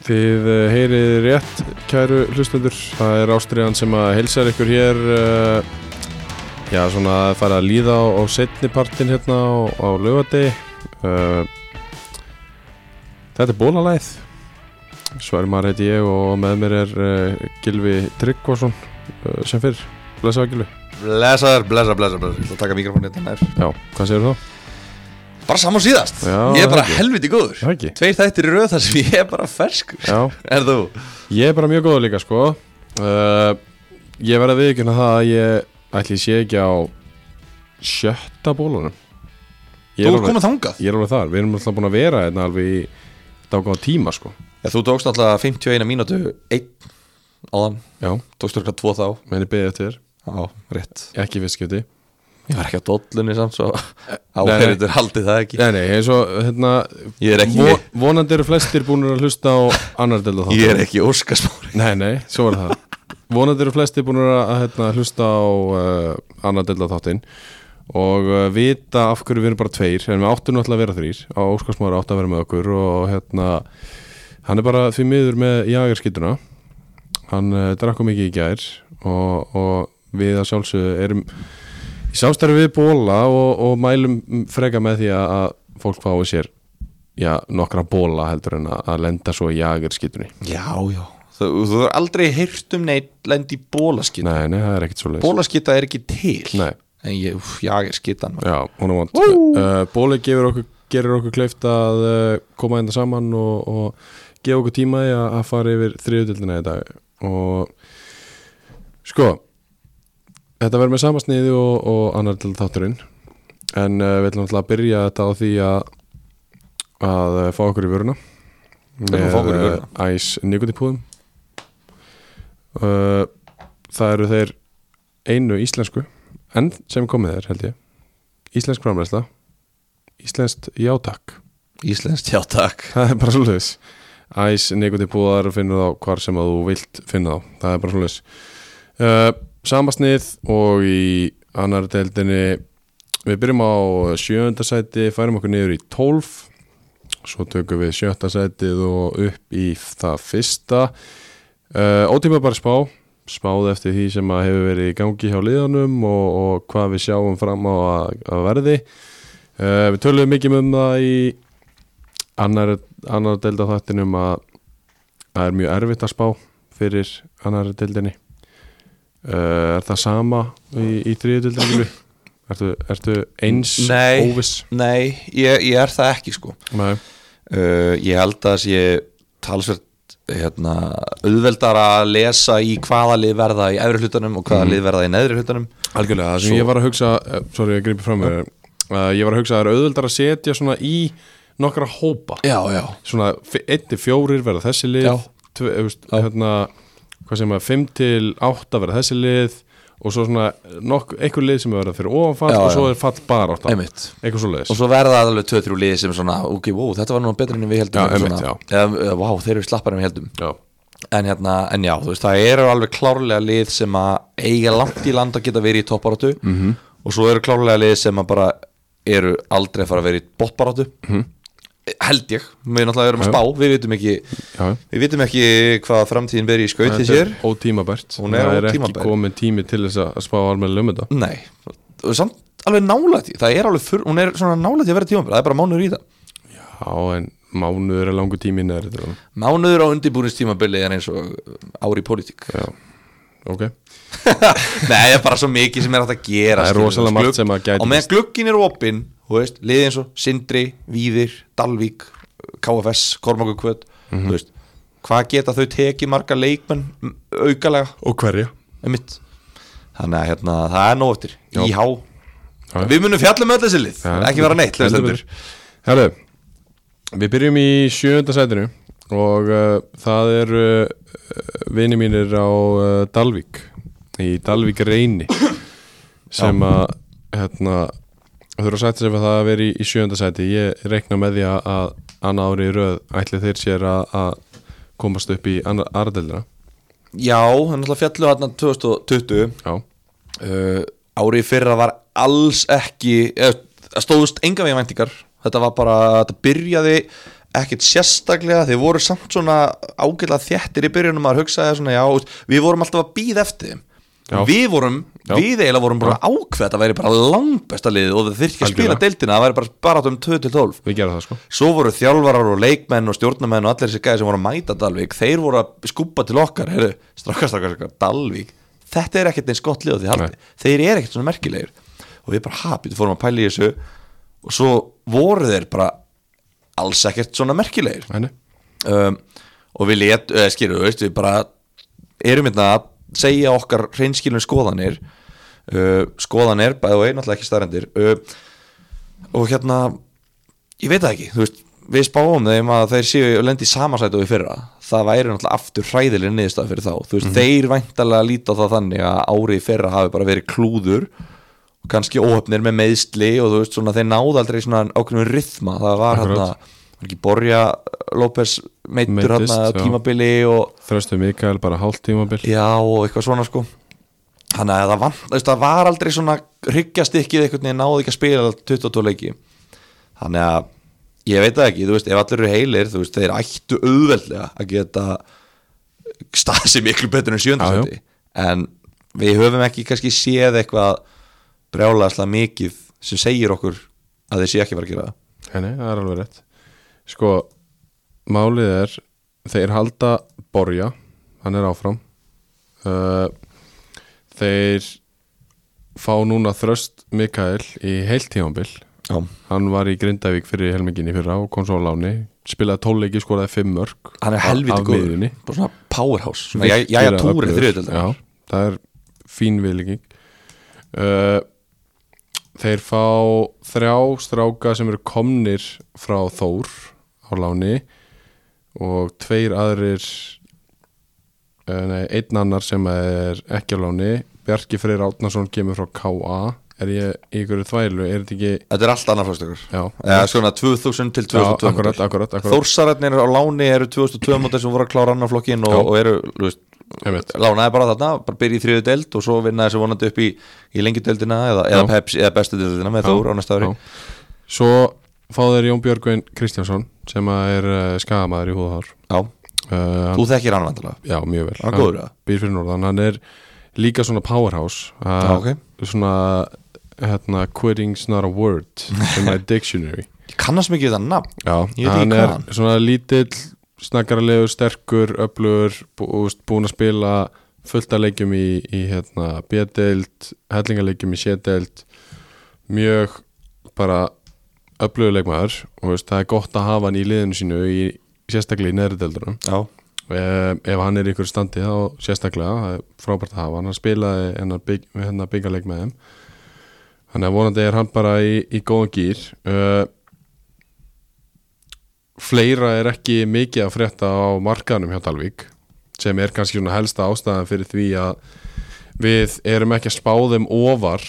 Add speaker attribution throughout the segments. Speaker 1: Þið eh, heyrið rétt, kæru hlustendur. Það er Ástriðan sem að heilsar ykkur hér. eh, Já, svona að fara að líða á, á setni partin hérna á, á lögadegi. Eh, Þetta er bólalæð. Svermar heiti ég og með mér er eh, Gylfi Tryggvason eh, sem fyrr. Blessaða Gylfi.
Speaker 2: Blessaður, blessaður, blessaður blessa. Ég ætla að taka mikrofónu hérna nær
Speaker 1: Já, hvað segir þú?
Speaker 2: Bara saman síðast
Speaker 1: Já,
Speaker 2: Ég er bara
Speaker 1: ekki.
Speaker 2: helviti góður
Speaker 1: Það ekki.
Speaker 2: Tveir þættir í röð þar sem ég er bara ferskur
Speaker 1: Já,
Speaker 2: Er þú?
Speaker 1: Ég er bara mjög góður líka sko uh, Ég verð að viðkynna það að ég ætli sé ekki á sjötta bólunum Ég er,
Speaker 2: Þú er
Speaker 1: alveg,
Speaker 2: komið þangað
Speaker 1: ég er alveg þar, við erum alltaf búin að vera hérna alveg í dágáð tíma sko
Speaker 2: ja, Þú tókst náttúrulega 51 mínútu Einn áðan
Speaker 1: Já,
Speaker 2: Tókst þú eitthvað tvo þá
Speaker 1: menn ég beðið eftir þér
Speaker 2: Já, rétt
Speaker 1: ekki visskjöti
Speaker 2: Ég var ekki á dollunni samt svo
Speaker 1: nei.
Speaker 2: Áhverjur haldi það ekki
Speaker 1: Nei, nei, eins og hérna
Speaker 2: Ég er ekki,
Speaker 1: vo- Vonandi eru flestir búin að hlusta á annar delta þáttum
Speaker 2: ég er ekki óskasmári
Speaker 1: Nei, nei, svo var það Vonandi eru flesti búin að að, hérna, hlusta á uh, annar delda þáttinn og uh, vita af hverju við erum bara tveir en við áttum náttúrulega að vera þrýr á Óskarsmáður átt að vera með okkur og hérna hann er bara því miður með jagarskýtuna hann uh, drakk um mikið í gær og, og við að sjálfsögðu erum í samstæri við bóla og, og mælum freka með því að, að fólk fái sér já, nokkra bóla heldur en að, að lenda svo í jagarskýtunni
Speaker 2: Já, já Þú, þú er aldrei heyrt um neitt Lendi í bólaskita
Speaker 1: Nei, nei, það er ekkert svo
Speaker 2: Bólaskita er ekki til
Speaker 1: Nei.
Speaker 2: En ég, úf, ég er skitan maður.
Speaker 1: Já, hún er vant uh, Bóli gefur okkur, gerir okkur kleift að uh, koma enda saman og, og gefa okkur tíma í að, að fara yfir þriðutildina í dag og sko þetta verður með sama sniði og, og annar til þátturinn en uh, við ætlum alltaf að byrja þetta á því að að uh, fá okkur í vöruna
Speaker 2: ætlum að fá okkur í vöruna.
Speaker 1: uh, æs nikotipúðum uh, það eru þeir einu íslensku en sem komið þeir held ég íslensk framræsla íslenskt játak
Speaker 2: Íslenskt, já takk
Speaker 1: það er bara svolítið æs nikotipúðar finnur þá hvar sem að þú vilt finna þá, það er bara svolítið uh, samasnið og í annar deildinni við byrjum á sjönda sæti færum okkur niður í 12 svo tökum við sjötta sætið og upp í það fyrsta uh, ótíma bara spá spáð eftir því sem að hefur verið í gangi hjá liðanum og, og hvað við sjáum fram á að, að verði uh, við töluðum mikið um það í annar, annar delda þættinum að það er mjög erfitt að spá fyrir annar deildinni uh, Er það sama í, í þriðu deildinni? ertu, ertu eins
Speaker 2: Nei.
Speaker 1: óviss?
Speaker 2: Nei, ég, ég er það ekki sko
Speaker 1: Nei
Speaker 2: uh, Ég held að þess ég talsvert hérna, auðveldar að lesa í hvaða lið verða í efri hlutunum og hvaða lið verða í neðri hlutunum
Speaker 1: Mhm. Algjörlega, það sem
Speaker 2: Svo-
Speaker 1: ég var að hugsa eh, Sorry, ég grípi fram með þér uh, Ég var að hugsa að það er auðvöldar að setja svona í nokkra hópa
Speaker 2: Já, já
Speaker 1: Svona 1-4 verða þessi lið
Speaker 2: Já.
Speaker 1: tve, veist, hérna, Hvað sem að 5-8 verða þessi lið Og svo svona nokk, einhver lið sem er verða fyrir ofanfall
Speaker 2: Já,
Speaker 1: Og svo
Speaker 2: já.
Speaker 1: er fall bara átt
Speaker 2: Einmitt.
Speaker 1: Eitthvað svo leiðis
Speaker 2: Og svo verða alveg 2-3 lið sem svona ok, wow, þetta var nú betra enn við heldum
Speaker 1: Já, einmitt,
Speaker 2: svona, eða, Vá, þeir eru slappar en við heldum
Speaker 1: Já,
Speaker 2: en, hérna, en já, þú veist, það eru alveg klárlega lið sem að eiga langt í land að geta verið í topparáttu -hmm. og svo eru klárlega lið sem að bara eru aldrei að fara að vera í botparáttu -hmm. held ég, við náttúrulega erum að spá við vitum ekki,
Speaker 1: já
Speaker 2: við vitum ekki hvað framtíðin verið í skauti
Speaker 1: Þetta er
Speaker 2: sér
Speaker 1: ótímabært
Speaker 2: Hún er
Speaker 1: Það er ekki
Speaker 2: ótímabær.
Speaker 1: komin tími til þess að að spá almennilega um þetta
Speaker 2: nei, og samt alveg nálægt í- það er alveg, fyrr, hún er svona nálægt í að vera tímambil það er bara mánuður í það
Speaker 1: Já, en mánuður er langu tími neður þetta
Speaker 2: mánuður á undirbúinistímabili er eins og ári í pólitík
Speaker 1: Já, ok
Speaker 2: Nei, það er bara svo mikið sem er hægt að gera
Speaker 1: Það er rosalega margt sem að gæti
Speaker 2: Og meðan glukkin er opinn, þú veist, liðið eins og Sindri, Víðir, Dalvík KFS, Kormáku Kvöt
Speaker 1: Mhm.
Speaker 2: Þú veist, hvað geta þau tekið marga leikmenn m, aukalega
Speaker 1: Og hverja?
Speaker 2: um mitt Þannig að hérna, það er nóg eftir,
Speaker 1: Já.
Speaker 2: íhá
Speaker 1: Já.
Speaker 2: Við munum fjalla með öll þessi lið,
Speaker 1: Já,
Speaker 2: ekki vera neitt
Speaker 1: heldur
Speaker 2: hlustendur.
Speaker 1: betur. Herru, við byrjum í sjönda sætinu og uh, það eru uh, vini mínir á uh, Dalvík í Dalvík reyni sem að hérna, þurfa að sætta sig fyrir það að vera í, í sjönda sæti ég reikna með því að- að annað ári í röð ætli þeir sér að, að komast upp í annar aðdeldina
Speaker 2: Já, hann alltaf fjallu hérna 2020
Speaker 1: Já,
Speaker 2: uh, árið fyrra var alls ekki eða, það stóðust enga veginn væntingar þetta var bara, þetta byrjaði ekkert sérstaklega, þeir voru samt svona ágætlega þjættir í byrjunum maður hugsaði svona, já, veist, við vorum alltaf að býða eftir þeim
Speaker 1: Já.
Speaker 2: við vorum,
Speaker 1: Já.
Speaker 2: við eiginlega vorum bara ákveð að það væri bara langbesta liðið og það þyrfti ekki að spila
Speaker 1: Algjörlega.
Speaker 2: deildina, það væri bara bara um 2-12
Speaker 1: við gerum það sko
Speaker 2: svo voru þjálfarar og leikmenn og stjórnamenn og allir þessi gæði sem voru að mæta Dalvík þeir voru að skúpa til okkar, heyrðu strakkar, strakkar, strakkar, Dalvík þetta er ekkert eins gott lið á því haldi, þeir eru ekkert svona merkilegir og við bara hapið fórum að pæla í þessu og svo voru þeir bara alls ekkert svona merkilegir
Speaker 1: Henni.
Speaker 2: um, og við let, eða skilur, veist, við bara erum hérna að segja okkar reynskilum skoðanir uh, skoðanir, bæði og náttúrulega ekki starrendir uh, og hérna ég veit það ekki, þú veist við spáum þeim að þeir séu og lendi samansætu við fyrra, það væri náttúrulega aftur hræðileg niðurstað fyrir þá, þú
Speaker 1: Mhm.
Speaker 2: veist, þeir væntalega líta á það þannig að árið í fyrra hafi bara verið klúður og kannski óöfnir með meðsli og þú veist svona þeir náðu aldrei svona ákveðnum rytma, það var
Speaker 1: Akkurat.
Speaker 2: hérna var ekki Borja López meittur
Speaker 1: Meiddist,
Speaker 2: hérna
Speaker 1: já.
Speaker 2: tímabili og
Speaker 1: Þröstu Mikael bara hálft tímabil
Speaker 2: já og eitthvað svona sko þannig að það, vant, þú veist, það var aldrei svona hryggjast ekkið einhvern veginn náði ekki að spila 22 leiki þannig að ég veit það ekki, þú veist, ef allir eru heilir þú veist, þeir ættu auðveldlega að geta staðið sér miklu betur en
Speaker 1: Já, já.
Speaker 2: sjöndarsæti en við höfum ekki kannski séð eitthvað brjálaðslega mikið sem segir okkur að þeir sé ekki að fara að gera það
Speaker 1: Henni, það er alveg rétt Sko, málið er Þeir halda Borja Hann er áfram uh, Þeir Fá núna þröst Mikael í heilt tímabil
Speaker 2: Já.
Speaker 1: Hann var í Grindavík fyrir helmingin í fyrra og kom svo á láni, spilaði tólleiki skoraði fimm mörg
Speaker 2: hann er
Speaker 1: af-
Speaker 2: helviti
Speaker 1: af
Speaker 2: góður
Speaker 1: miðjunni.
Speaker 2: bara svona powerhouse svona jæja, jæja
Speaker 1: Virkilega
Speaker 2: túri
Speaker 1: öflugur.
Speaker 2: þriðutöldar
Speaker 1: Já, það er fín viðlíking uh, Þeir fá þrjá stráka sem eru komnir frá Þór á láni og tveir aðrir eh, nei, einn annar sem er ekki á láni Bjarki Freyr Átnason kemur frá KA er ég í ykkur þvælu, er þetta ekki
Speaker 2: þetta er allt annað flókstökur
Speaker 1: já,
Speaker 2: eða svona 2000 til
Speaker 1: já
Speaker 2: 2002
Speaker 1: akkurat,
Speaker 2: módel.
Speaker 1: akkurat, akkurat.
Speaker 2: Þórsararnir á láni eru 2002 mótel sem voru að klára annar flokkin og,
Speaker 1: Já.
Speaker 2: og eru, þú veist,
Speaker 1: Einmitt.
Speaker 2: lánaði bara þarna bara byrja í þriðu deild og svo vinna þessu vonandi upp í, í lengi deildina eða, eða
Speaker 1: Já.
Speaker 2: peps eða bestu deildina með
Speaker 1: Já.
Speaker 2: Þór á næsta ári
Speaker 1: Já. Svo fá þeir Jón Björgvin Kristjánsson sem að er uh, skamaður í húðahár
Speaker 2: Já,
Speaker 1: uh,
Speaker 2: þú þekkir hann vandalega
Speaker 1: Já, mjög vel
Speaker 2: Hann er góður, eða?
Speaker 1: býr fyrir norðan, hann er líka svona powerhouse uh,
Speaker 2: Já, ok.
Speaker 1: Svona hérna, quitting's not a word in my dictionary
Speaker 2: Ég kannast mikið við það nafn
Speaker 1: Já,
Speaker 2: Ég veit ekki
Speaker 1: hann
Speaker 2: hvað
Speaker 1: er
Speaker 2: hann-
Speaker 1: svona lítill snakkarlegur, sterkur, öflugur bú, úst, búin að spila fullt að leikjum í, í hérna, B-deild hellingaleikjum í C-deild mjög bara öflugur leikmaður og veist, það er gott að hafa hann í liðinu sínu í, sérstaklega í neðri deildunum
Speaker 2: Já,
Speaker 1: Eh, ef hann er í ykkur standi þá sérstaklega, það er frábært að hafa hann hann spilaði hennar, bygg, hennar byggarleik með þeim þannig að vonandi er hann bara í, í góðan gýr uh, fleira er ekki mikið að frétta á markaðnum hjá Dalvík sem er kannski svona helsta ástæðan fyrir því að við erum ekki að spá þeim ofar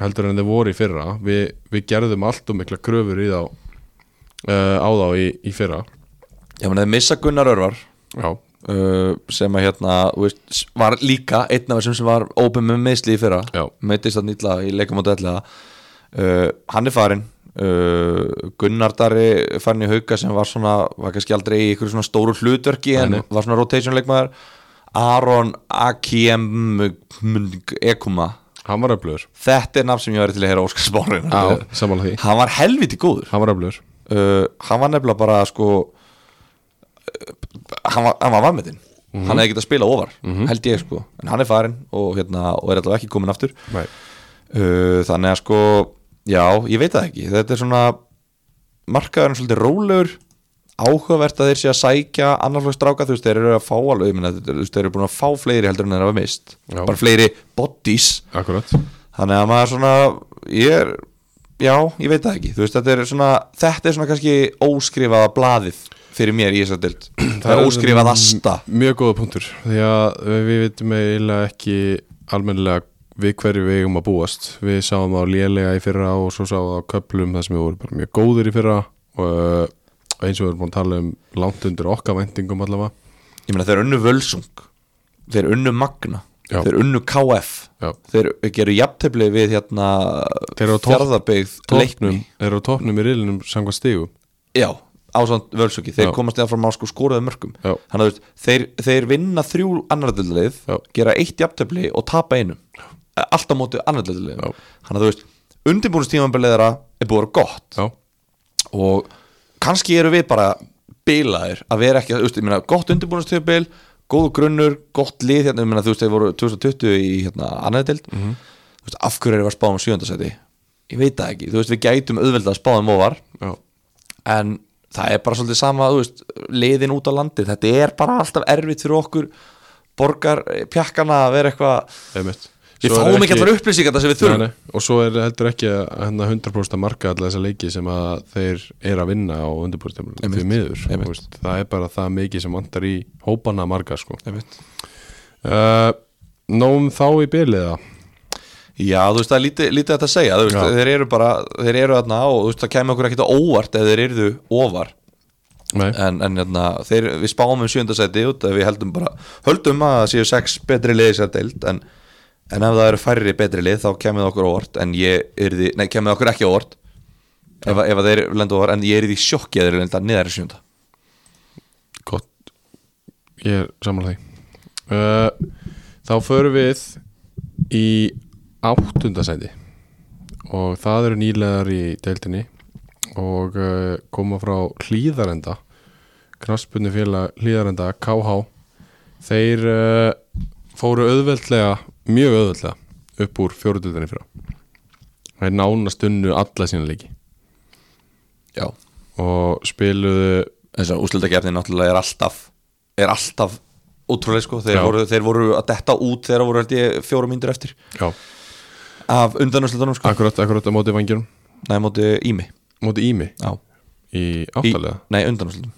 Speaker 1: heldur en þeir voru í fyrra við, við gerðum allt og mikla kröfur í þá uh, á þá í, í fyrra
Speaker 2: já menn þið missa Gunnar Örvar
Speaker 1: já,
Speaker 2: uh, sem að hérna þú veist, s- var líka einn af þessum sem var open með meðsli í fyrra
Speaker 1: Já.
Speaker 2: meittist að nýtla í leikum og dætla uh, hann er farinn uh, Gunnar Darri fann í hauka sem var svona, var kannski aldrei í ykkur svona stóru hlutverki en
Speaker 1: Nei, nei.
Speaker 2: var svona rotation leikmaður Aron Akiem Ekuma
Speaker 1: hann var öflugur
Speaker 2: þetta er nafn sem ég væri til að heyra Óskarsbárin
Speaker 1: Já, sammála því
Speaker 2: hann var helviti góður
Speaker 1: Hann var öflugur
Speaker 2: uh, hann var nefnilega bara sko uh, hann var, hann var vafmetinn hann hefði getað spilað ofar, held ég sko en hann er farinn og, hérna, og er alltaf ekki komin aftur
Speaker 1: Nei.
Speaker 2: uh, þannig að sko já, ég veit það ekki, þetta er svona markaðurinn svolítið rólegur áhugavert að þeir sé að sækja annarflöks stráka, þú veist, þeir eru að fá alveg ég meina, þú veist, þeir eru búin að fá fleiri heldur en þeir hafa mist
Speaker 1: Já.
Speaker 2: bara fleiri bodies
Speaker 1: Akkurat
Speaker 2: þannig að maður svona ég er, já, ég veit það ekki þú veist, þetta er svona, þetta er svona kannski óskrifaða blaðið fyrir mér í þessar dild, það er
Speaker 1: um-
Speaker 2: óskrifað asta
Speaker 1: Mjög góða punktur Því að við veitum eiginlega ekki almennilega við hverju við eigum að búast Við sáum á lélega í fyrra og svo sáum við á köplum þar sem við vorum bara mjög góðir í fyrra og uh, eins og við erum búin að tala um langt undir okkar vendingum allavega
Speaker 2: ég meina þeir unnu völsung þeir unnu magna,
Speaker 1: Já.
Speaker 2: þeir unnu KF
Speaker 1: Já.
Speaker 2: þeir geru jafntefli við hérna
Speaker 1: Þeir eru á topp-
Speaker 2: fjárðabyggð
Speaker 1: Tóknum, eru á tóknum í riðlinum samkvæmt stígu
Speaker 2: já, ásand völsuki, þeir
Speaker 1: Já.
Speaker 2: komast eða frá sko skoruðu mörgum
Speaker 1: Já.
Speaker 2: þannig að þú veist, þeir, þeir vinna þrjú annardöldalið,
Speaker 1: Já.
Speaker 2: gera eitt jafntefli og tapa einu, E, allt á móti annardöldalið,
Speaker 1: Já.
Speaker 2: þannig að þú veist undirbúinstímanbilið þeirra er búið að vera gott
Speaker 1: já,
Speaker 2: og kannski eru við bara bilaðir að vera ekki, þú veist, ég meina gott undirbúinastöðubil, góð grunnur gott lið, hérna, ég meina þú veist, þeir voru 2020 í hérna annaðdild mm
Speaker 1: Mhm.
Speaker 2: -hmm. veist, af hverju erum við að spáðum sjöndasæti ég veit það ekki, þú veist, við gætum auðveldað að spáðum ofar,
Speaker 1: já,
Speaker 2: en það er bara svolítið sama, þú veist, liðin út á landi þetta er bara alltaf erfitt fyrir okkur borgar pjakkana að vera eitthvað
Speaker 1: einmitt
Speaker 2: við
Speaker 1: Svo er
Speaker 2: fáum ekki allar upplýsingar það sem við
Speaker 1: Nei,
Speaker 2: þurfum
Speaker 1: nei. og svo er heldur ekki að hérna 100% að marka alla þessa leiki sem að þeir eru að vinna á undirbúrstemlunum því miður
Speaker 2: Einmitt.
Speaker 1: þú veist, það er bara það mikið sem vantar í hópana að marka sko.
Speaker 2: Einmitt.
Speaker 1: uh, Nóum þá í byliða
Speaker 2: Já, þú veist, það er lítið, lítið þetta að segja þú veist,
Speaker 1: Já.
Speaker 2: þeir eru bara, þeir eru þarna og þú veist, það kemur okkur ekkit á óvart ef þeir eru ofar
Speaker 1: Nei,
Speaker 2: en, en hérna, þeir, við spáum um sjöndasæti út að við heldum bara, höldum að það séu sex betri liði sér deild en, en ef það eru færri betri lið þá kemur það okkur á óvart en ég er því, nei, kemur það okkur ekki á óvart ef, að- ef að þeir lendu á óvart en ég er því sjokki að þeir lenda niðar í sjönda
Speaker 1: gott Ég er samanlega því uh, Þá förum við í áttundasæti og það eru nýlegar í deildinni og uh, koma frá hlýðarenda knaspunni félag hlýðarenda KH þeir uh, fóru auðveldlega mjög auðveldlega upp úr fjóruðildinni fyrra þeir nánast unnu alla sína leiki
Speaker 2: Já,
Speaker 1: og spiluðu
Speaker 2: þess að úslutakefni náttúrulega er alltaf er alltaf útrúlega sko þeir
Speaker 1: Já.
Speaker 2: voru, þeir voru að detta út þegar voru held ég fjórum myndur eftir
Speaker 1: já,
Speaker 2: af undanúrslutunum sko
Speaker 1: akkurat, akkurat á móti vangjum
Speaker 2: Nei, móti Ími
Speaker 1: móti Ími
Speaker 2: Já
Speaker 1: í
Speaker 2: Í,
Speaker 1: áttalega
Speaker 2: Nei, undanúrslutum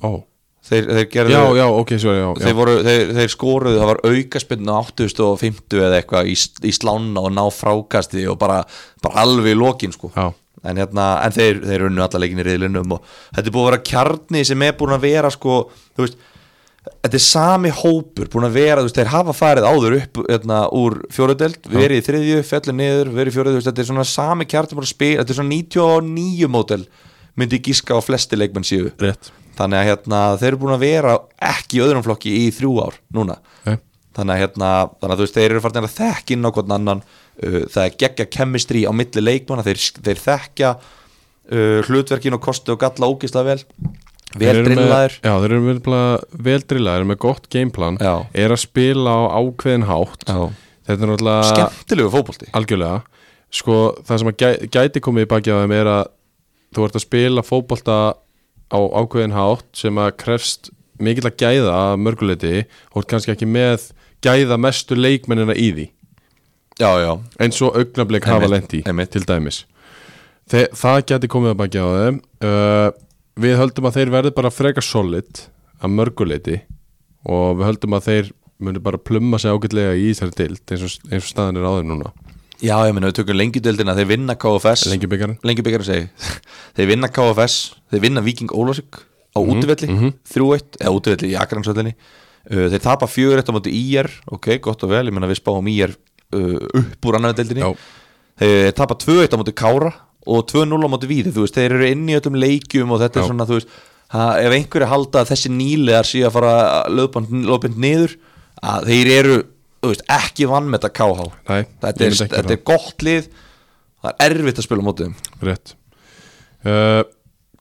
Speaker 1: Ó.
Speaker 2: Þeir, þeir gerðu
Speaker 1: já, já, ok, svo já, já.
Speaker 2: Þeir, voru, þeir, þeir skoruðu, það var aukaspinn á 850 eða eitthvað í, í slána og ná frákasti og bara, bara alveg í lokin sko
Speaker 1: já
Speaker 2: en, hérna, en þeir, þeir unnu alla leikin í riðlinum og þetta er búið að vera kjarni sem er búin að vera sko, þú veist þetta er sami hópur búin að vera þú veist, þeir hafa farið áður upp hérna, úr fjóruðdelt, verið í þriðju, fellur niður verið í fjóruðu, þú veist, þetta er svona sami kjarni búin að spila, þetta er svona 99 mótel myndi ég gíska á flesti leikmenn síðu
Speaker 1: rétt
Speaker 2: þannig að hérna, þeir eru búin að vera ekki í öðrum flokki í þrjú ár núna
Speaker 1: Nei.
Speaker 2: þannig að, hérna, þannig að þú veist, þeir eru farin að þekka inn á hvern annan uh, það er geggja kemistri á milli leikmanna þeir, þeir þekka uh, hlutverkin og kosti og galla ógislega vel vel
Speaker 1: Þeir eru með-
Speaker 2: drillaðir
Speaker 1: já, þeir eru vel, vel drillaðir með gott gameplan
Speaker 2: Já.
Speaker 1: er að spila á ákveðin hátt
Speaker 2: Já.
Speaker 1: þetta er náttúrulega
Speaker 2: skemmtilegu fótbolti
Speaker 1: algjörlega sko, það sem að gæ, gæti komið í baki á þeim er að þú ert að spila fótbolta á ákveðin hátt sem að krefst mikill að gæða að mörguleiti og ert kannski ekki með gæða mestu leikmennina í því
Speaker 2: já, já,
Speaker 1: eins og augnablik hafa
Speaker 2: Einmitt,
Speaker 1: lendi
Speaker 2: einmitt.
Speaker 1: til dæmis Þe, það geti komið að baki á þeim uh, við höldum að þeir verði bara frekar solid að mörguleiti og við höldum að þeir muni bara plumma sig ágætlega í þessari dild eins og, eins og staðan er á þeim núna
Speaker 2: já, ég meina, við tökum lengjudeldina þeir vinna KFS
Speaker 1: lengi byggjarinn
Speaker 2: lengjubikar segi þeir vinna KFS, þeir vinna Viking Ólásik á
Speaker 1: Mhm,
Speaker 2: útivelli, 3-1 eða útivelli í Akransvöllinni uh, þeir tapa 4-1 á móti IR, ok, gott og vel ég menna við spáum IR uh, upp úr annaðveldinni
Speaker 1: Já.
Speaker 2: þeir tapa 2-1 á móti Kára og 2-0 á móti Víði þú veist, þeir eru inn í öllum leikjum og
Speaker 1: Já.
Speaker 2: þetta er svona, þú veist, ha, ef einhverju halda að þessi nýlegar sé að fara löpand, löpand niður, að þeir eru þú veist, ekki vann með þetta KH
Speaker 1: Nei,
Speaker 2: þetta
Speaker 1: ég
Speaker 2: er,
Speaker 1: myndi ekki
Speaker 2: þetta
Speaker 1: gera
Speaker 2: er gott lið það er erfitt að spila á móti þeim
Speaker 1: rétt uh,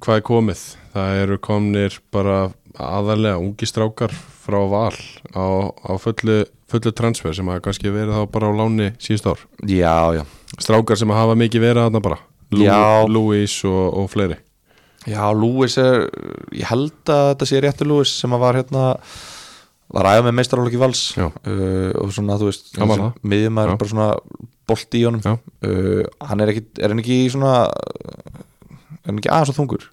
Speaker 1: hvað er komið? það eru komnir bara aðalega ungi strákar frá val á, á fullu, fullu transfer sem að kannski verið þá bara á láni síðust ár
Speaker 2: Já, já
Speaker 1: strákar sem hafa mikið verið þarna bara
Speaker 2: Já.
Speaker 1: Lú- Louis og, og fleiri
Speaker 2: Já, Lewis er, ég held að þetta sé rétti Lewis sem að var hérna var aðeins með meistarálöki vals
Speaker 1: Já.
Speaker 2: uh, og svona, þú veist
Speaker 1: Hann var það. Já.
Speaker 2: miðjum er bara svona bolti í honum
Speaker 1: Já.
Speaker 2: uh, hann er ekki, er hann ekki svona er hann ekki aðeins og þungur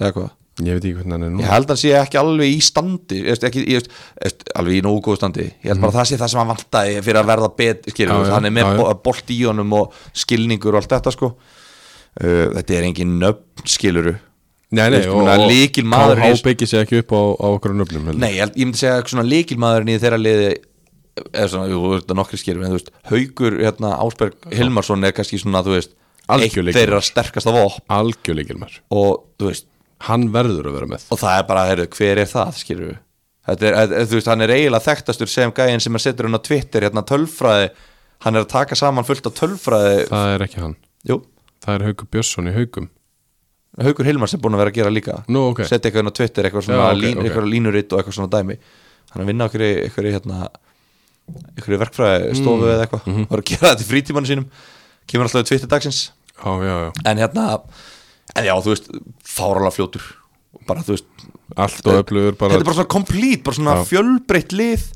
Speaker 2: eða hvað?
Speaker 1: ég veit ekki hvernig hann er nú
Speaker 2: Ég held að hann sé ekki alveg í standi ég veist, ekki, ég veist, ég veist, alveg í nógu góð standi ég held bara að það sé það sem hann vantaði fyrir að verða bet skilur,
Speaker 1: Já,
Speaker 2: já,
Speaker 1: já,
Speaker 2: hann er með
Speaker 1: já, já.
Speaker 2: bo- bolt í honum og skilningur og allt þetta sko uh, þetta er engin nöfn skiluru
Speaker 1: nei, nei,
Speaker 2: Veist, meina, lykilmaður
Speaker 1: Há
Speaker 2: í-
Speaker 1: byggir sér ekki upp á, á okkur nöfnum heldur.
Speaker 2: Nei, ég, held- ég myndi segja að svona leikilmaðurinn í þeirra liði eða svona, jú, þetta nokkri skýrum en þú veist, Haugur, hérna, Ásberg Hilmarsson er kannski svona, þú veist,
Speaker 1: Algjör
Speaker 2: eitt
Speaker 1: leikmaður.
Speaker 2: þeirra sterkasta vopn
Speaker 1: algjör leikilmar
Speaker 2: og, þú veist,
Speaker 1: hann verður að vera með
Speaker 2: og það er bara, heyrðu, hver er það, skilur við Þetta er, eð- eð- þú veist, hann er eiginlega þekktastur sem gæinn sem er setur hann á Twitter hérna tölfræði, hann er að taka saman fullt af tölfræði,
Speaker 1: það er ekki hann,
Speaker 2: jú,
Speaker 1: það er Haukur Björnsson í Haukum
Speaker 2: Haukur Hilmars er búin að vera að gera líka
Speaker 1: Nú, ok.
Speaker 2: setja eitthvað inn á Twitter, eitthvað svona
Speaker 1: Já,
Speaker 2: Já,
Speaker 1: ok, ok.
Speaker 2: eitthvað línuritt og eitthvað svona dæmi hann er að vinna okkur í einhverju hérna, einhverju verkfræði stofu eða eitthvað,
Speaker 1: Mhm.
Speaker 2: mm var að gera þetta í frítímanu sínum kemur alltaf í Twitter dagsins
Speaker 1: já, já, já,
Speaker 2: en hérna, en já, þú veist fáralega fljótur Og bara, þú veist,
Speaker 1: allt og öflugur bara,
Speaker 2: þetta er bara svona komplít, bara svona
Speaker 1: Já.
Speaker 2: fjölbreytt lið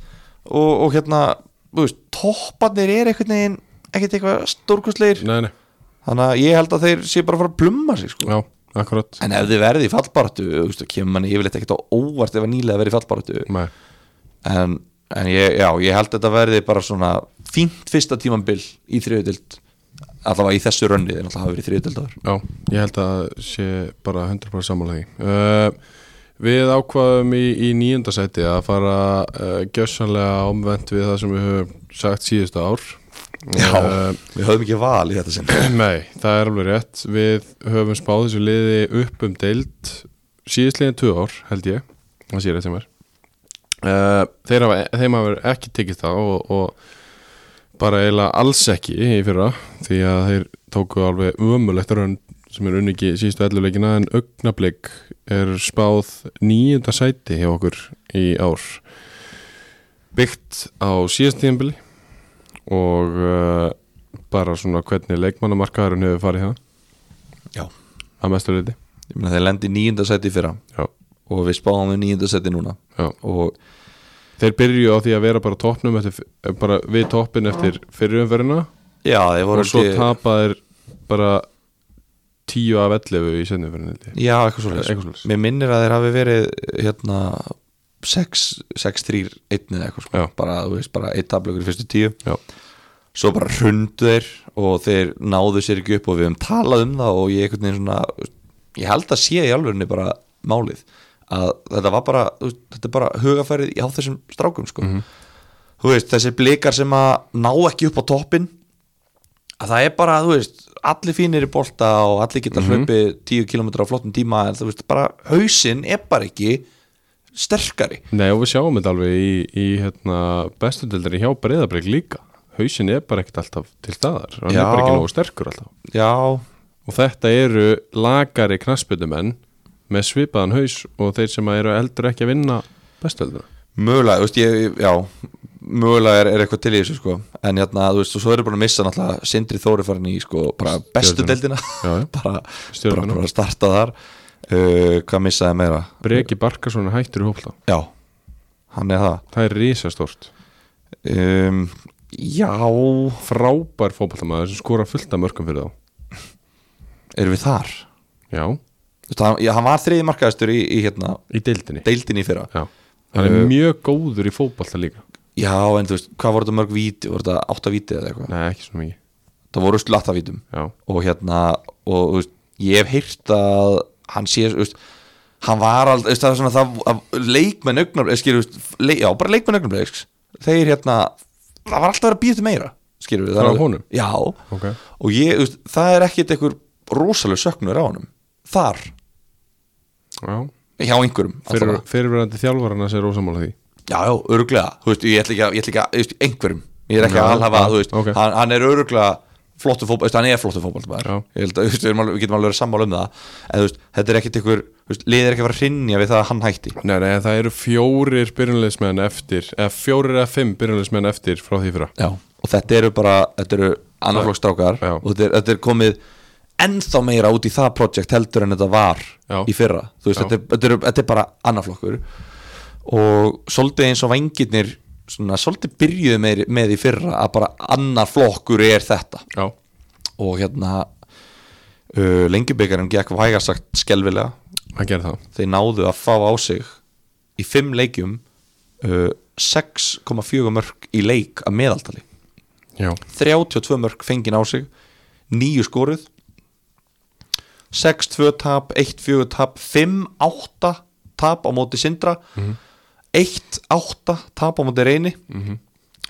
Speaker 2: og, og hérna, þú veist topparnir er einhvern veginn ekkert eitthvað stórkustleir
Speaker 1: nei, nei,
Speaker 2: þannig að ég held að þeir sé bara að fara að plumma sig sko.
Speaker 1: já, akkurat
Speaker 2: En ef þið verði í fallbaratu þú veist, þá kemur manni yfirleitt ekkert á óvart ef að nýlega verði í fallbaratu
Speaker 1: nei,
Speaker 2: en, en ég, já, ég held þetta verði bara svona fínt fyrsta tímambil í þriðutild allavega í þessu rönni þeir alltaf hafa verið þriðutildaður
Speaker 1: já, ég held að sé bara 100% sammála því uh, við ákvaðum í, í nýjunda sæti að fara uh, gjössanlega omvend við það sem við höfum sagt síðustu ár Eh,
Speaker 2: við höfum ekki val í þetta sinn
Speaker 1: Nei, það er alveg rétt Við höfum spáð þessu liði upp um deild síðustliðin tvö ár, held ég það sé rétt sem er uh, þeir hafa, Þeim hafa ekki tekið það og, og bara eiginlega alls ekki í fyrra því að þeir tóku alveg ömulegt raun sem er unni ekki síðustu elluleikina en augnablik er spáð nýjunda sæti hjá okkur í ár byggt á síðast tíðanbili og uh, bara svona hvernig leikmannamarkaðurinn hefur farið hérna
Speaker 2: Já,
Speaker 1: að mestu leiti
Speaker 2: ég meina þeir lendi í nýjunda sæti í fyrra
Speaker 1: já,
Speaker 2: og við spáðum við nýjunda sæti núna
Speaker 1: já.
Speaker 2: og
Speaker 1: þeir byrju á því að vera bara toppnum eftir, eh, bara við toppin eftir fyrirumverðina
Speaker 2: já, þeir voru
Speaker 1: og svo
Speaker 2: ekki-
Speaker 1: tapa þeir bara tíu af 11 í sennumverðinu
Speaker 2: Já, eitthvað
Speaker 1: Eitthvað
Speaker 2: svoleiðis
Speaker 1: svoleiðis.
Speaker 2: Mér minnir að þeir hafi verið hérna 6-3-1 eða eitthvað sko.
Speaker 1: Já.
Speaker 2: bara, þú veist, bara eitt taflökur í fyrstu tíu
Speaker 1: já,
Speaker 2: svo bara hrundu þeir og þeir náðu sér ekki upp og við höfum talað um það og ég einhvern veginn svona ég held að sé í alvegni bara málið að þetta var bara þú veist, þetta er bara hugafærið á þessum strákum sko.
Speaker 1: Mhm.
Speaker 2: þú veist, þessir blikar sem að ná ekki upp á toppin að það er bara, þú veist allir fínir í bolta og allir geta hlaupið 10 km á flottum tíma en þú veist, bara hausinn er bara ekki sterkari
Speaker 1: nei og við sjáum þetta alveg í, í hérna, bestudeldari hjá breyðabrik líka hausin er bara ekkert alltaf til staðar hann
Speaker 2: Já.
Speaker 1: er bara ekki nógu sterkur alltaf
Speaker 2: já,
Speaker 1: og þetta eru lagari knassbyrnumenn með svipaðan haus og þeir sem eru eldur ekki að vinna bestudeldina
Speaker 2: Mögulega, þú veist, ég, já Mögulega er, er eitthvað til í þessu, sko En hérna, þú veist, og svo eru bara að missa náttúrulega Sindri Þóri farin í, sko, bara bestu deildina
Speaker 1: Stjörnuna. Já, já.
Speaker 2: bara, bara,
Speaker 1: Stjörnuna.
Speaker 2: bara að starta þar uh, Hvað missaði meira?
Speaker 1: Breki Barkarsson er hættur í hópla
Speaker 2: Já, hann er það
Speaker 1: Það er risastort
Speaker 2: um, Já,
Speaker 1: Frábær fótballtamaður sem skora fullt af mörgum fyrir þá
Speaker 2: erum við þar?
Speaker 1: Já,
Speaker 2: Þú veist, hann, já, hann var þriði markaðastur í, í, hérna,
Speaker 1: í deildinni
Speaker 2: deildinni í fyrra
Speaker 1: Já, hann er mjög góður í fótballta líka
Speaker 2: Já, en þú veist, hvað voru þetta mörg víti? Voru þetta átta víti eða eitthvað?
Speaker 1: Nei, ekki svona mikið
Speaker 2: Það voru slatta vítum
Speaker 1: Já,
Speaker 2: og hérna og þú veist, ég hef heyrt að hann sé þú veist, hann var aldrei þú veist, það er svona það að leikmenn augnar skilur, þú veist, le, já bara leikmenn augnar þeir hérna það var alltaf að vera að býja til meira skilur við
Speaker 1: Frá
Speaker 2: er-
Speaker 1: honum?
Speaker 2: já
Speaker 1: Ok.
Speaker 2: og ég þú veist, það er ekkit einhver rosalega söknur á honum þar
Speaker 1: já
Speaker 2: hjá einhverjum
Speaker 1: Fyrir,
Speaker 2: allavega.
Speaker 1: Fyrirverandi þjálfarana sér ósamála því
Speaker 2: já já öruglega þú veist ég ætla ekki að ég ætla ekki að þú veist, einhverjum ég er ekki
Speaker 1: Já,
Speaker 2: að alhafa
Speaker 1: já,
Speaker 2: þú veist
Speaker 1: ok.
Speaker 2: hann, hann er öruglega flottu fótbol, veist, hann er flottu fótbol
Speaker 1: Já.
Speaker 2: ég held að þú veist, við, erum alveg, við getum alveg verið sammála um það en þú veist, þetta er ekkert ykkur þú veist, liðir ekki að fara að hrinja við það að hann hætti
Speaker 1: Nei, nei, það eru fjórir byrjunleismenn eftir eða fjórir eða fimm byrjunleismenn eftir frá því fyrra
Speaker 2: Já. og þetta eru bara, þetta eru annarflokkstrákar
Speaker 1: Já.
Speaker 2: og þetta er, þetta er komið ennþá meira út í það projekt heldur en þetta var
Speaker 1: Já.
Speaker 2: í fyrra þú veist,
Speaker 1: Já.
Speaker 2: þetta er, þetta, er, þetta er bara annarflokkur og svolítið eins og vangirnir svona, svolítið byrjuðu með, með í fyrra að bara annarflokkur er þetta
Speaker 1: Já,
Speaker 2: og hérna uh, lengjubikarinn gekk vægarsagt skelvilega
Speaker 1: hann gerir það
Speaker 2: þeir náðu að fá á sig í fimm leikjum uh, 6,4 mörg í leik að meðaltali
Speaker 1: Já,
Speaker 2: 32 mörg fengin á sig nýju skoruð 6-2 tap 1-4 tap 5-8 tap á móti Sindra 1-8 tap á móti Reyni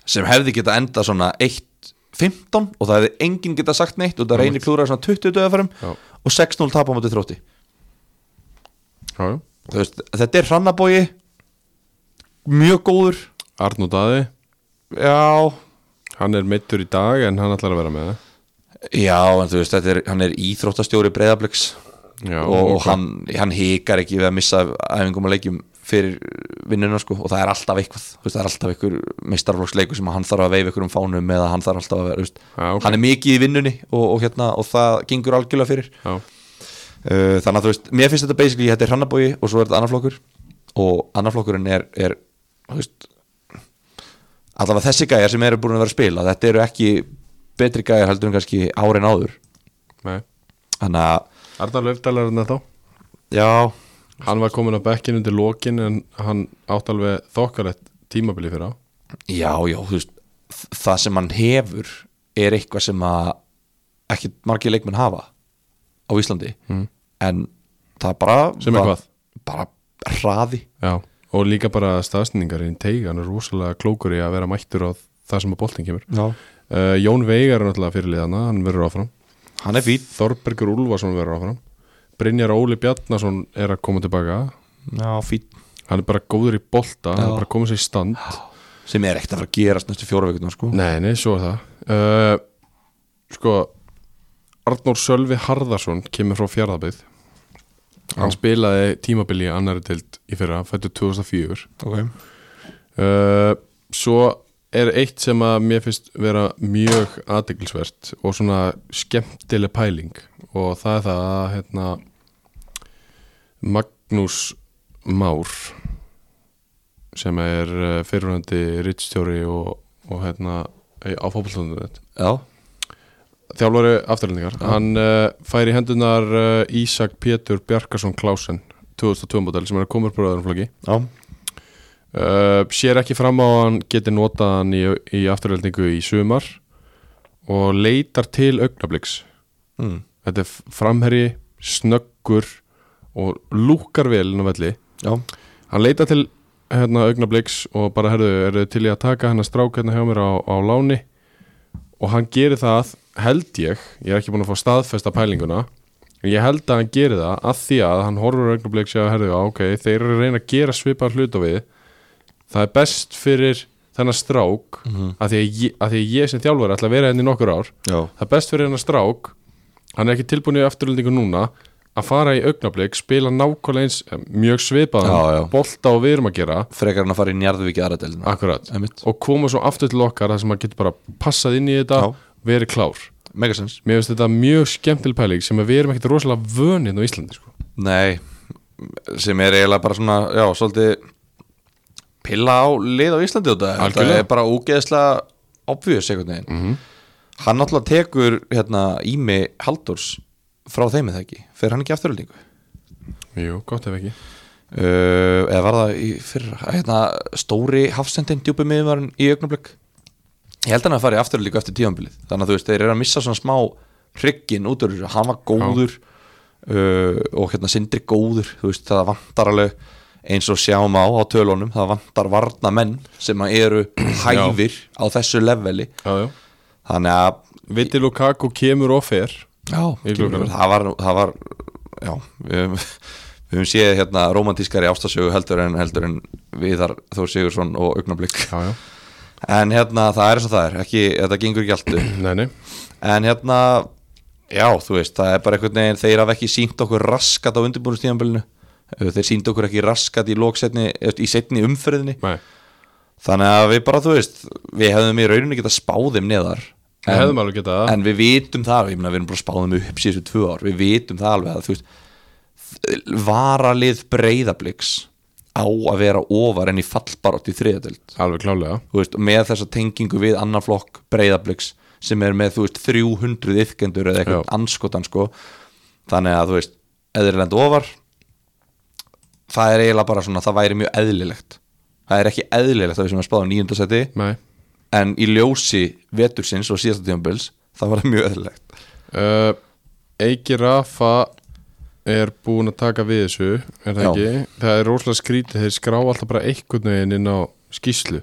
Speaker 2: sem hefði geta enda svona 1-15 og það hefði enginn geta sagt neitt og það Reyni klúraði svona 20 döðafærum
Speaker 1: Já.
Speaker 2: og 6-0 tap á móti Þrótti
Speaker 1: já, já.
Speaker 2: Þú veist, þetta er hrannabói mjög góður
Speaker 1: Arnó Daði,
Speaker 2: já,
Speaker 1: hann er meittur í dag en hann ætlar að vera með það
Speaker 2: já en þú veist, þetta er, hann er íþróttastjóri breyðabliks
Speaker 1: Já,
Speaker 2: og, og
Speaker 1: ok.
Speaker 2: hann, hann hikar ekki við að missa af æfingum og leikjum fyrir vinnuna sko, og það er alltaf eitthvað þú veist, það er alltaf einhver meistarflokksleikur sem hann þarf að veifa einhverjum fánum eða hann þarf alltaf að vera þú veist,
Speaker 1: Já, ok.
Speaker 2: hann er mikið í vinnunni og, og, hérna, og það gengur algjörlega fyrir
Speaker 1: Já,
Speaker 2: Uh, þannig að þú veist, mér finnst þetta basically þetta er hrannabói og svo er þetta annar flokkur og annar flokkurinn er, er þú veist, allavega þessi gæjar sem eru búin að vera að spila þetta eru ekki betri gæjar heldur en kannski árin áður
Speaker 1: nei
Speaker 2: þannig að,
Speaker 1: Arnar Löfdal er hann þá
Speaker 2: já
Speaker 1: Hann var komin á bekkinu undir lokin en hann átt alveg þokkalett tímabili fyrir á
Speaker 2: já, já, þú veist þ- það sem hann hefur er eitthvað sem að ekki margir leikmenn hafa á Íslandi mm. en það bara
Speaker 1: Sem er
Speaker 2: það-
Speaker 1: hvað?
Speaker 2: bara hraði
Speaker 1: Já, og líka bara staðsningar í teig, hann er rosalega klókur í að vera mættur á það sem að boltin kemur
Speaker 2: já.
Speaker 1: uh, Jón Veigar er náttúrulega fyrirliðana, hann verður áfram
Speaker 2: hann er fín
Speaker 1: Þorbergur Úlfarsson verður áfram Brynjar Óli Bjarnason er að koma tilbaka
Speaker 2: já, fín
Speaker 1: hann er bara góður í bolta, hann
Speaker 2: Já.
Speaker 1: er bara komið sér í stand
Speaker 2: sem er ekkert að fara að gerast næstu fjóra vikunar sko.
Speaker 1: Nei, nei, svo er það uh, Sko Arnór Sölvi Harðarsson kemur frá fjárðabið Hann spilaði tímabili í annari tild í fyrra, fættu 2004
Speaker 2: okay.
Speaker 1: uh, Svo er eitt sem að mér finnst vera mjög aðdeglisvert og svona skemmtileg pæling og það er það að hérna, Magnús Már sem er fyrirhandi rittstjóri og, og hérna eh, á fótbollstundunum
Speaker 2: Já,
Speaker 1: þjálfari afturlendingar hann uh, fær í hendunar uh, Ísak Pétur Bjarkason Klásen 2002 model sem er að koma upp á öðrumflokki
Speaker 2: já,
Speaker 1: uh, sér ekki fram á að hann geti notað hann í, í afturlendingu í sumar og leitar til augnabliks
Speaker 2: mm.
Speaker 1: þetta er framherji, snöggur og lúkar vel inn á velli
Speaker 2: já.
Speaker 1: hann leita til hérna, augnabliks og bara herðu, eru þið til ég að taka hennar strák hérna hjá mér á, á láni og hann gerir það, held ég ég er ekki búin að fá staðfesta pælinguna en ég held að hann gerir það að því að hann horfur á augnabliks og herðu, á, ok, þeir eru að reyna að gera svipar hlut á við það er best fyrir þennar strák mm -hmm. að, því að, ég, að því að ég sem þjálfur ætla að vera henni í nokkur ár
Speaker 2: já.
Speaker 1: það er best fyrir hennar strák hann er ekki tilbúin í afturlendingu núna að fara í augnablik, spila nákvæmlega eins eh, mjög
Speaker 2: Já, já.
Speaker 1: svipaðan bolta og við erum að gera
Speaker 2: Frekar hann að fara í njarðvík í aðradelina
Speaker 1: akkurat,
Speaker 2: Einmitt.
Speaker 1: og koma svo aftur til okkar þar sem maður getur bara passað inn í þetta
Speaker 2: Já.
Speaker 1: verið klár,
Speaker 2: Megasens
Speaker 1: mér finnst þetta mjög skemmtileg pæling sem að við erum ekkert rosalega vönið á Íslandi sko.
Speaker 2: Nei, sem er eiginlega bara svona, já, svolítið pilla á lið á Íslandi út af
Speaker 1: Algjörlega.
Speaker 2: Það er bara ógeðslega obvious einhvern veginn mm -hmm. Hann náttúrulega tekur hérna Ími Halldórs frá þeim eða ekki Fer hann ekki afturlýtingu?
Speaker 1: jú, gott ef ekki
Speaker 2: Uh, eða var það í fyrra hérna, stóri hafsendin djúpi miðvarinn í augnablik ég held hann að fara í aftur líka eftir tíðanbilið þannig að þú veist, þeir eru að missa svona smá hrygginn út úr þessu, hann var góður uh, og hérna sindri góður þú veist, það vantar alveg eins og sjáum á á tölunum, það vantar varna menn sem að eru hæfir á þessu leveli
Speaker 1: já, já.
Speaker 2: þannig að
Speaker 1: Viti Lukaku kemur og fer
Speaker 2: Já,
Speaker 1: Í glugganum.
Speaker 2: það var, það var já, við höfum, við höfum séð hérna romantískari ástasögu heldur en heldur en Viðar Þór Sigursson og Augnablík
Speaker 1: já, já.
Speaker 2: en hérna það er eins og það er, ekki, þetta gengur ekki allt upp
Speaker 1: Nei, nei.
Speaker 2: en hérna, já, þú veist það er bara einhvern veginn, þeir hafa ekki sínt okkur raskat á undirbúinustíðanbölinu þeir sínt okkur ekki raskat í lóksetni í setni umferðinni
Speaker 1: Nei.
Speaker 2: þannig að við bara, þú veist, við hefðum í rauninni getað spáðum neðar
Speaker 1: við hefðum alveg getað það.
Speaker 2: en við vitum það, ég meina við erum bara spáðum upp síðustu tvö ár, við vitum það alveg að þú veist varalið breyðabliks á að vera ofar enn í fallbarátt í þriðadöld,
Speaker 1: alveg klálega
Speaker 2: þú veist, og með þessa tengingu við annan flokk breyðabliks sem er með, þú veist, 300 yfkendur eða eitthvað
Speaker 1: Já.
Speaker 2: anskotan, sko þannig að, þú veist, eðrilend ofar það er eiginlega bara svona, það væri mjög eðlilegt það er ekki eðlilegt að við sem að spáðum nýjundasæti
Speaker 1: Nei.
Speaker 2: en í ljósi vetursins og síðasta tímabils það var mjög öðrulegt
Speaker 1: Uh, Eiki Rafa er búin að taka við þessu er það
Speaker 2: Já.
Speaker 1: ekki? Það er rosalega skrítið þeir skrá alltaf bara einhvern veginn inn á skýslu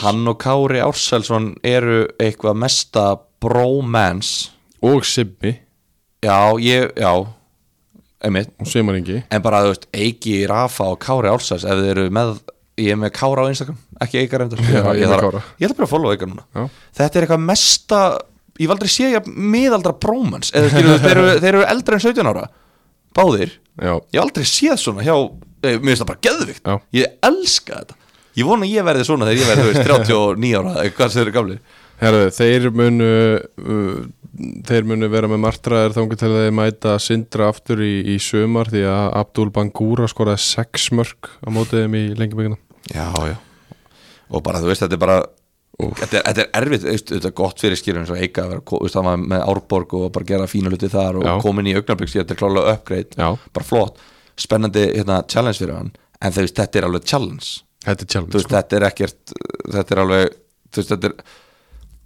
Speaker 2: hann og Kári Ársælsson eru eitthvað mesta bromance
Speaker 1: og Sibbi
Speaker 2: já, ég, já einmitt,
Speaker 1: og Sveimar Ingi
Speaker 2: en bara þú veist, Eiki, Rafa og Kári Álsars ef þið eru með, ég er með Kára á Instagram ekki Eika reyndur
Speaker 1: Já, ég er með Kára.
Speaker 2: ég ætla bara að follow Eika núna
Speaker 1: Já.
Speaker 2: þetta er eitthvað mesta, ég valdur að sé ég miðaldra brómans, eða skilur þeir eru, þeir eru eldri en 17 ára báðir,
Speaker 1: Já,
Speaker 2: ég hef aldrei séð svona hjá eh, mér finnst það bara geðvikt,
Speaker 1: Já.
Speaker 2: ég elska þetta ég vona að ég verði svona þegar ég verði þú veist, 39 ára, eða hvað sem þeir eru gamlir
Speaker 1: herðu, þeir munu uh, þeir munu vera með martraðir þangar til að þeir mæta Sindra aftur í, í sömar því að Abdul Bangura skoraði sex mörg á mótið þeim í lengjumbyggina
Speaker 2: Já, já Og bara þú veist, þetta er bara þetta er, þetta er erfitt, þú veist, þetta er gott fyrir skilur eins og Eika að vera, ko- þú veist, það var með Árborg og bara gera fína hluti þar og
Speaker 1: Já.
Speaker 2: komin í augnabyggs, þetta er klálega upgrade
Speaker 1: Já.
Speaker 2: bara flott, spennandi hérna, challenge fyrir hann, en þú veist, þetta er alveg challenge,
Speaker 1: Þetta er
Speaker 2: þú
Speaker 1: challenge
Speaker 2: veist, þetta er ekkert þetta er alveg, þú veist, þetta er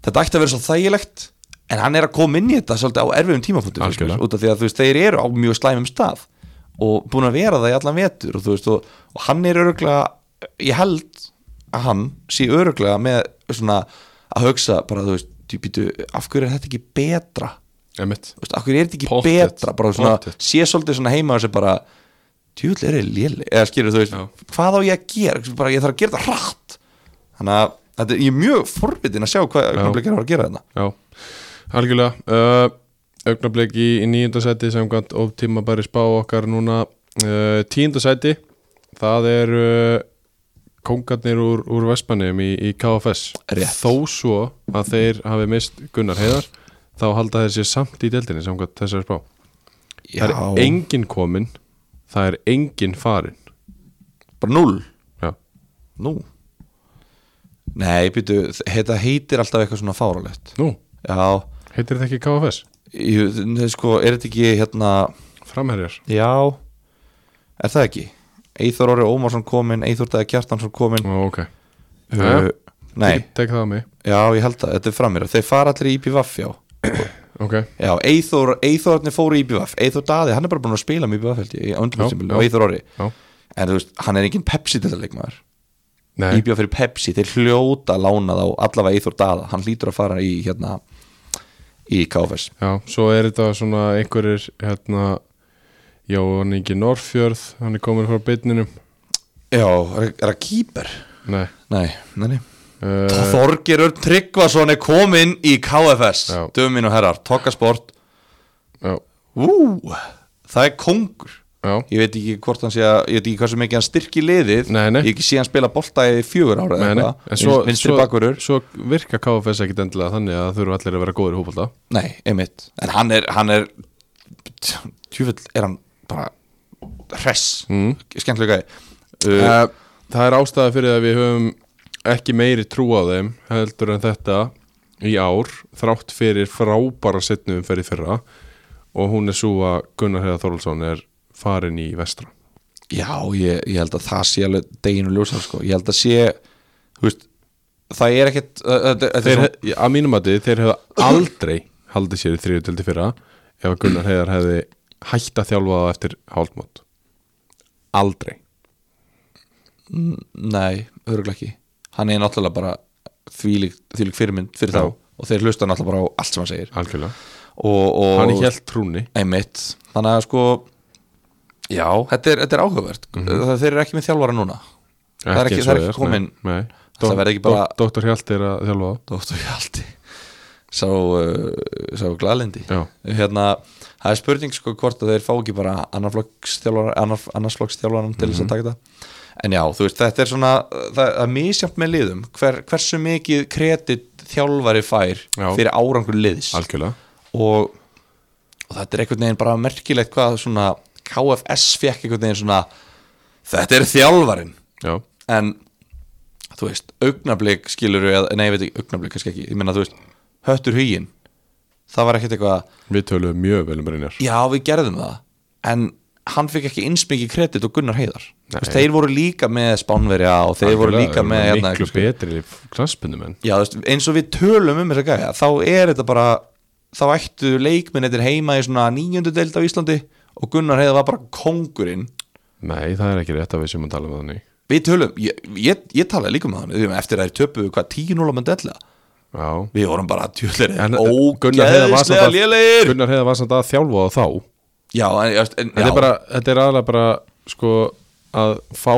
Speaker 2: þetta ætti að vera svo þægilegt en hann er að koma inn í þetta svolítið á erfiðum tímapunktum finnst mér,
Speaker 1: Algjörlega.
Speaker 2: út af því að þú veist, þeir eru á mjög slæmum stað og búin að vera það í allan vetur og, þú veist, og, og hann er öruglega ég held að hann sé öruglega með svona að hugsa bara, þú veist, djú, býtu, af hverju er þetta ekki betra
Speaker 1: Emitt
Speaker 2: Þú veist, af hverju er þetta ekki
Speaker 1: Pottet,
Speaker 2: betra bara svona,
Speaker 1: pottet.
Speaker 2: sé svolítið svona heima þessi bara djúvill er þetta léli eða skilur þú veist,
Speaker 1: Já.
Speaker 2: hvað á ég að gera bara, ég þarf að gera þetta hratt þannig að þetta, ég er mjög forvitin að sjá hvað augnablik er að fara að gera þetta
Speaker 1: Já, algjörlega uh, augnabliki í, í nýjöndasæti sem gætt ótíma bara spá okkar núna uh, tíundasæti það er uh, kongarnir úr, úr Vestmannum í, í KFS
Speaker 2: Rétt.
Speaker 1: þó svo að þeir hafi mist Gunnar Heiðar þá halda þeir sér samt í deildinni sem gætt þessari spá það er engin komin það er engin farin
Speaker 2: bara null
Speaker 1: Já,
Speaker 2: Nú. nei, býtu, þetta heitir alltaf eitthvað svona fáralegt
Speaker 1: nú,
Speaker 2: já,
Speaker 1: heitir þetta ekki KFS
Speaker 2: ég, nei, sko, er þetta ekki hérna
Speaker 1: framherjar
Speaker 2: já, er það ekki Eithor Orri Ómarsson kominn, Eithor Dæði Kjartansson kominn
Speaker 1: Ó, ok, Eh,
Speaker 2: uh, Eh, nei,
Speaker 1: tek það að mig
Speaker 2: Já, ég held að þetta er framir Þeir fara allir í IPVF, já
Speaker 1: ok,
Speaker 2: Já, Eithor, Eithorarnir fóru í IPVF Eithor Daði, hann er bara búin að spila með IPVF held ég, í
Speaker 1: Já,
Speaker 2: undirbúrstímabilinu,
Speaker 1: já.
Speaker 2: og Eithor Orri
Speaker 1: já
Speaker 2: En þú veist, hann er engin Pepsi til þetta leikmaður
Speaker 1: Nei,
Speaker 2: IPVF fyrir Pepsi, þeir hljóta að lána þá allavega Eithor Daða, hann hlýtur að fara í hérna, í KFS
Speaker 1: Já, svo er þetta svona einhverjir hérna, já, hann er ekki Norrfjörð, hann er komin frá bytninum
Speaker 2: Já, er, er það kýper?
Speaker 1: Nei
Speaker 2: Nei, nei, nei
Speaker 1: uh,
Speaker 2: Þorgir Örn Tryggvason er kominn í KFS
Speaker 1: Já.
Speaker 2: Dömin og herrar, Tokkasport
Speaker 1: já,
Speaker 2: Ú, það er kongur
Speaker 1: já,
Speaker 2: ég veit ekki hvort hann sé að ég veit ekki hversu mikið hann styrki liðið
Speaker 1: Nei, nei.
Speaker 2: ég ekki sé hann spila bolta í fjögur ára
Speaker 1: nei, nei En
Speaker 2: svo, vinstri
Speaker 1: svo,
Speaker 2: bakverur
Speaker 1: svo virka KFS ekkit endilega þannig að það þurfa allir að vera góður í hópulta
Speaker 2: nei, einmitt en hann er, hann er tjúfell er hann bara hress mm. skemmtilega gæði uh,
Speaker 1: uh, Það er ástæða fyrir að við höfum ekki meiri trú á þeim heldur en þetta í ár þrátt fyrir frábara setnum fyrir fyrra og hún er svo að Gunnar Heiðar Þorlsson er farin í vestra
Speaker 2: já, ég, ég held að það sé alveg deginu ljósar sko ég held að sé þú veist, það er ekkert uh, uh, uh,
Speaker 1: þeir, hef- að mínum að þið, þeir hefðu aldrei haldið sér í þriðu til fyrra ef að Gunnar Heiðar hefði hætt að þjálfa það eftir hálfmót aldrei
Speaker 2: Nei, öruglega ekki Hann er náttúrulega bara þvílík, þvílík fyrirmynd fyrir
Speaker 1: Já.
Speaker 2: þá og þeir hlusta náttúrulega bara á allt sem hann segir
Speaker 1: algjörlega,
Speaker 2: og, og
Speaker 1: hann hélt trúni
Speaker 2: einmitt Þannig að sko Já, þetta er, þetta er áhugavert mm Þeir eru ekki með þjálfara núna Það er ekki,
Speaker 1: eins og
Speaker 2: það er ekki
Speaker 1: nei,
Speaker 2: komin
Speaker 1: nei.
Speaker 2: Það
Speaker 1: Dó-
Speaker 2: verði ekki bara-
Speaker 1: Dó- Dóttar Hjalt er að þjálfa
Speaker 2: Dóttur Hjaldi Sá, uh, sá glalindi
Speaker 1: Já.
Speaker 2: Hérna, það er spurning sko hvort að þeir fá ekki bara annarflokkstjálfara annar, annarsflokkstjálfaran til þess að taka þetta En já, þú veist, þetta er svona það það er misjafnt með liðum Hver, hversu mikið kredit þjálfari fær
Speaker 1: Já.
Speaker 2: fyrir árangur liðs
Speaker 1: það algjörlega,
Speaker 2: og, og þetta er einhvern veginn bara merkilegt hvað svona KFS fekk einhvern veginn svona þetta er þjálfarin
Speaker 1: já,
Speaker 2: en þú veist, augnablík skilur við, nei, ég veit ekki, augnablík kannski ekki ég meina, þú veist, höttur hugin það var ekkert eitthvað,
Speaker 1: við töluðum mjög vel um Brynjar
Speaker 2: já, við gerðum það en hann fikk ekki einsmikið kredit og Gunnar Heiðar, þú veist,
Speaker 1: Nei.
Speaker 2: þeir voru líka með Spánverja og þeir voru
Speaker 1: Algjörlega,
Speaker 2: líka
Speaker 1: þeir
Speaker 2: með
Speaker 1: voru
Speaker 2: hérna,
Speaker 1: miklu betri knaspinu menn
Speaker 2: já, þú veist, eins og við tölum um þess að gæja, þá er þetta bara þá ættu leikminnettir heima í svona nýjöndu deild á Íslandi og Gunnar Heiðar var bara kongurinn
Speaker 1: nei, það er ekki rétt að við sem að tala um það ný
Speaker 2: við tölum, ég, ég, ég talaði líka um það við erum eftir að þeir töpuðu hvað 10-0 með della
Speaker 1: já,
Speaker 2: Við vorum bara tjölir
Speaker 1: En, Gunnar
Speaker 2: ógeðslega
Speaker 1: Heiðar var samt að-
Speaker 2: lélegir
Speaker 1: Gunnar Heiða var samt að þjálfa það þá
Speaker 2: já, en, en,
Speaker 1: þetta
Speaker 2: já,
Speaker 1: er, bara, þetta er aðalega bara sko, að fá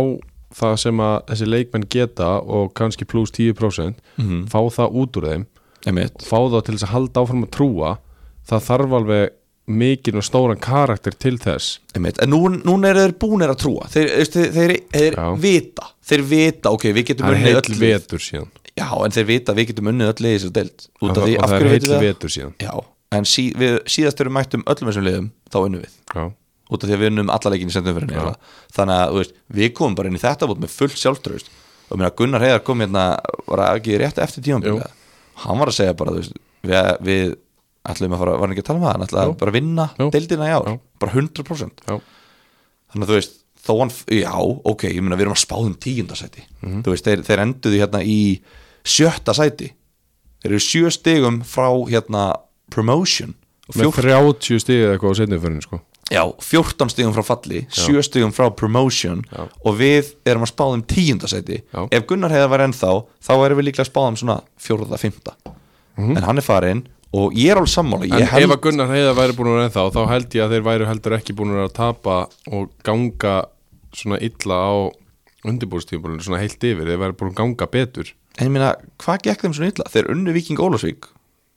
Speaker 1: það sem að þessi leikmenn geta og kannski pluss 10%
Speaker 2: Mhm.
Speaker 1: fá það út úr þeim
Speaker 2: einmitt
Speaker 1: fá það til þess að halda áfram að trúa það þarf alveg mikinn og stóran karakter til þess
Speaker 2: Einmitt. En nú, núna eru þeir búnir að trúa Þeir, þú veist, þeir, þeir, þeir
Speaker 1: Já.
Speaker 2: vita Þeir vita, ok, við getum
Speaker 1: það er
Speaker 2: unnið
Speaker 1: heill
Speaker 2: öll lið.
Speaker 1: vetur síðan
Speaker 2: Já, en þeir vita, við getum unnið öll lið í þessari deild Út
Speaker 1: og,
Speaker 2: af
Speaker 1: það-
Speaker 2: því,
Speaker 1: og
Speaker 2: af
Speaker 1: það
Speaker 2: hverju
Speaker 1: er
Speaker 2: veitum
Speaker 1: heill
Speaker 2: við það?
Speaker 1: vetur síðan
Speaker 2: Já, en sí, við, síðast þegar við mættum öllum þessum liðum Þá unnum við
Speaker 1: já,
Speaker 2: Út af því að við unnum alla leikinn í sendumferðinni eiginlega. Þannig að, þú veist, við komum bara inn í þetta bútt með fullt sjálftraust Og meina, Gunnar Heiðar kom hérna Var ekki rétt eftir
Speaker 1: Jú.
Speaker 2: tíma Hann var að segja bara, þú veist Við, við ætlum að fara, var hann ekki að tala um það Hann ætlaði
Speaker 1: Jú.
Speaker 2: bara að vinna
Speaker 1: Jú.
Speaker 2: deildina í ár
Speaker 1: Já.
Speaker 2: Bara 100%
Speaker 1: já,
Speaker 2: þannig að þú veist þó hann, já, ok, ég meina við erum að spáðum tíundasæti,
Speaker 1: Mhm.
Speaker 2: þú veist, þeir, þeir enduðu hérna í sjötta sæti þeir eru sjö stigum frá hérna promotion og
Speaker 1: með
Speaker 2: fjór,
Speaker 1: 30 stíð eitthvað á setnumförinu sko
Speaker 2: já, 14 stigum frá falli sjö stigum frá promotion
Speaker 1: Já.
Speaker 2: og við erum að spáðum tíundasæti
Speaker 1: Já.
Speaker 2: ef Gunnar hefði var ennþá, þá erum við líklega að spáðum svona fjórða, fymta en hann er farinn og ég er alveg sammála
Speaker 1: Mhm. En
Speaker 2: ég held,
Speaker 1: ef að Gunnar Heiðar væri búin að vera ennþá þá held ég að þeir væri heldur ekki búin að tapa og ganga svona illa á undirbúrstíðbúlinu svona heilt yfir, þeir væri búin að ganga betur
Speaker 2: en ég meina, hvað gekk þeim svona illa? Þeir unnu Viking Ólafsvík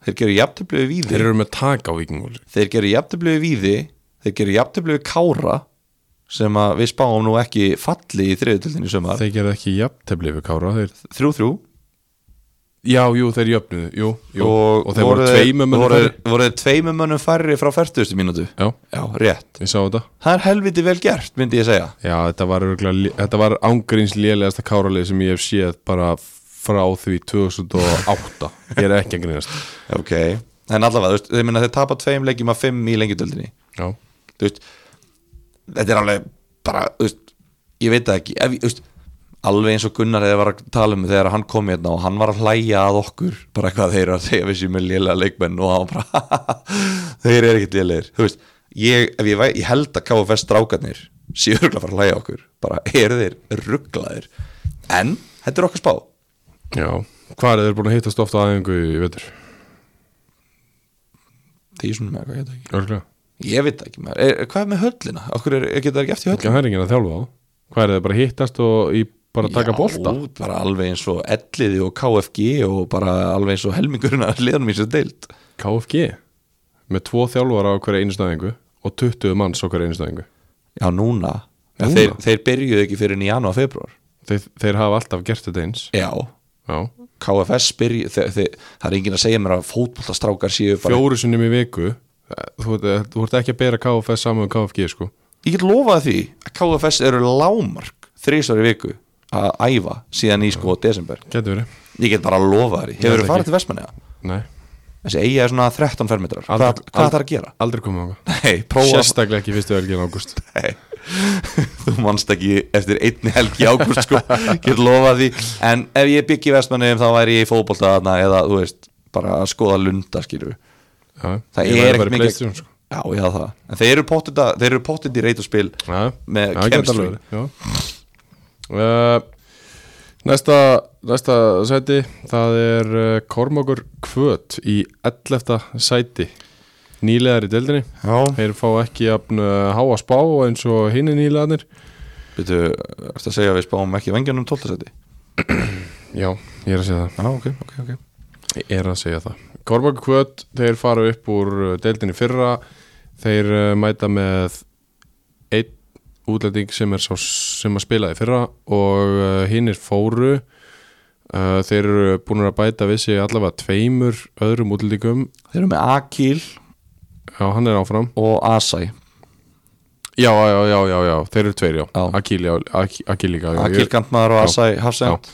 Speaker 2: þeir gerir jafntöflu við víði
Speaker 1: Þeir eru með taka á vikingúli
Speaker 2: þeir gerir jafntefli við víði þeir gerir jafntefli við kára sem að við spáum nú ekki falli í þriðutöldinni sömar
Speaker 1: Þeir gerðu ekki jafntefli við Kára þeir...
Speaker 2: þrjú þrjú
Speaker 1: Já, jú, þeir jöfnuðu, jú, jú
Speaker 2: og,
Speaker 1: þeir voru tveimum mönnum
Speaker 2: voru,
Speaker 1: færri.
Speaker 2: voru þeir tveimum mönnum færri frá 40. mínútu
Speaker 1: Já,
Speaker 2: já, rétt
Speaker 1: ég sá þetta
Speaker 2: það er helviti vel gert, myndi ég segja
Speaker 1: Já, þetta var, örugglega lé- þetta var ángríns lélegasta Káralið sem ég hef séð bara frá því 2008 Ég er ekki að grínast
Speaker 2: ok en allavega, þú veist, þeir minna þeir tapa tveim leikjum af fimm í lengjutöldinni
Speaker 1: Já,
Speaker 2: þú veist þetta er alveg bara, þú veist ég veit það ekki, ef, ég- þú veist alveg eins og Gunnar hefði var að tala um þegar hann kom hérna og hann var að hlæja að okkur bara hvað þeir eru að segja við sér með lélega leikmenn og hann bara þeir eru ekkert lélegir, þú veist ég, ef ég, væ- ég held að KFS strákarnir séu örgulega að fara að hlæja að okkur bara eru þeir rugglaðir en þetta er okkar spá
Speaker 1: já Hvað er þeir búin að hittast ofta aðeingu í vetur?
Speaker 2: því svona með hvað ég veit það ekki
Speaker 1: Örglega
Speaker 2: ég veit það ekki, maður. er, hvað er með höllina okkur er, geta það ekki eftir höllina
Speaker 1: Það er enginn að þjálfa á Hvað er það bara að hittast og í bara að taka bolta?
Speaker 2: Já, bara alveg eins og elliði og KFG og bara alveg eins og helmingurinn að liðanum í sér deild
Speaker 1: KFG með tvo þjálfara á hverja einstöðingu og 20 manns á hverja einstöðingu
Speaker 2: Já, núna,
Speaker 1: Núna?
Speaker 2: Þeir, þeir byrjuðu ekki fyrir í janúar, februar
Speaker 1: þeir, þeir hafa alltaf gert þetta eins
Speaker 2: Já,
Speaker 1: Já.
Speaker 2: KFS byrju þeir, þeir, það er enginn að segja mér að fótboltastrákar séu bara,
Speaker 1: Fjóru sinnum í viku þú, ert- þú ert ekki að bera KFS saman með KFG sko
Speaker 2: ég get lofað því að KFS eru lámark þrísvar í viku að æfa síðan í sko desember,
Speaker 1: Getur verið
Speaker 2: ég get bara lofað því
Speaker 1: Ég veit
Speaker 2: Hefur þið
Speaker 1: ekki.
Speaker 2: farið til Vestmanniða?
Speaker 1: Nei,
Speaker 2: Þessi eiga er svona 13 fermetrar, hvað,
Speaker 1: Aldrei-
Speaker 2: hvað það er að gera?
Speaker 1: aldrei komið á
Speaker 2: Nei, prófa
Speaker 1: Sérstaklega ekki fyrstu helgin ágúst
Speaker 2: Nei, þú manst ekki eftir einni helgi í ágúst sko, get lofað því en ef ég byggi vestmannum þá væri ég í fótbolta þarna eða þú veist, bara að skoða lunda skilur við,
Speaker 1: Það
Speaker 2: það
Speaker 1: Ég væri
Speaker 2: er
Speaker 1: bara í
Speaker 2: ekki mikið
Speaker 1: PlayStation, sko.
Speaker 2: já, já það, en þeir eru pottit að- þeir eru pottit í reit og spil
Speaker 1: Já,
Speaker 2: með
Speaker 1: já, geta
Speaker 2: chemistry.
Speaker 1: alveg verið, já. Uh, Næsta, næsta sæti það er uh, Kormákur Kvöt í 11. sæti nýlegar í deildinni
Speaker 2: já,
Speaker 1: þeir fá ekki jafn uh, háa spá eins og hinni nýlegarnir
Speaker 2: veitu, ertu að segja að við spáum ekki vengjanum 12. seti
Speaker 1: já, ég er að segja
Speaker 2: já, ok, ok, ok
Speaker 1: það ég er að segja það Kormákur Kvöt, þeir fara upp úr uh, deildinni í fyrra þeir uh, mæta með einn útlending sem er sá sem að spila í fyrra og uh, hinn er fóru uh, þeir eru búin að bæta við sig allavega tveimur öðrum útlendingum
Speaker 2: þeir eru með Akil
Speaker 1: já, hann er áfram
Speaker 2: og Asai
Speaker 1: já, já, já, já, já, þeir eru tveir, já,
Speaker 2: Já.
Speaker 1: Akil, já, Ak- Akil líka já,
Speaker 2: Akil
Speaker 1: Ég-
Speaker 2: Gantmaður og
Speaker 1: Já,
Speaker 2: Asai Hafsend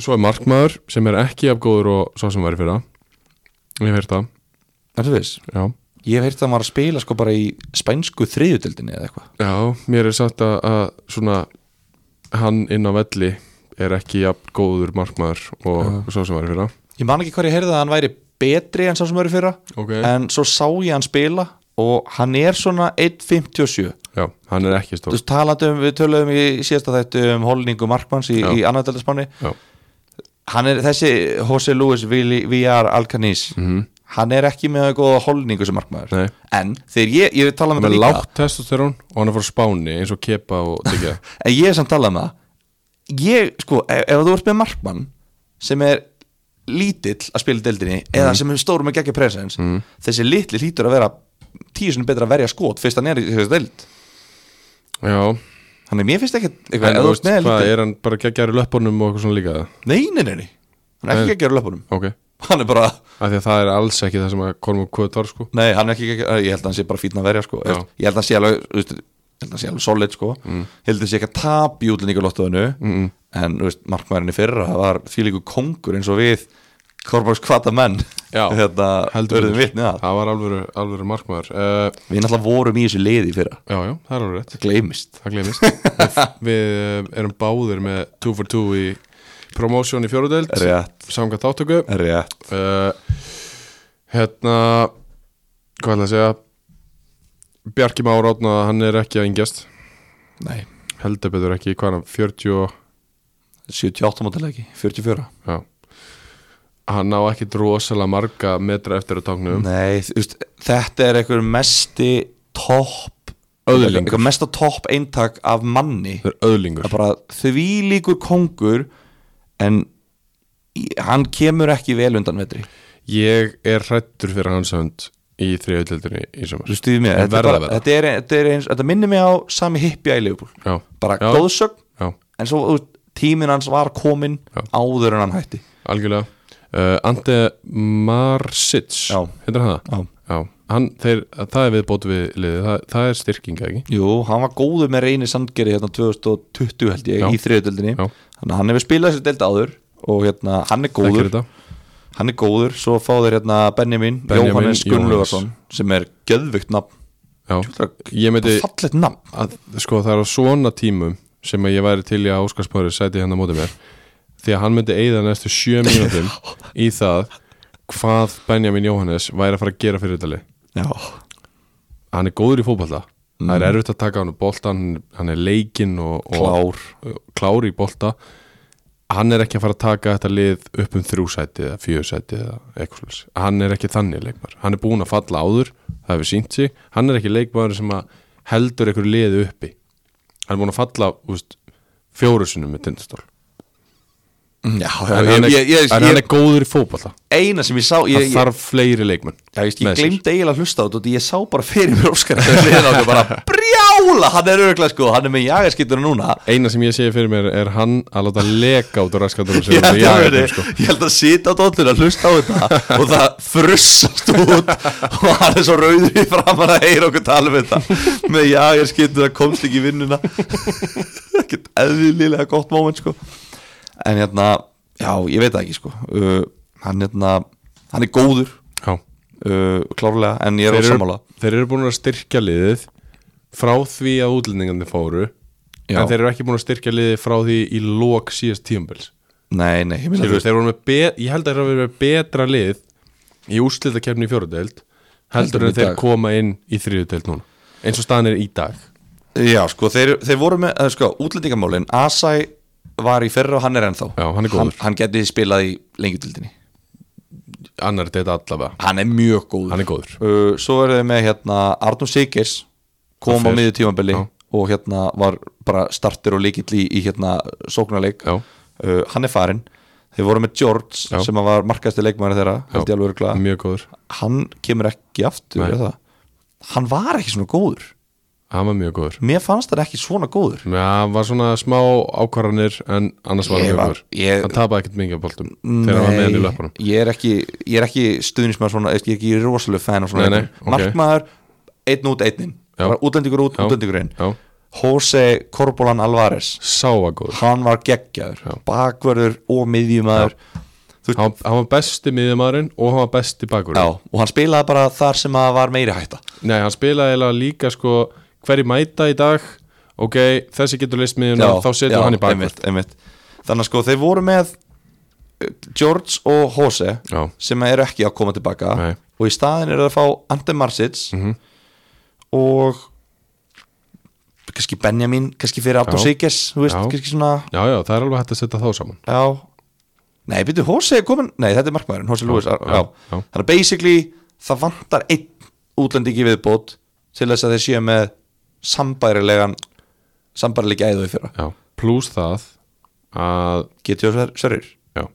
Speaker 1: svo er markmaður sem er ekki afgóður og sá sem væri fyrra ég hef heyrt það,
Speaker 2: ertu viss?
Speaker 1: já
Speaker 2: ég hef heyrt að hann var að spila sko bara í spænsku þriðutildinni eða eitthvað
Speaker 1: já, mér er sagt að, að svona hann inn á velli er ekki jafn góður markmaður og sá sem væri fyrra
Speaker 2: Ég man ekki hvað ég heyrði að hann væri betri en sá sem verið fyrra
Speaker 1: Ok.
Speaker 2: En svo sá ég hann spila og hann er svona 1.57
Speaker 1: já, hann er ekki
Speaker 2: Þú
Speaker 1: stór
Speaker 2: veist talandi um, við töluðum í síðasta þættu um holningu Markmanns í,
Speaker 1: Já.
Speaker 2: í annaðdældaspanni
Speaker 1: já,
Speaker 2: Hann er þessi Jose Luis Villar Alcanis mm -hmm. hann er ekki með góða holningu sem markmaður
Speaker 1: Mhm. Nei.
Speaker 2: en þegar ég, ég tala um
Speaker 1: með
Speaker 2: þetta líka
Speaker 1: lágt testosterón og hann er frá Spáni eins og Kepa og Diggja
Speaker 2: en ég er samt talað um það ég, sko, ef, ef þú ert með markmann sem er lítill að spila í deildinni
Speaker 1: Mm.
Speaker 2: eða sem er stórum með geggja presens þessi litli hlýtur að vera tíu sinni betra að verja skot fyrst hann er í þessu deild
Speaker 1: Já,
Speaker 2: þannig mér finnst ekkert eitthvað
Speaker 1: en
Speaker 2: ef
Speaker 1: þú
Speaker 2: þú
Speaker 1: veist
Speaker 2: ert með
Speaker 1: hvað,
Speaker 2: lítið-
Speaker 1: er hann bara geggjæri löpunum og eitthvað svona líka
Speaker 2: nei, nei, nei, nei, hann er
Speaker 1: Nei.
Speaker 2: ekki geggjur á löpunum
Speaker 1: Ok,
Speaker 2: hann er bara,
Speaker 1: af því að það er alls ekki það sem að Kormur Kvöt var sko
Speaker 2: nei, hann er ekki geggjur ég held að hann sé bara fítna að verja sko
Speaker 1: Já.
Speaker 2: ég held að hann sé alveg, þú veist, ég held að hann sé alveg solid sko, mm. held að sé ekki að tap í útlendingu lottuðinu, mm. en þú veist, markmærinni fyrra, það var fílíku kongur eins og við Kormáks kvata menn
Speaker 1: Já.
Speaker 2: þetta
Speaker 1: Heldur
Speaker 2: verðum
Speaker 1: betur.
Speaker 2: vitni að
Speaker 1: Það var alvöru, alvöru markmaður uh,
Speaker 2: við náttúrulega vorum í þessu liði í fyrra
Speaker 1: Já, já, það er alveg rétt
Speaker 2: það gleymist,
Speaker 1: Það glemist Við, við eh, erum báðir með 2 for 2 í promotion í fjóruðeld
Speaker 2: rétt
Speaker 1: Samkvæmt áttöku
Speaker 2: rétt,
Speaker 1: uh, Hérna Hvað ætla að segja Bjarki Már átna Hann er ekki að yngjast
Speaker 2: nei,
Speaker 1: Heldur betur ekki, hvað er hann, 40 og-
Speaker 2: 78 mótileiki 44
Speaker 1: Já Hann ná ekki rosalega marga metra eftir að táknum
Speaker 2: Nei, þú veist, þetta er einhver mesti topp
Speaker 1: Öðlingur.
Speaker 2: einhver mesta topp eintak af manni
Speaker 1: Það er öðlingur
Speaker 2: það er bara því líkur kongur en í- hann kemur ekki vel undan vetri
Speaker 1: Ég er hrættur fyrir hans hönd í þriðjöldinni í sumar
Speaker 2: þú stuðið mér,
Speaker 1: En
Speaker 2: þetta, er
Speaker 1: verða að
Speaker 2: bara-
Speaker 1: vera.
Speaker 2: þetta, er, þetta, er eins, þetta minnir mig á sami hippja í Leifbúl
Speaker 1: Já,
Speaker 2: bara
Speaker 1: Já.
Speaker 2: góðsögn,
Speaker 1: já,
Speaker 2: en svo þú veist, tíminn hans var komin
Speaker 1: Já.
Speaker 2: áður en hann hætti
Speaker 1: algjörlega uh, Ante Marsic
Speaker 2: Já.
Speaker 1: Heitir hann það?
Speaker 2: Já.
Speaker 1: Já, hann, þeir, það er viðbót við liðið, það, það er styrkinga ekki
Speaker 2: Jú, hann var góður með reyni sandgeri hérna 2020 held ég
Speaker 1: Já.
Speaker 2: í þriðutöldinni
Speaker 1: Já.
Speaker 2: þannig að hann hefur spilað sér deild áður og hérna, hann er
Speaker 1: Þekkir
Speaker 2: góður
Speaker 1: þetta?
Speaker 2: hann er góður, svo fá þeir hérna Benjamin,
Speaker 1: Benjamin
Speaker 2: Jóhannes Gunnlaugarsson
Speaker 1: Jóhannes.
Speaker 2: sem er göðvikt nafn
Speaker 1: Já, ég myndi
Speaker 2: fallet nafn
Speaker 1: að, sko, það er á svona tímum sem að ég væri til í að Óskarspári sæti hann á móti mér því að hann myndi eigða næstu sjö mínútum í það hvað Benjamin Jóhannes væri að fara að gera fyrir þetta lið
Speaker 2: já,
Speaker 1: hann er góður í fótballa það er erfitt að taka hann úr bolta hann, hann er leikinn og, og
Speaker 2: Mm. klár
Speaker 1: klár í bolta hann er ekki að fara að taka þetta lið upp um þrjú sæti eða fjögur sæti eða eitthvað slags hann er ekki þannig leikmar, hann er búin að falla áður það hefur sínt sig, hann er ekki leikmar sem að heldur einhverju liði uppi hann er búin að falla úst, fjóru sinnum með tindastól
Speaker 2: já,
Speaker 1: en
Speaker 2: ég,
Speaker 1: hann er,
Speaker 2: ég, ég,
Speaker 1: en hann
Speaker 2: ég,
Speaker 1: er góður í fótballa
Speaker 2: eina sem ég sá ég,
Speaker 1: það
Speaker 2: ég,
Speaker 1: þarf fleiri leikmenn
Speaker 2: já,
Speaker 1: með
Speaker 2: ég, ég
Speaker 1: sér.
Speaker 2: glemdi eiginlega að hlusta á þetta og ég sá bara fyrir mér Óskar þegar hliðin á okkur, bara brjála, hann er örglega sko hann er með jagaskittur núna
Speaker 1: eina sem ég segi fyrir mér er hann að láta leka út á raskatunum
Speaker 2: ég
Speaker 1: sem
Speaker 2: held,
Speaker 1: við
Speaker 2: að,
Speaker 1: jaðum
Speaker 2: ég,
Speaker 1: sko.
Speaker 2: ég held að sita á dóttur að hlusta á þetta og það frussast út og hann er svo rauður í framan að heyra okkur tala um þetta með já ég skiptur að komst ekki í vinnuna ekkert eðlilega gott moment sko en hérna, já ég veit það ekki sko uh, hann hérna hann er góður
Speaker 1: Já.
Speaker 2: uh, klárlega en ég er á
Speaker 1: þeir
Speaker 2: sammála
Speaker 1: eru, þeir eru búin að styrkja liðið frá því að útlendingandi fóru
Speaker 2: Já.
Speaker 1: en þeir eru ekki búin að styrkja liðið frá því í lok síðast tíumbils
Speaker 2: nei, nei, ég minna
Speaker 1: þeir eru með, be, ég held að þeir eru með betra lið í úrslitakefni í fjóruðdeild heldur
Speaker 2: Heldur
Speaker 1: en
Speaker 2: en í
Speaker 1: þeir
Speaker 2: dag.
Speaker 1: koma inn í þriðudeild núna eins og staðan er í dag
Speaker 2: Já, sko, þeir, þeir voru með, eh, sko, útlendingamálin Asai var í fyrra og hann er ennþá
Speaker 1: Já, hann er góður.
Speaker 2: Hann, geti spilað í lengjutildinni
Speaker 1: annar deild allavega,
Speaker 2: Hann er mjög góður
Speaker 1: hann er góður
Speaker 2: uh, Svo eru þeir með, hérna, Arnum Sigers kom á
Speaker 1: Það fer.
Speaker 2: miðju tímabili
Speaker 1: Já.
Speaker 2: og hérna var bara startir og líkill í, í hérna sóknarleik
Speaker 1: Já.
Speaker 2: Uh, Hann er farinn Þeir voru með George
Speaker 1: Já.
Speaker 2: sem að var markaðasti leikmæri þeirra held ég alveg örugglega.
Speaker 1: mjög góður,
Speaker 2: Hann kemur ekki aftur
Speaker 1: Nei.
Speaker 2: er það? Hann var ekki svona góður
Speaker 1: hann var mjög góður
Speaker 2: Mér fannst það ekki svona góður
Speaker 1: Já, hann var svona smá ákvarðanir en annars var hann
Speaker 2: Ég
Speaker 1: mjög
Speaker 2: var-
Speaker 1: góður
Speaker 2: ég-
Speaker 1: hann tapaði ekkert mikið af boltum þegar hann var með hann í löpunum
Speaker 2: ég er ekki, ég er ekki stuðnismæður svona, ég er ekki rosalega fan af svona
Speaker 1: Nei, nei,
Speaker 2: leikmönnum.
Speaker 1: ok.
Speaker 2: markmaður, einn út, einn inn
Speaker 1: Já.
Speaker 2: bara útlendingur út,
Speaker 1: Já.
Speaker 2: útlendingur inn
Speaker 1: Já.
Speaker 2: Jose Corbolan Alvarez
Speaker 1: sáa góður
Speaker 2: hann var geggjaður,
Speaker 1: Já.
Speaker 2: bakverður og miðjumæður
Speaker 1: hann, hann var besti miðjumæðurinn og hann var besti bakur
Speaker 2: Já, og hann spilaði bara þar sem að var meiri hætta
Speaker 1: Nei, hann spilaði eiginlega líka sko hverji mæta í dag ok, þessi getur list miðjuna, þá
Speaker 2: já,
Speaker 1: setur hann í bakur
Speaker 2: einmitt, einmitt. Þannig að sko, þeir voru með eh, George og Jose
Speaker 1: Já.
Speaker 2: sem eru ekki að koma tilbaka
Speaker 1: Nei. Mhm.
Speaker 2: og í staðin eru að fá Ante Marsic og kannski Benjamin, kannski fyrir Abdur
Speaker 1: Já.
Speaker 2: Sigges þú veist,
Speaker 1: Já.
Speaker 2: kannski svona
Speaker 1: Já, já, það er alveg hægt að setja þá saman
Speaker 2: já, Nei, byrju, Hose er komin Nei, þetta er markmaðurinn, Hose Lewis já,
Speaker 1: já, já.
Speaker 2: Þannig að basically það vantar einn útlendingi viðbót til þess að þeir séu með sambærilegan sambærilegi æðu í fyrra
Speaker 1: já. Plus það að
Speaker 2: GTO Sörur,
Speaker 1: já,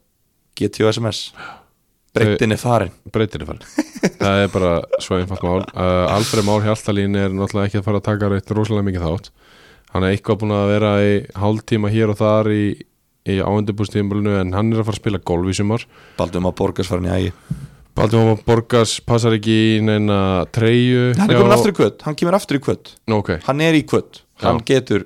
Speaker 2: GTO SMS Breytin er farin
Speaker 1: breytir er farin það er bara svo einfalt mál uh, Alfred Már Hjaltalín er náttúrulega ekki að fara að taka reitt rosalega mikið þátt hann er eitthvað búin að vera í hálftíma hér og þar í, í áendubústíðumbrunnu en hann er að fara að spila golf í sumar
Speaker 2: Baldum að borgast farin í ægi
Speaker 1: Baldur Hóma Borgas passar ekki í neina treyju
Speaker 2: Hann er
Speaker 1: hjá-
Speaker 2: komin aftur í kvöt, hann kemur aftur í kvöt
Speaker 1: Nú, ok,
Speaker 2: Hann er í kvöt, hann getur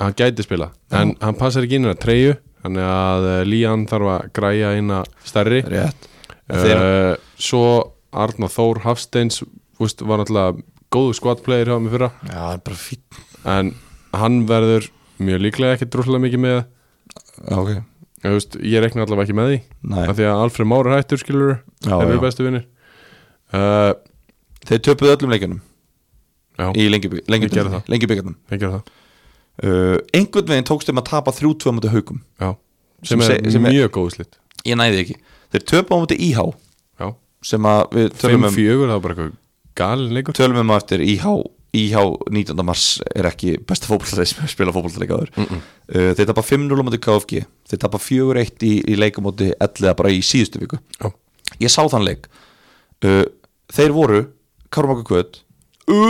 Speaker 1: hann gæti spila en hann passar ekki inn í treyju þannig að uh, Lían þarf að græja eina stærri
Speaker 2: Rétt Þeir,
Speaker 1: uh, Svo Arna Þór Hafsteins úst, var náttúrulega góðu skvattplayer hjá mig fyrra
Speaker 2: Já, það er bara fínt
Speaker 1: en hann verður mjög líklega ekki drúslega mikið með
Speaker 2: Já, ok
Speaker 1: Þú veist, ég rekna allavega ekki með því
Speaker 2: Nei.
Speaker 1: af því að Alfred Már er hættur skilur
Speaker 2: Já,
Speaker 1: þeir eru
Speaker 2: já.
Speaker 1: bestu vinnir uh,
Speaker 2: Þeir töpuðu öllum leikunum
Speaker 1: Já,
Speaker 2: í lengjubikarnum
Speaker 1: gerðu það.
Speaker 2: lengjubikarnum
Speaker 1: ég gera það
Speaker 2: uh, einhvern veginn tókst þeim að tapa 3-2 á mútið haugum
Speaker 1: já. sem,
Speaker 2: Sem
Speaker 1: er
Speaker 2: se- sem er-
Speaker 1: mjög er... góð slitt
Speaker 2: ég næði ekki, þeir töpa á mútið IH sem að við tölum um,
Speaker 1: 5-4, það var bara eitthvað galin leikur
Speaker 2: tölum um á eftir IH IH 19. mars er ekki besta fótballtaleik sem spila fótballtaleikaður mm -mm. uh, þeir tapa 5-0 á mútið KFG þeir tapa 4-1 í, í leikamóti 11 bara í síðustu viku
Speaker 1: já.
Speaker 2: ég sá þann leik uh, þeir voru, Kármaka Kvöt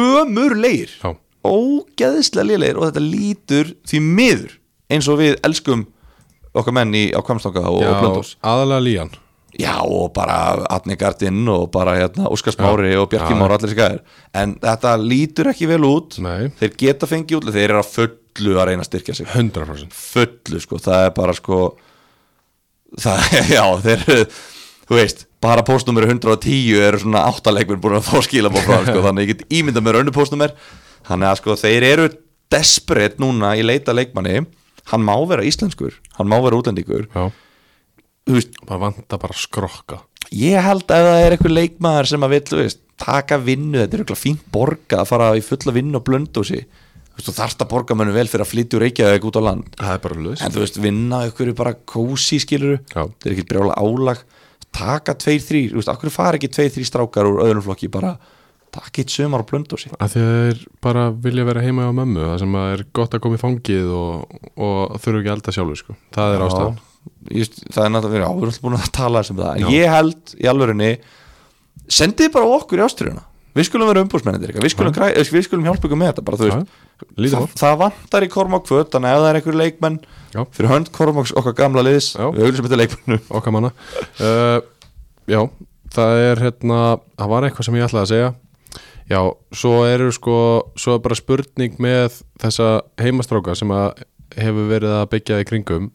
Speaker 2: ömurleir
Speaker 1: Já.
Speaker 2: ógeðislega lélegir og þetta lítur því miður eins og við elskum okkar menn í, á Kvamstanga og, og Blöndós
Speaker 1: aðalega líjan
Speaker 2: já og bara Atni Gardinn og bara hérna, Óskar Smári og Bjarki
Speaker 1: Já.
Speaker 2: Már og allir þessi gæðir en þetta lítur ekki vel út
Speaker 1: Nei.
Speaker 2: þeir geta fengið út þeir eru að fullu að reyna að styrkja sig
Speaker 1: 100%
Speaker 2: fullu sko, það er bara sko það, já, þeir eru, þú veist, bara postnúmer 110 eru svona áttaleikmenn búin að fá skilabóð frá, sko, þannig ég get ímynda mér önnu postnúmer, þannig að sko þeir eru desperate núna í leita leikmanni, hann má vera íslenskur hann má vera útlendingur,
Speaker 1: Já,
Speaker 2: þú veist
Speaker 1: maður vantar bara að skrokka
Speaker 2: ég held að það er eitthvað leikmaður sem að vill, þú veist, taka vinnu þetta er eitthvað fínt borga að fara í fulla vinnu og blöndu sig, þú veist, þú þarft að borga mönnum vel fyrir að flytja úr Reykjavík út á land
Speaker 1: Það er bara laus
Speaker 2: en þú veist, vinna ykkur bara kósi skiluru,
Speaker 1: Já.
Speaker 2: það er ekki brjála álag taka tveir, þrýr, þú veist, akkur fara ekki tveir, þrýr strákar úr öðrum flokki bara taka eitt sömar og blöndu sig
Speaker 1: að því að þeir bara vilja vera heima á mömmu það sem að er gott að koma í fangið og, og þurfa ekki að elda sjálfur sko. það er ástæðan
Speaker 2: Ég veist, það er náttúrulega, já, við erum alltaf búin að tala sem það, en ég held í alvörinni sendið bara okkur í ástriðuna við skulum vera umbúrsmennir, við skulum, græ, eh, við skulum hjálpa ykkur með þetta, bara þú veist
Speaker 1: lítið
Speaker 2: það,
Speaker 1: mál.
Speaker 2: það vantar í Kormák kvöt, þannig að ef það er einhver leikmenn
Speaker 1: Já.
Speaker 2: fyrir hönd Kormáks okkar gamla liðs
Speaker 1: Já.
Speaker 2: við auðvitað leikmennum
Speaker 1: okkar manna uh, já, það er hérna það var eitthvað sem ég ætlaði að segja já, svo eru sko svo er bara spurning með þessa heimastráka sem að hefur verið að byggja í kringum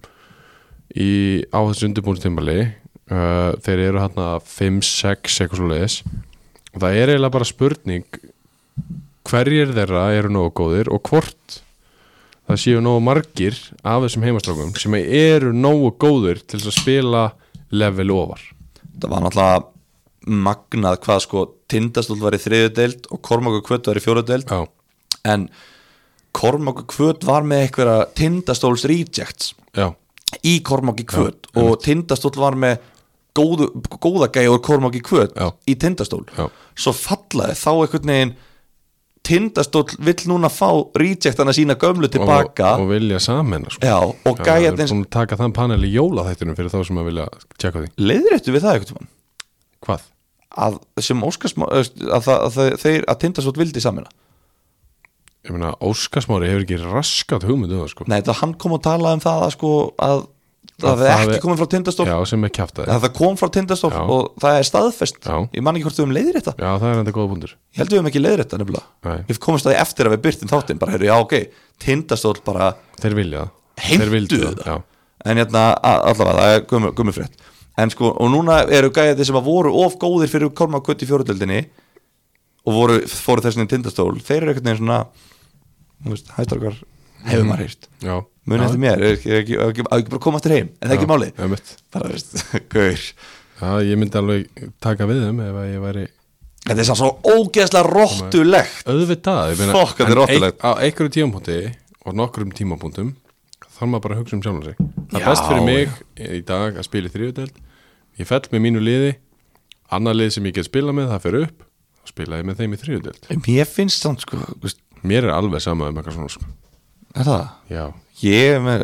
Speaker 1: í, á þessu undirbúinstimbali uh, þeir eru hérna 5-6 eitthvað svo leiðis og það er eiginlega bara spurning hverjir þeirra eru nógu góðir og hvort það séu nógu margir af þessum heimastrákum sem eru nógu góður til þess að spila level ofar
Speaker 2: það var náttúrulega magnað hvað sko tindastól var í þriðu deild og Kormáku kvöt var í fjóru deild
Speaker 1: já,
Speaker 2: en Kormáku kvöt var með einhverja tindastóls rejects
Speaker 1: já,
Speaker 2: í Kormáki kvöt og tindastól var með góðu, góða gæja úr Kormáki kvöt
Speaker 1: Já.
Speaker 2: í tindastól
Speaker 1: Já.
Speaker 2: svo fallaði þá einhvern veginn tindastól vill núna fá rejectana sína gömlu tilbaka
Speaker 1: og, og vilja saman sko.
Speaker 2: Já, og
Speaker 1: það er
Speaker 2: gæjarnins
Speaker 1: búin að taka þann panel í jólaþættunum fyrir þá sem að vilja tjekka því
Speaker 2: leiðréttu við það einhvern veginn
Speaker 1: hvað?
Speaker 2: að sem Óskars að, að, það- að þeir að tindastótt vildi samina
Speaker 1: ég meina, Óskarsmári hefur ekki raskat hugmyndu það sko
Speaker 2: Nei, það hann kom og talaði um það að sko að, að,
Speaker 1: Að
Speaker 2: það
Speaker 1: það
Speaker 2: ekki
Speaker 1: er-
Speaker 2: komið frá tindastól
Speaker 1: já, sem er kjaftaði
Speaker 2: að það kom frá tindastól
Speaker 1: Já.
Speaker 2: og það er staðfest
Speaker 1: Já.
Speaker 2: ég man ekki hvort við höfum leiðir þetta
Speaker 1: já, það er enda góða búndur
Speaker 2: ég held við höfum ekki leiðir þetta nefnilega
Speaker 1: Nei.
Speaker 2: við komumst að því eftir að við byrtum þáttinn bara heyrðu, já ok, tindastól bara
Speaker 1: þeir vilja það Þeir vildu
Speaker 2: heimtu
Speaker 1: það, já.
Speaker 2: þetta en hérna, a- allavega, það er gummi, gummifrétt en sko, og núna eru gæði sem að voru of góðir fyrir korma kutt í fjóruðöldinni og voru, fóru þessinni tindastól þeir eru einhvern veginn svona þú veist, hættarkar, hefur maður heyrt
Speaker 1: Mm. já,
Speaker 2: munið eftir mér, er ekki, er ekki, er ekki, er ekki bara að koma aftur heim, en það er ekki málið
Speaker 1: málið
Speaker 2: bara, þú veist, gaur
Speaker 1: já, ég myndi alveg taka við þeim ef að ég væri
Speaker 2: þetta er samt svo ógeðslega rottulegt
Speaker 1: auðvitað ég meina,
Speaker 2: Fuck, þetta er
Speaker 1: en eik-
Speaker 2: óttalegt.
Speaker 1: á einhverju tímapunkti og nokkrum tímapunktum þarf maður bara að hugsa um sjálfan sig það er
Speaker 2: Já,
Speaker 1: best fyrir mig í dag að spila í þriðudeld ég fell með mínu liði annar lið sem ég get spila með, það fer upp og spila ég með þeim í þriðudeld
Speaker 2: Mér finnst þann sko veist,
Speaker 1: mér er alveg sama um eitthvað svona sko.
Speaker 2: Er það?
Speaker 1: já,
Speaker 2: Ég er, með,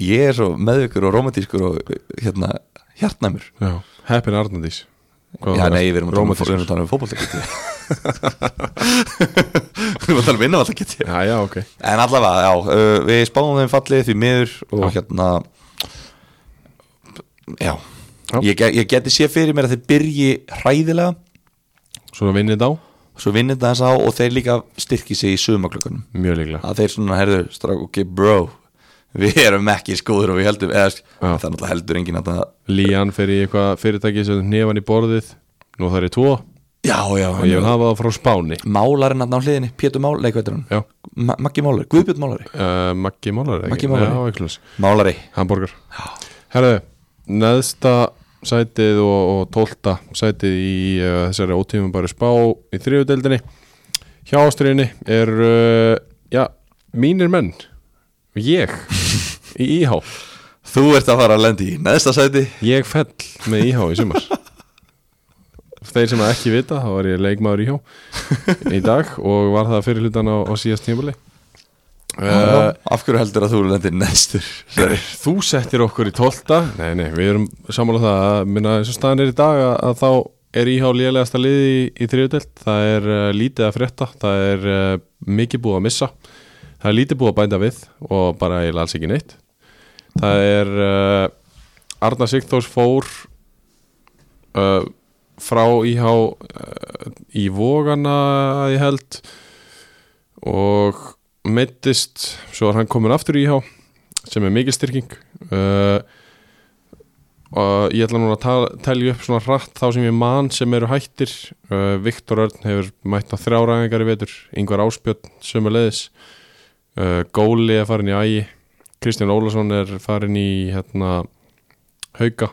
Speaker 2: ég er svo meðvikur og romantískur og hérna hjartnæmur
Speaker 1: já, Heppin Arnandís
Speaker 2: Já, nei, við erum að tala um- við
Speaker 1: Rómatískur.
Speaker 2: erum að tala um fótboltaketi um Við erum að tala um innavallaketi
Speaker 1: já, já, ok
Speaker 2: En allavega, já, uh, við spáðum þeim fallið því miður og
Speaker 1: Já.
Speaker 2: hérna Já,
Speaker 1: Já.
Speaker 2: Ég, ge- ég geti sé fyrir mér að þeir byrji hræðilega
Speaker 1: svona vinnið á,
Speaker 2: svo vinnir það þess á og þeir líka styrki sig í sumaklökunum
Speaker 1: mjög líklega
Speaker 2: að þeir svona herðu strák, ok bro við erum ekki skóður og við heldum eða, það er náttúrulega heldur enginn að það
Speaker 1: Lían fer í eitthvað fyrirtæki sem nefan í borðið nú þarf ég tvo og
Speaker 2: já, já,
Speaker 1: ég vil hafa það frá Spáni
Speaker 2: málarinn að ná hliðinni, Pétur Mál, leikvættur
Speaker 1: já,
Speaker 2: hann Maggi Málari, Guðbjörn Málari
Speaker 1: uh, Maggi Málari
Speaker 2: Maggi Málari.
Speaker 1: já, eitthvað svoleiðis.
Speaker 2: Málari,
Speaker 1: Hamburger Herðu, neðsta sætið og, og tólta sætið í uh, þessari ótímum bara spá í þriðudeldinni hjá ástriðinni er uh, já, mínir menn ég í íhá
Speaker 2: þú ert að fara að lendi í neðsta sæti
Speaker 1: ég fell með íhá í sumar þeir sem að ekki vita þá var ég leikmaður íhá í dag og var það fyrir hlutan á, á síðast tímabili uh,
Speaker 2: af hverju heldur að þú lendi neðstur
Speaker 1: Þú settir okkur í tólta Nei, nei, við erum sammála um það að minna eins og staðan er í dag að, að þá er íhá lélegasta liði í, í þriðudelt það er uh, lítið að frétta það er uh, mikið búið að missa það er lítið búið að bæta við og bara eiginlega alls ekki neitt það er uh, Arna Sigþórs fór uh, frá íhá uh, í vógana að ég held og meittist svo er hann komin aftur í íhá sem er mikil styrking uh, og ég ætla núna að tala- telja upp svona hratt þá sem ég man sem eru hættir uh, Viktor Örn hefur mætt á þrjáræðingar í vetur, Ingvar Áspjörn sömulegis uh, Góli er farin í ægi Kristján Ólason er farin í hérna, hauka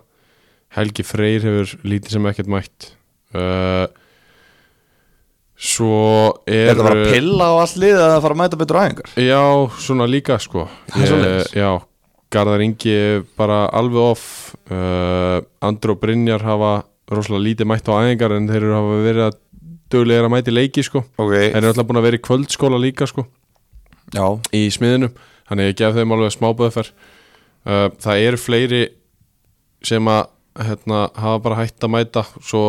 Speaker 1: Helgi Freyr hefur lítið sem ekkert mætt uh, svo
Speaker 2: er
Speaker 1: er
Speaker 2: það bara að pilla á allt lið eða að fara að mæta betur aðingar
Speaker 1: Já, svona líka sko
Speaker 2: Það er
Speaker 1: Ég-
Speaker 2: svoleiðis.
Speaker 1: Já, Garðar Ingi er bara alveg off uh, Andró Brynjar hafa rosalega lítið mætt á æðingar en þeir eru hafa verið að duglegir að mæti leiki sko Þeir
Speaker 2: ok,
Speaker 1: eru alltaf búin að vera í kvöldskóla líka sko
Speaker 2: já,
Speaker 1: í smiðinu þannig að ég gef þeim alveg smá böðferð uh, það eru fleiri sem að hérna, hafa bara hætt að mæta svo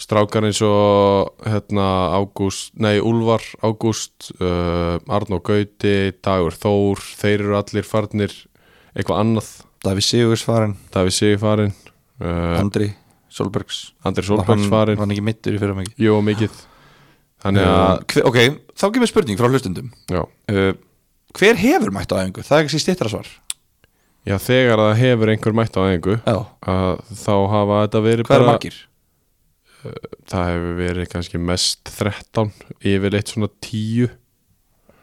Speaker 1: strákar eins og hérna, Ágúst, nei Úlfar Ágúst, uh, Arnó Gauti Dagur Þór, þeir eru allir farnir eitthvað annað
Speaker 2: Daví Sigurðs farin
Speaker 1: Davíð Sigur farin uh,
Speaker 2: Andri Solbergs
Speaker 1: Andri Solbergs
Speaker 2: Var hann-
Speaker 1: farin
Speaker 2: var hann ekki mittur í fyrir mikið
Speaker 1: Jó, mikið þannig að,
Speaker 2: Hver- Ok, þá kemur spurning frá hlustundum
Speaker 1: já,
Speaker 2: uh, Hver hefur mætt á æfingu? Það er ekki stittra svar
Speaker 1: já þegar það hefur einhver mætt á einhver
Speaker 2: Já,
Speaker 1: uh, þá hafa þetta verið
Speaker 2: hvað eru
Speaker 1: bara
Speaker 2: margir?
Speaker 1: það hefur verið kannski mest 13 yfirleitt svona 10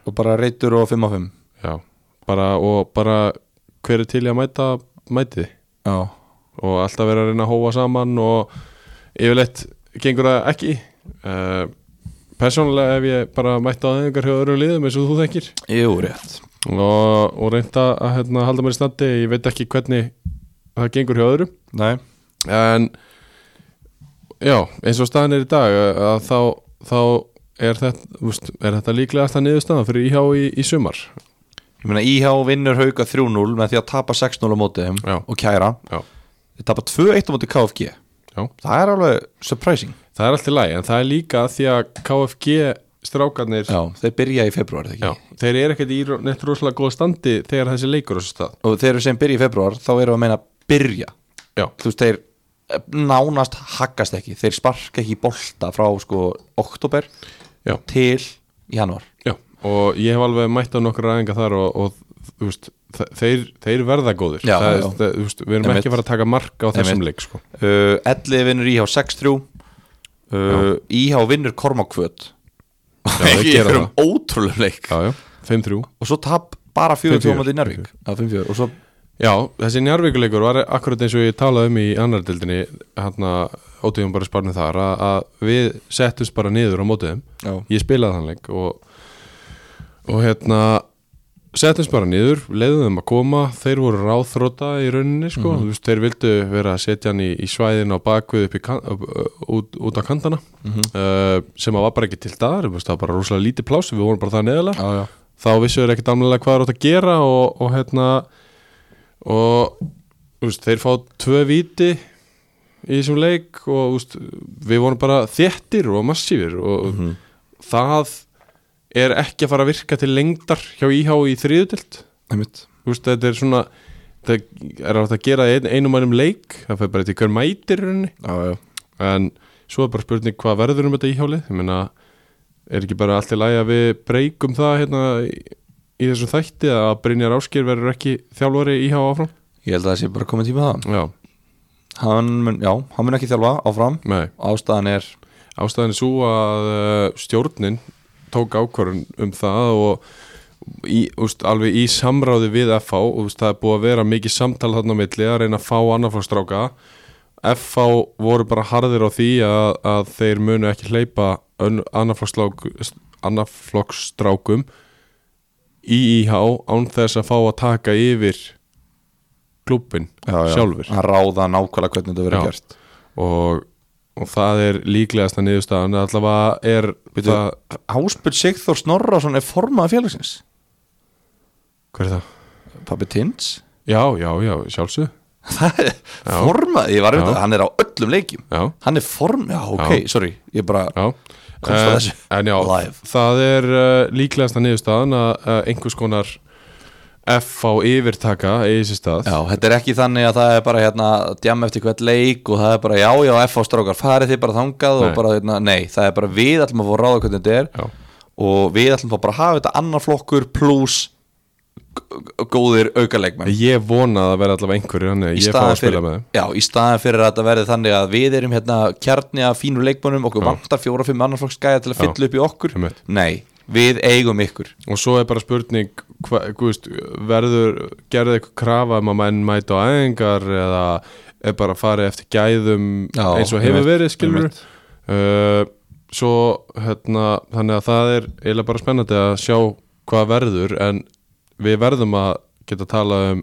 Speaker 2: Og bara reytur og 5 á 5
Speaker 1: já, bara, og bara hver er til í að mæta mætið
Speaker 2: Já,
Speaker 1: og alltaf verið að reyna að hóa saman og yfirleitt gengur það ekki uh, persónulega hef ég bara mætt á aðeins hjá öðrum liðum eins og þú þekkir
Speaker 2: jú, rétt
Speaker 1: og, og reynda að hérna, halda mér í standi ég veit ekki hvernig það gengur hjá öðrum
Speaker 2: Nei,
Speaker 1: en já, eins og staðan er í dag að að þá, þá er, þetta, úst, er þetta líklega alltaf niðurstaðan fyrir íhá í, í sumar
Speaker 2: ég meina IH vinnur hauka 3-0 með því að tapa 6-0 á móti þeim
Speaker 1: Já.
Speaker 2: og kæra
Speaker 1: já.
Speaker 2: Þeir tapa 2-1 á móti KFG
Speaker 1: Já.
Speaker 2: Það er alveg surprising
Speaker 1: það er allt í lagi, en það er líka af því að KFG strákarnir
Speaker 2: Já, þeir byrja í februar
Speaker 1: Já, þeir eru ekkert í ro- neitt rosalega góð standi þegar þessi leikur á þessu stað
Speaker 2: Og þegar við segjum byrja í februar þá erum við að meina byrja
Speaker 1: já,
Speaker 2: Þú veist, þeir eh, nánast haggast ekki Þeir sparka ekki í bolta frá sko oktober
Speaker 1: já,
Speaker 2: til januar
Speaker 1: já. og ég hef alveg mætt á nokkur ræðinga þar og, og þú veist, þe- þeir, þeir verða góðir
Speaker 2: Já,
Speaker 1: það,
Speaker 2: já.
Speaker 1: er- það, þú veist, við erum
Speaker 2: Einmitt.
Speaker 1: ekki að fara að taka mark á þessum
Speaker 2: Einmitt.
Speaker 1: leik sko.
Speaker 2: uh, 11 vinnur IH 6-3 uh, IH vinnur Kormakvöt
Speaker 1: þeir
Speaker 2: Ekki,
Speaker 1: gera
Speaker 2: þeir eru ótrúlega leik
Speaker 1: já, já, 5-3
Speaker 2: og svo tap bara 4-2 á móti
Speaker 1: 5-4.
Speaker 2: Njárvík Já, 5-4 og svo
Speaker 1: Já, þessi njárvíkuleikur var akkurat eins og ég talaði um í annar dildinni hérna ótíðum bara sparnið þar að, að við settumst bara niður á mótiðum
Speaker 2: já.
Speaker 1: ég spilaði þann leik og, og hérna setjumst bara niður, leiðum þeim að koma þeir voru ráþróta í rauninni sko. þú veist, þeir vildu vera að setja hann í, í svæðin á bakvið upp í kan, upp, út, út á kantana uh, sem að var bara ekki til staðar, þú veist, það var bara rosalega lítið pláss við vorum bara það neðalega
Speaker 2: já, já.
Speaker 1: þá vissu þeir ekkert damlega hvað er átt að gera og, og hérna og þú veist, þeir fá tvö víti í þessum leik og þú veist, við vorum bara þéttir og massífir og
Speaker 2: Mhm.
Speaker 1: það er ekki að fara að virka til lengdar hjá íhá í þriðutild
Speaker 2: einmitt
Speaker 1: þú veist, þetta er svona það er átt að gera það í ein, einum mannum leik það fyrir bara til hver mætir í rauninni
Speaker 2: já, já.
Speaker 1: en svo er bara spurning hvað verður um þetta íhjálið ég meina, er ekki bara allt í lagi að við breykum það hérna í, í þessu þætti að Brynjar Áskir verður ekki þjálfari íhjá áfram
Speaker 2: Ég held að það sé bara komið tíma það
Speaker 1: já,
Speaker 2: hann mun, Já, hann mun ekki þjálfa áfram
Speaker 1: nei,
Speaker 2: Ástæðan er
Speaker 1: ástæðan er svo að uh, stjórnin tók ákvörðun um það og í, úst, alveg í samráði við FH og úst, það er búið að vera mikið samtal þarna á milli að reyna að fá annarflagstráka FH voru bara harðir á því að, að þeir munu ekki hleypa annarflokksstrákum í IH án þess að fá að taka yfir klubbin sjálfur
Speaker 2: Hann ráða nákvæmlega hvernig þetta verið
Speaker 1: Já.
Speaker 2: gert
Speaker 1: og, og það er líklegasta niðurstaðan allavega er
Speaker 2: Bíddu,
Speaker 1: það,
Speaker 2: Háspil Sigþór Snorrason er formaða félagsins
Speaker 1: Hver er það?
Speaker 2: Pappi Tins
Speaker 1: Já, já, já, sjálfsög
Speaker 2: Formað, ég var
Speaker 1: Já.
Speaker 2: auðvitað, hann er á öllum leikjum
Speaker 1: Já,
Speaker 2: Hann er form, já ok,
Speaker 1: Já.
Speaker 2: sorry Ég bara,
Speaker 1: já
Speaker 2: Komst að
Speaker 1: Eh,
Speaker 2: þessu.
Speaker 1: En já,
Speaker 2: Live.
Speaker 1: það er uh, líklegasta niðurstaðan að uh, einhvers konar F á yfirtaka eigi sér stað
Speaker 2: já, þetta er ekki þannig að það er bara hérna Djam eftir hvert leik og það er bara Já, já, F á strákar, farið þið bara þangað
Speaker 1: Nei.
Speaker 2: og bara, hérna, Nei, það er bara við ætlum að fá að ráða hvernig þetta er
Speaker 1: Já.
Speaker 2: Og við ætlum að bara að hafa þetta annar flokkur pluss g- góðir aukalegmenn
Speaker 1: Ég vona að það verði allavega einhverjir Þannig að
Speaker 2: í
Speaker 1: ég fá að
Speaker 2: staðan
Speaker 1: spila
Speaker 2: fyrir,
Speaker 1: með þeim
Speaker 2: já, í staðan fyrir að þetta verði þannig að við erum hérna kjarni af fínu leikmönnum okkur vantar fjóra, fimm annarflokks gæja til að
Speaker 1: Já.
Speaker 2: fylla upp í okkur
Speaker 1: Einmitt.
Speaker 2: nei, við eigum ykkur
Speaker 1: Og svo er bara spurning hva, guðst, Verður, gerðu eitthvað krafa um að menn mæta á æðingar eða er bara að fara eftir gæðum
Speaker 2: Já,
Speaker 1: eins og hefur
Speaker 2: einmitt,
Speaker 1: verið skilur uh, Svo hérna, þannig að það er eiginlega bara spennandi að sjá hvað verður en við verðum að geta tala um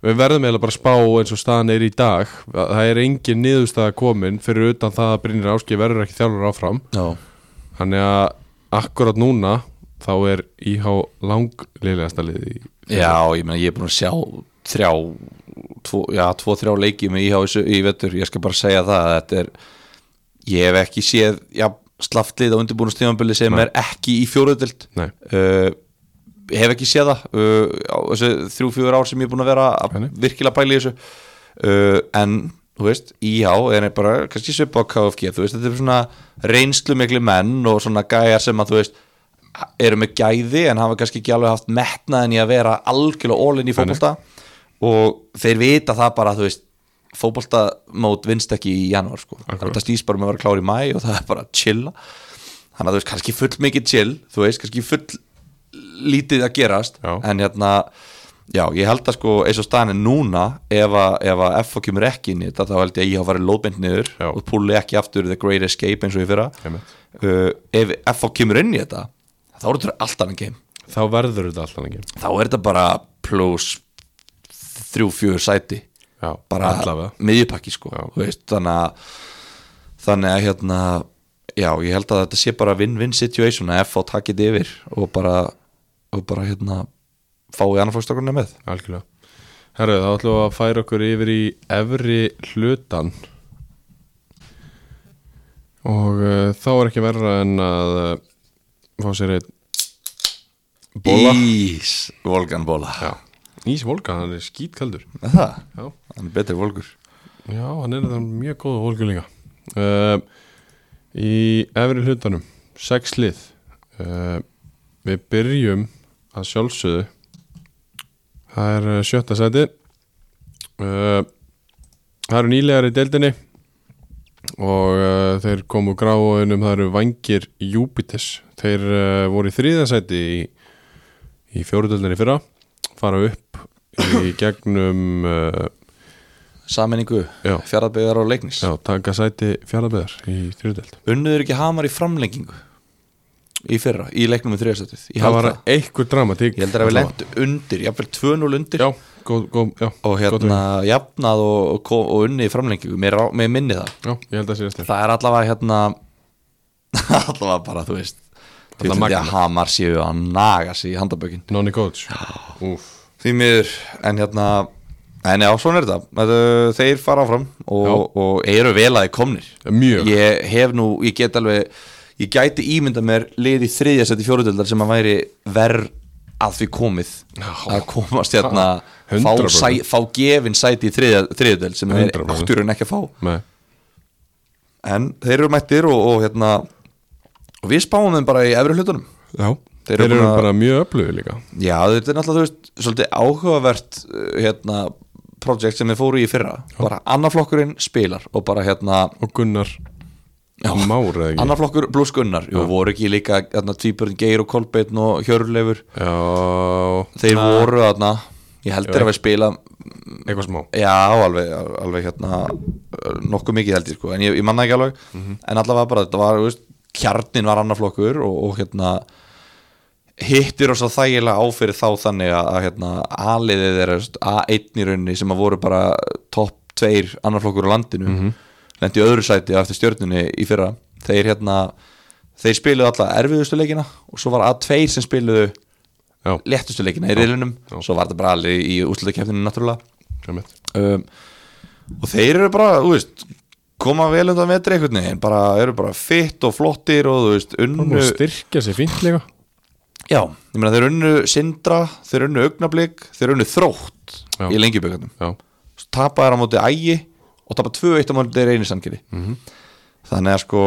Speaker 1: við verðum eiginlega bara að spá eins og staðan er í dag það er engin niðurstaða komin fyrir utan það að Brynir Áski verður ekki þjálfur áfram
Speaker 2: já,
Speaker 1: Þannig að akkurat núna þá er IH langlilegasta liði í-
Speaker 2: já ég meina ég er búin að sjá þrjá tvo, já, tvo þrjá leiki með íhá þessu í vettur, ég skal bara segja það að þetta er, ég hef ekki séð já, slaftlið á undirbúinu stíðanbili sem er ekki í fjóruðdild
Speaker 1: Nei,
Speaker 2: uh, hef ekki séð það uh, á þessu þrjú, fjögur ár sem ég er búin að vera að
Speaker 1: Nei.
Speaker 2: virkilega pæla í þessu uh, en, þú veist, íhá er bara, kannski svipa á KFG þú veist, þetta er svona reynslu miklu menn og svona gæjar sem að, þú veist eru með gæði en hafa kannski ekki alveg haft metnaðin í að vera algjörlega ólinn í fótbolta og þeir vita það bara, þú veist fótboltamót vinst ekki í janúar sko.
Speaker 1: Akkurat.
Speaker 2: það stýst bara með að vera klár í mæ og það er bara að chilla þannig að þú veist, kannski full mikið chill þú veist, kannski full lítið að gerast
Speaker 1: Já.
Speaker 2: en hérna, já, ég held að sko eins og staðan er núna ef að, ef að F kemur ekki inn í þetta, þá held ég að ég hafa farið lóðbind niður
Speaker 1: Já.
Speaker 2: og púli ekki aftur The Great Escape eins og ég fyrra
Speaker 1: Einmitt.
Speaker 2: uh, ef F kemur inn í þetta þá er þetta allt annan game
Speaker 1: þá verður þetta alltaf lengi
Speaker 2: þá er þetta bara plus þrjú, fjögur sæti
Speaker 1: Já,
Speaker 2: bara
Speaker 1: allavega
Speaker 2: miðjupakki sko
Speaker 1: Já.
Speaker 2: þú veist, þannig að þannig að hérna já, ég held að þetta sé bara win-win situation að FH takkið yfir og bara og bara hérna fáið annarflokkstakuna með
Speaker 1: Algjörlega Herru, þá ætlum við að færa okkur yfir í efri hlutan og uh, þá er ekki verra en að uh, fá sér einn Bola.
Speaker 2: Ís, volgan bóla
Speaker 1: Já. Ís Volga, hann er skítkaldur
Speaker 2: Er það,
Speaker 1: Já,
Speaker 2: hann er betri volgur
Speaker 1: Já hann er það mjög góð Volga líka uh, Í efri hlutanum sex lið uh, Við byrjum að sjálfsögðu Það er uh, sjötta sæti uh, Það eru nýlegar í deildinni og uh, þeir komu gráðunum, það eru vangir Júpiters, þeir uh, voru í þriða sæti í, í fjóruðöldinni fyrra, fara upp í gegnum uh,
Speaker 2: Saminningu,
Speaker 1: Já.
Speaker 2: fjaraðbyggðar og leiknis
Speaker 1: já, taka sæti fjárðabæðar í þriðdelt
Speaker 2: Unnuður ekki hamar í framlengingu í fyrra, í leiknum við þriðastættið ég
Speaker 1: það
Speaker 2: held
Speaker 1: var
Speaker 2: það,
Speaker 1: einhver dramatík
Speaker 2: ég held það að við lendu undir jafnvel 2-0 undir
Speaker 1: já, góð, góð, já,
Speaker 2: og
Speaker 1: gott við.
Speaker 2: hérna jafnað og, og, kom- og unni í framlengingu, mér, rá- mér minni það
Speaker 1: já, ég held að síðast
Speaker 2: það er allavega hérna allavega bara, þú veist
Speaker 1: Allavega
Speaker 2: Því
Speaker 1: magnað.
Speaker 2: að hamar séu að naga sig í handabökin
Speaker 1: Nonni Coach Úf,
Speaker 2: Því miður, en hérna En já, svona er þetta, þetta Þeir fara áfram og, og eru vel að þeir komnir
Speaker 1: mjög
Speaker 2: Ég hef nú, ég get alveg Ég gæti ímynda mér lið í þriðja seti fjóruðöldar sem að væri verð að því komið
Speaker 1: Já.
Speaker 2: að komast hérna
Speaker 1: Ha,
Speaker 2: fá,
Speaker 1: 100%.
Speaker 2: sæ, fá gefin sæti í þriðjöld sem þeir
Speaker 1: 100%.
Speaker 2: áttur en ekki að fá
Speaker 1: Nei.
Speaker 2: en þeir eru mættir og, og hérna og við spáum þeim bara í efri hlutunum
Speaker 1: já,
Speaker 2: Þeir
Speaker 1: þeir
Speaker 2: eru
Speaker 1: eru
Speaker 2: búin að-
Speaker 1: bara mjög öflugir líka
Speaker 2: já þetta er náttúrulega þú veist svolítið áhugavert uh, hérna projekt sem þeir fóru í fyrra bara annar flokkurinn spilar og bara hérna
Speaker 1: og Gunnar Már eða ekki
Speaker 2: annar flokkur pluss Gunnar og voru ekki líka hérna tvíburinn Geir og Kolbeinn og Hjörleifur
Speaker 1: já,
Speaker 2: þeir voru hérna ég held þeir að við spila
Speaker 1: eitthvað smá
Speaker 2: já alveg, alveg hérna uh, nokkuð mikið held ég sko en ég, ég manna ekki alveg
Speaker 1: Mhm.
Speaker 2: en allavega bara þetta var þú veist, kjarnin var annar flokkur og, og hérna hittir og svo þægilega á fyrir þá þannig að að, hérna, A-liðið er þú veist, A1 í rauninni sem að voru bara topp tveir annarflokkur á landinu mm
Speaker 1: Mhm.
Speaker 2: lendi í öðru sæti á eftir stjörnunni í fyrra þeir hérna þeir spiluðu alla erfiðustu leikina og svo var A2 sem spiluðu
Speaker 1: já,
Speaker 2: léttustu leikina í riðlunum
Speaker 1: Já.
Speaker 2: svo var þetta bara alveg í úslutakefninu náttúrulega
Speaker 1: einmitt.
Speaker 2: um, og þeir eru bara, þú veist koma vel undan vetri einhvern veginn bara, eru bara fitt og flottir og þú veist
Speaker 1: Það er búin
Speaker 2: unnu,
Speaker 1: að styrkja sig fínt líka
Speaker 2: já, ég meina þeir unnu sindra, þeir unnu augnablík þeir unnu þrótt
Speaker 1: Já.
Speaker 2: í lengjuböggarnum
Speaker 1: Já,
Speaker 2: svo tapa þeir á móti ægi og tapa 2-1 á móti þeir einu sangeri
Speaker 1: Mhm.
Speaker 2: þannig að sko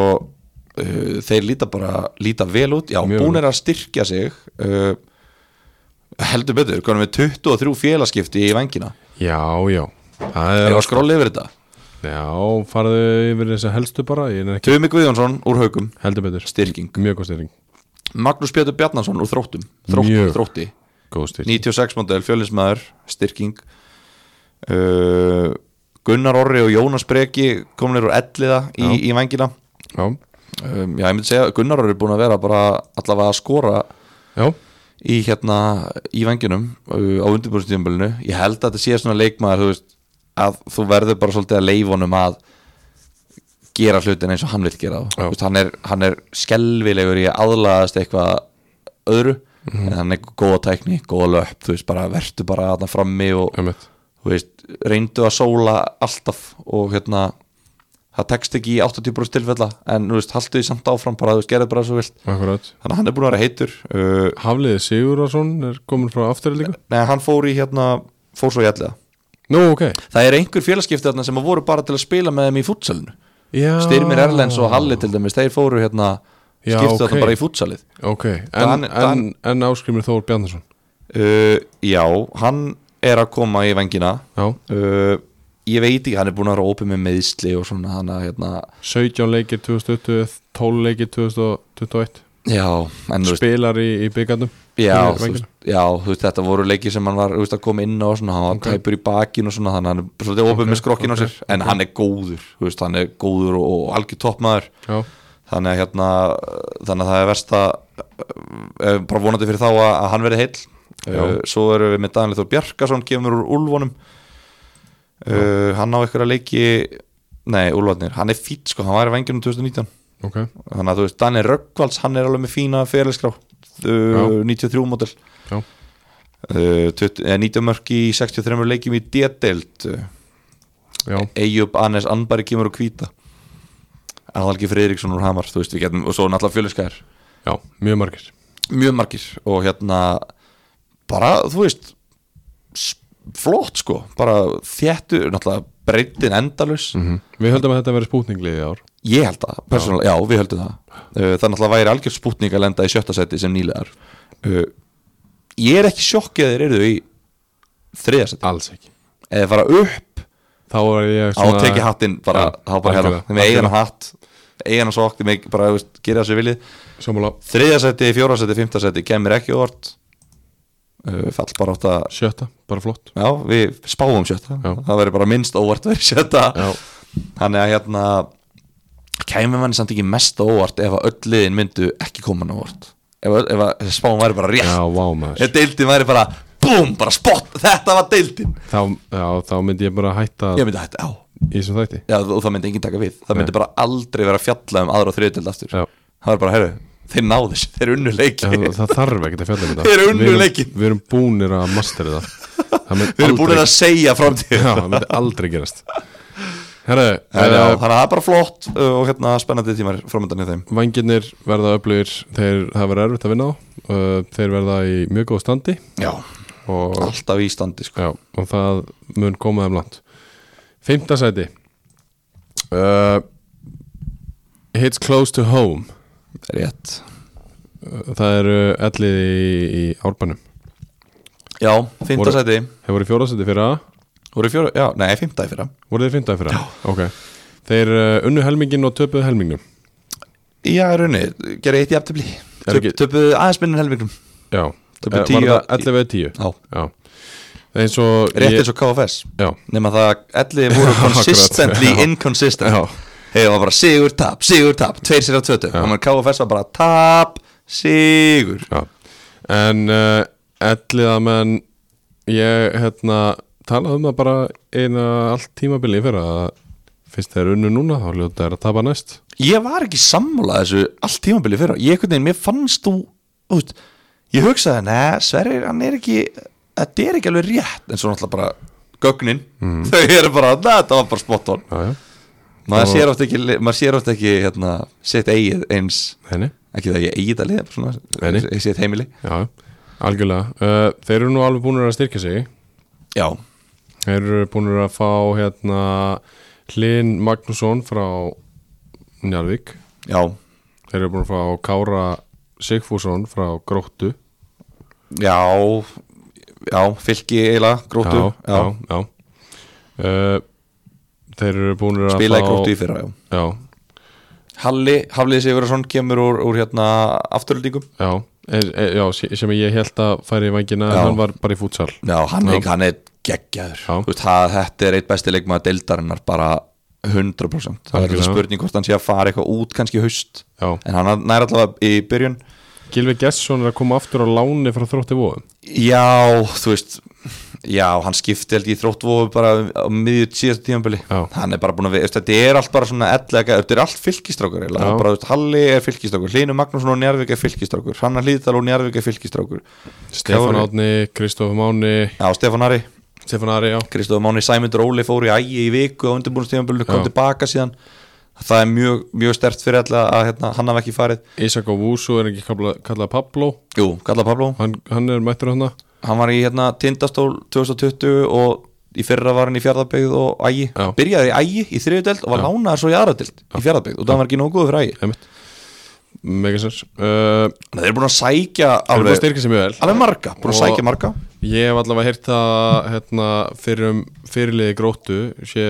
Speaker 2: uh, þeir líta bara, líta vel út já,
Speaker 1: Mjög
Speaker 2: búin er að styrkja sig uh, heldur betur, konum við 23 félagskipti í vangina,
Speaker 1: já, já Það er,
Speaker 2: erum að skrolla yfir þetta
Speaker 1: já, farðu yfir þess að helstu bara Ég er ekki
Speaker 2: Tumi Guðjónsson úr haugum
Speaker 1: heldur betur
Speaker 2: styrking
Speaker 1: Mjög góð styrking,
Speaker 2: Magnús Pétur Bjarnason úr þróttum þróttum,
Speaker 1: Mjög.
Speaker 2: þrótti
Speaker 1: góð styrking
Speaker 2: 96 model, fjölinsmaður, styrking uh, Gunnar Orri og Jónas Breki komnir úr elliða í, í vengina
Speaker 1: Já,
Speaker 2: um, já, ég myndi segja að Gunnar Orri er búin að vera bara allavega að skora
Speaker 1: já,
Speaker 2: í hérna, í venginum uh, á undirbúrstíðumbölinu, ég held að þetta sé svona leikmaður, þú veist, að þú verður bara svolítið að leifunum að gera hlutin eins og hann vil gera þá.
Speaker 1: Já.
Speaker 2: Þú veist, hann, er, hann er skelvilegur í að aðlaðast eitthvað öðru en hann er góða tækni, góða löp þú veist, bara vertu bara þarna frammi og
Speaker 1: einmitt
Speaker 2: þú veist, reyndu að sóla alltaf og hérna það tekst ekki í 80% tilfella en þú veist, haltu því samt áfram bara, þú veist, gerðu bara svo vilt
Speaker 1: Akkurat
Speaker 2: þannig að hann er búin að vera heitur uh,
Speaker 1: Hafliði Sigurðarsson er komin frá aftur líka
Speaker 2: Nei, hann fór í hérna, fór svo í allega
Speaker 1: Nú, ok
Speaker 2: Það er einhver félagskipti þarna sem að voru bara til að spila með þeim í futsalinu
Speaker 1: já.
Speaker 2: Styrmir Erlens og Halli til dæmis, þeir fóru hérna
Speaker 1: Já,
Speaker 2: skiptu
Speaker 1: ok.
Speaker 2: þarna bara í futsalið
Speaker 1: Ok, en,
Speaker 2: Dan-
Speaker 1: en, en áskrimir Þór Bjarnason
Speaker 2: uh, Já, hann er að koma í vengina
Speaker 1: Já,
Speaker 2: uh, Ég veit ekki, hann er búin að vera opið með meðsli og svona hann að hérna
Speaker 1: 17 leikir 2020 12 leikir 2021
Speaker 2: Já, en þú veist,
Speaker 1: Spilar í, í byggandum
Speaker 2: já,
Speaker 1: fyrir
Speaker 2: þú
Speaker 1: vængina.
Speaker 2: veist, já, þú veist þetta voru leiki sem hann var þú veist, að koma inn á og svona, hann var
Speaker 1: Ok.
Speaker 2: tæpur í bakinn og svona þannig að hann er svolítið opið
Speaker 1: Ok,
Speaker 2: með skrokkin á
Speaker 1: ok,
Speaker 2: sér en hann er góður, þú veist, hann er góður og, og algjör toppmaður
Speaker 1: Já,
Speaker 2: þannig að hérna þannig að það er verst að eh, bara vonandi fyrir þá að, að hann verði heill
Speaker 1: Já.
Speaker 2: uh, svo erum við með Daniel Þór Bjarkason kemur úr Úlfónum uh, hann á eitthvað leiki nei, Úlfarnir, hann er fýtt sko hann var í vengjunum 2019
Speaker 1: ok
Speaker 2: þannig að þú veist, Daniel Röggvalds, hann er alveg með fína fyrirleskrá, uh, 93 mótel
Speaker 1: Já.
Speaker 2: Uh, 20 eh, 19 mörg í 63 leikjum í D-deild uh,
Speaker 1: Já,
Speaker 2: Eyjup Anes Anbari kemur og kvíta Aðalgi Friðriksson úr Hamar þú veist, við getum, og svo náttúrulega fjöluskæðir
Speaker 1: já, mjög margir
Speaker 2: mjög margir og hérna bara, þú veist s- flott sko, bara þéttu náttúrulega breytin endalus
Speaker 1: Við höldum að þetta verið spútninglið í ár
Speaker 2: ég held það, persónulega, já. við höldum það Uh, það náttúrulega væri algjör spútning að lenda í sjötta seti sem nýlegar Uh, ég er ekki sjokkið að þeir eru í þriðja seti,
Speaker 1: Alls ekki
Speaker 2: eða fara upp
Speaker 1: Þá var ég
Speaker 2: á teki hattinn bara,
Speaker 1: Já,
Speaker 2: þá bara hérna,
Speaker 1: algjörlega,
Speaker 2: þeim eigin
Speaker 1: algjörlega.
Speaker 2: hatt eigin að sokk, þeim eigin bara, þú veist, gera þessu viljið
Speaker 1: Sjómála
Speaker 2: þriðja seti, fjóra seti, fymta seti kemur ekki óvart uh, fall bara átt að
Speaker 1: sjötta, bara flott
Speaker 2: Já, við spáum sjötta
Speaker 1: Já.
Speaker 2: Það verður bara minnst óvart verið sjötta
Speaker 1: Já,
Speaker 2: Þannig að hérna kæmi manni samt ekki mest á óvart ef að öll liðin myndu ekki koma mann á óvart ef, að- ef að þessi spáum væri bara rétt
Speaker 1: já, vá maður
Speaker 2: ef deildin væri bara, búm, bara spott þetta var deildin
Speaker 1: þá, já, þá myndi ég bara hætta
Speaker 2: ég myndi að þetta, já,
Speaker 1: í þessum þætti
Speaker 2: já og það myndi enginn taka við það myndi bara aldrei vera að fjalla um aðra og þriðdeild aftur
Speaker 1: já,
Speaker 2: það var bara, herru, þeir náðu þessu, þeir unnu leiki
Speaker 1: það, það þarf ekkert að fjalla um þetta
Speaker 2: Þeir eru unnu
Speaker 1: Við erum-
Speaker 2: leikinn.
Speaker 1: við erum búnir að mastera það það myndi
Speaker 2: þeir eru búin
Speaker 1: aldrei-
Speaker 2: að segja framtíð
Speaker 1: já, það myndi aldrei gerast herru,
Speaker 2: þannig
Speaker 1: eh,
Speaker 2: að það er bara flott uh, og hérna spennandi tímar framöndan í þeim
Speaker 1: Vængirnir verða öflugir þeir það verða erfitt að vinna á uh, þeir verða í mjög góð standi
Speaker 2: já,
Speaker 1: og,
Speaker 2: alltaf í standi sko.
Speaker 1: já, og það mun koma þeim langt Fymta sæti uh, Hits close to home
Speaker 2: rétt
Speaker 1: Uh, það eru ellið í, í árbænum
Speaker 2: já, fymta
Speaker 1: Voru-
Speaker 2: sæti
Speaker 1: þeir voru í fjóra sæti fyrir að
Speaker 2: voru í fjóra, já, nei, fymta í fyrra
Speaker 1: voru þeir fymta fyrir að okay. þeir uh, unnu helmingin og töpuðu helmingnum
Speaker 2: já, í rauninni, gerði eitt í aftabli
Speaker 1: Er ekki-
Speaker 2: töpuðu aðeins minnum helmingum
Speaker 1: já,
Speaker 2: Töpuðu
Speaker 1: Eh,
Speaker 2: tíu
Speaker 1: var
Speaker 2: að-
Speaker 1: það 11 eða 10
Speaker 2: já,
Speaker 1: já, eins og
Speaker 2: rétt eins og KFS
Speaker 1: já,
Speaker 2: nema það, allir voru
Speaker 1: Akkurat,
Speaker 2: consistently
Speaker 1: já.
Speaker 2: inconsistent
Speaker 1: já,
Speaker 2: Hei, það var bara sigur, tap, sigur, tap Tveir sér á tvötu
Speaker 1: Já.
Speaker 2: Og maður KFS var bara tap, sigur
Speaker 1: Já. En uh, elliða menn ég hérna talaði um það bara eina allt tímabili fyrir að fyrst þeir unnu núna þá ljóta þeir að tapa næst
Speaker 2: Ég var ekki sammála þessu allt tímabilið fyrra Ég einhvern veginn, mér fannst þú út, Ég hugsaði, neða, Sverrir, hann er ekki Þetta er ekki alveg rétt En svo náttúrulega bara gögnin Þau eru bara, neða, þetta var bara spot on
Speaker 1: Já, já,
Speaker 2: Mm. Maður
Speaker 1: Og-
Speaker 2: sér oft ekki, maður sér oft ekki hérna, Sitt eigið eins
Speaker 1: henni,
Speaker 2: Ekki það ég eigið að liða bara svona,
Speaker 1: Nei, nei.
Speaker 2: Ég sitt heimili
Speaker 1: já, já, algjörlega uh, Þeir eru nú alveg búinir að styrkja sig
Speaker 2: Já,
Speaker 1: Þeir eru búinir að fá hérna Hlyn Magnússon frá Njarvík
Speaker 2: já,
Speaker 1: Þeir eru búinir að fá Kára Sigfússon frá Gróttu
Speaker 2: já Já, fylki eiginlega, grótu
Speaker 1: Já, já, já. Uh, Þeir eru búinir að
Speaker 2: spilaði
Speaker 1: fá
Speaker 2: gróttu í fyrra já.
Speaker 1: Já,
Speaker 2: Halli, Hafliði Sigurðarsson kemur úr, úr hérna afturöldingum
Speaker 1: já, e, e, já sé- sem ég held að færi í vangina en
Speaker 2: Já.
Speaker 1: hann var bara í fútsal
Speaker 2: Já, hann,
Speaker 1: Já.
Speaker 2: Er, hann er geggjaður
Speaker 1: Já.
Speaker 2: Þú veist, það, þetta er eitt besti leikmaður deildarinnar bara 100% það er
Speaker 1: Algjörlega.
Speaker 2: þetta spurning hvort hann sé að fara eitthvað út kannski í haust
Speaker 1: Já.
Speaker 2: en hann næra allavega í byrjun
Speaker 1: Gilvi Gesson er að koma aftur á láni frá þrótti vóðum
Speaker 2: Já, þú veist Já, hann skipti held ég í þróttvofu bara á miðju síðast tímanbili
Speaker 1: Já.
Speaker 2: Hann er bara búin að við, þú veist, þetta er allt bara svona ellega, þetta er allt fylkistrákur eiginlega.
Speaker 1: Já.
Speaker 2: Það er bara, þú veist, Halli er fylkistrákur, Hlynur Magnússon og Njarvík er fylkistrákur Hanna Hlíðdal og Njarvík er fylkistrákur
Speaker 1: Stefán
Speaker 2: Kári.
Speaker 1: Átni, Kristóf Máni
Speaker 2: Já, Stefán Ari
Speaker 1: Stefán Ari, já,
Speaker 2: Kristof Máni Sæmundur Óli fór í ægi í viku á undirbúinnstíðanbölinu, kom
Speaker 1: Já.
Speaker 2: tilbaka síðan það er mjög, mjög stert fyrir alla að hérna, hann hafði ekki farið
Speaker 1: Ísak og Vúsu er ekki kallað, kallað Pablo
Speaker 2: Jú, Kalla Pablo,
Speaker 1: hann, hann er mættur hann
Speaker 2: hann var í hérna, tindastól 2020 og í fyrra var hann í fjárðarbyggð og ægi
Speaker 1: Já.
Speaker 2: byrjaði í ægi í þriðudeld og var lánaður svo í aðradeld í fjárðarbyggð og það var ekki nógu góður fyrir ægi
Speaker 1: einmitt Megasens uh,
Speaker 2: Þannig að þeir eru búin að sækja
Speaker 1: Þeir eru búin að
Speaker 2: alveg,
Speaker 1: styrkja sig mjög vel
Speaker 2: alveg marga búin að
Speaker 1: Og-
Speaker 2: sækja marga
Speaker 1: Ég hef allavega heyrt það hérna, fyrir um fyrirliði gróttu sé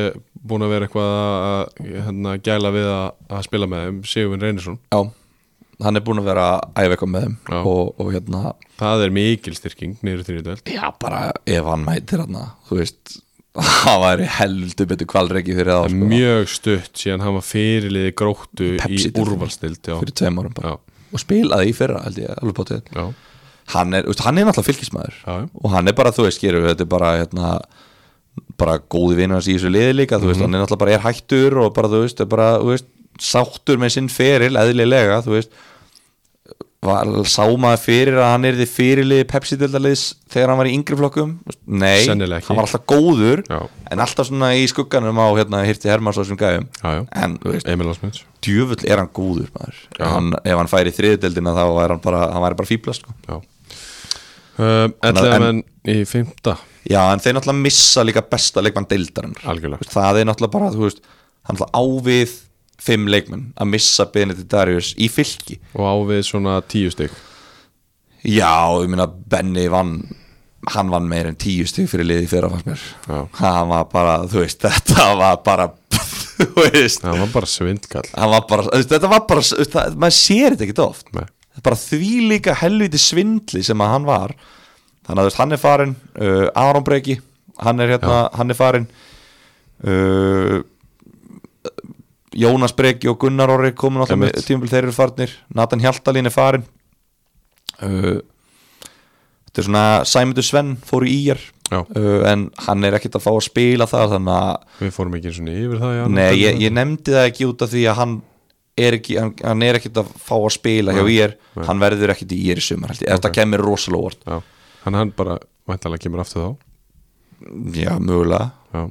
Speaker 1: búin að vera eitthvað að hérna, gæla við að, að spila með þeim Sigurvin Reynisson,
Speaker 2: Já, hann er búin að vera að æfa eitthvað með þeim
Speaker 1: Já.
Speaker 2: og, og hérna
Speaker 1: það er mikil styrking niður til þetta
Speaker 2: Já, bara ef hann mætir hann Þú veist, það væri heldur betur kvalreiki fyrir það sko,
Speaker 1: mjög stutt síðan hann var fyrirliði gróttu í
Speaker 2: Pepsi-deildinni.
Speaker 1: úrvalstild já.
Speaker 2: fyrir tveim árum bara
Speaker 1: Já,
Speaker 2: og spilaði í fyrra, held ég, alveg bótið
Speaker 1: já,
Speaker 2: hann er, þú veist, hann er náttúrulega fylgismæður
Speaker 1: Já, já.
Speaker 2: og hann er bara, þú veist, skýrur þetta er bara, hérna, bara góði vinnur hans í þessu liði líka, þú
Speaker 1: Mhm.
Speaker 2: veist, hann er náttúrulega bara er hættur og bara, þú veist, er bara, þú veist sáttur með sinn feril, eðlilega þú veist, var sámaði fyrir að hann er því fyrirliði Pepsi-dildaliðs þegar hann var í yngri flokkum Þú veist, nei,
Speaker 1: Sennilega ekki.
Speaker 2: hann var alltaf góður
Speaker 1: Já.
Speaker 2: en alltaf svona í skugganum á hérna, hirti Hermanns og þessum gæfum
Speaker 1: já, já.
Speaker 2: en, þú veist,
Speaker 1: Emil Ásmunds
Speaker 2: djöfull er hann góður maður
Speaker 1: Já.
Speaker 2: hann, ef hann færi í þriðdeldina þá væri hann bara, hann væri bara fíbla sko.
Speaker 1: já. Um, Ellega menn í fymta
Speaker 2: já, en þeir náttúrulega missa líka besta leikmann deildarinnar
Speaker 1: algjörlega,
Speaker 2: það er náttúrulega bara, þú veist hann náttúrulega ávið fimm leikmenn að missa Benedikt Darius í fylki
Speaker 1: og á við svona tíu stygg
Speaker 2: já, ég meina Benny vann hann vann meir en tíu stig fyrir liði fyrir að fannst mér
Speaker 1: Já.
Speaker 2: hann var bara, þú veist, þetta var bara þú veist,
Speaker 1: það var bara svindkall
Speaker 2: hann var bara þú veist, þetta var bara, þú veist, það, maður sér þetta ekki oft
Speaker 1: Nei.
Speaker 2: bara því líka helviti svindli sem að hann var þannig að þú veist, hann er farin uh, Aron Breki, hann er hérna hann er farin uh, Jónas Breki og Gunnar Orri komin alltaf með
Speaker 1: Einmitt.
Speaker 2: tímabil þeir eru farnir Nathan Hjaltalín er farin uh, Þetta er svona Sæmundur Svenn fór í íjar
Speaker 1: Já.
Speaker 2: uh, en hann er ekkert að fá að spila það þannig að,
Speaker 1: Við fórum ekki svona yfir það já,
Speaker 2: nei, ég, ég nefndi það ekki út af því að hann er ekki, hann, hann er ekkert að fá að spila hjá íjar, hann verður ekkert í íjar í sumar held ég, þetta kemur rosalega vort
Speaker 1: já. Hann, hann bara væntalega kemur aftur þá
Speaker 2: já, mögulega
Speaker 1: Já,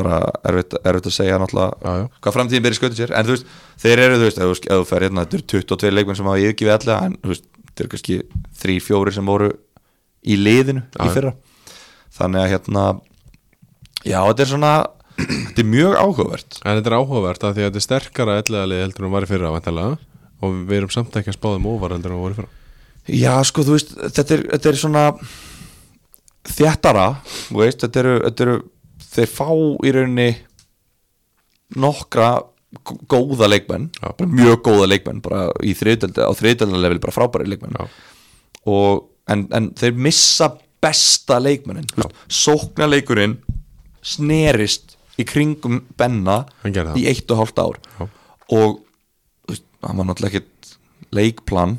Speaker 2: bara erfitt, erfitt að segja náttúrulega
Speaker 1: Já, já.
Speaker 2: hvað framtíðin byrja skötu sér en þú veist, þeir eru þú veist, ef þú, ef þú fer hérna þetta eru 22 leikmenn sem hafa yfirgifið allega en þú veist, þetta eru kannski 3-4 sem voru í liðinu
Speaker 1: Já, já.
Speaker 2: í fyrra þannig að hérna já, þetta er svona þetta er mjög áhugavert
Speaker 1: en þetta er áhugavert að því að þetta er sterkara ellegalið heldur en hún var í fyrra væntalega og við erum samt ekki að spáðum óvar heldur en hún var í fyrra
Speaker 2: já, sko, þú veist, þetta er, þetta er svona þjættara þú veist, þetta eru, þetta eru þeir fá í rauninni nokkra gó- góða leikmenn
Speaker 1: Já.
Speaker 2: bara mjög góða leikmenn bara í þriðdöldi, á þriðdöldaleveli bara frábæri leikmenn
Speaker 1: Já.
Speaker 2: og, en, en þeir missa besta leikmennin sóknarleikurinn snerist í kringum Benna
Speaker 1: Hann gerði það.
Speaker 2: í eitt og hálft ár
Speaker 1: Já.
Speaker 2: og þú veist, hann var náttúrulega ekkert leikplan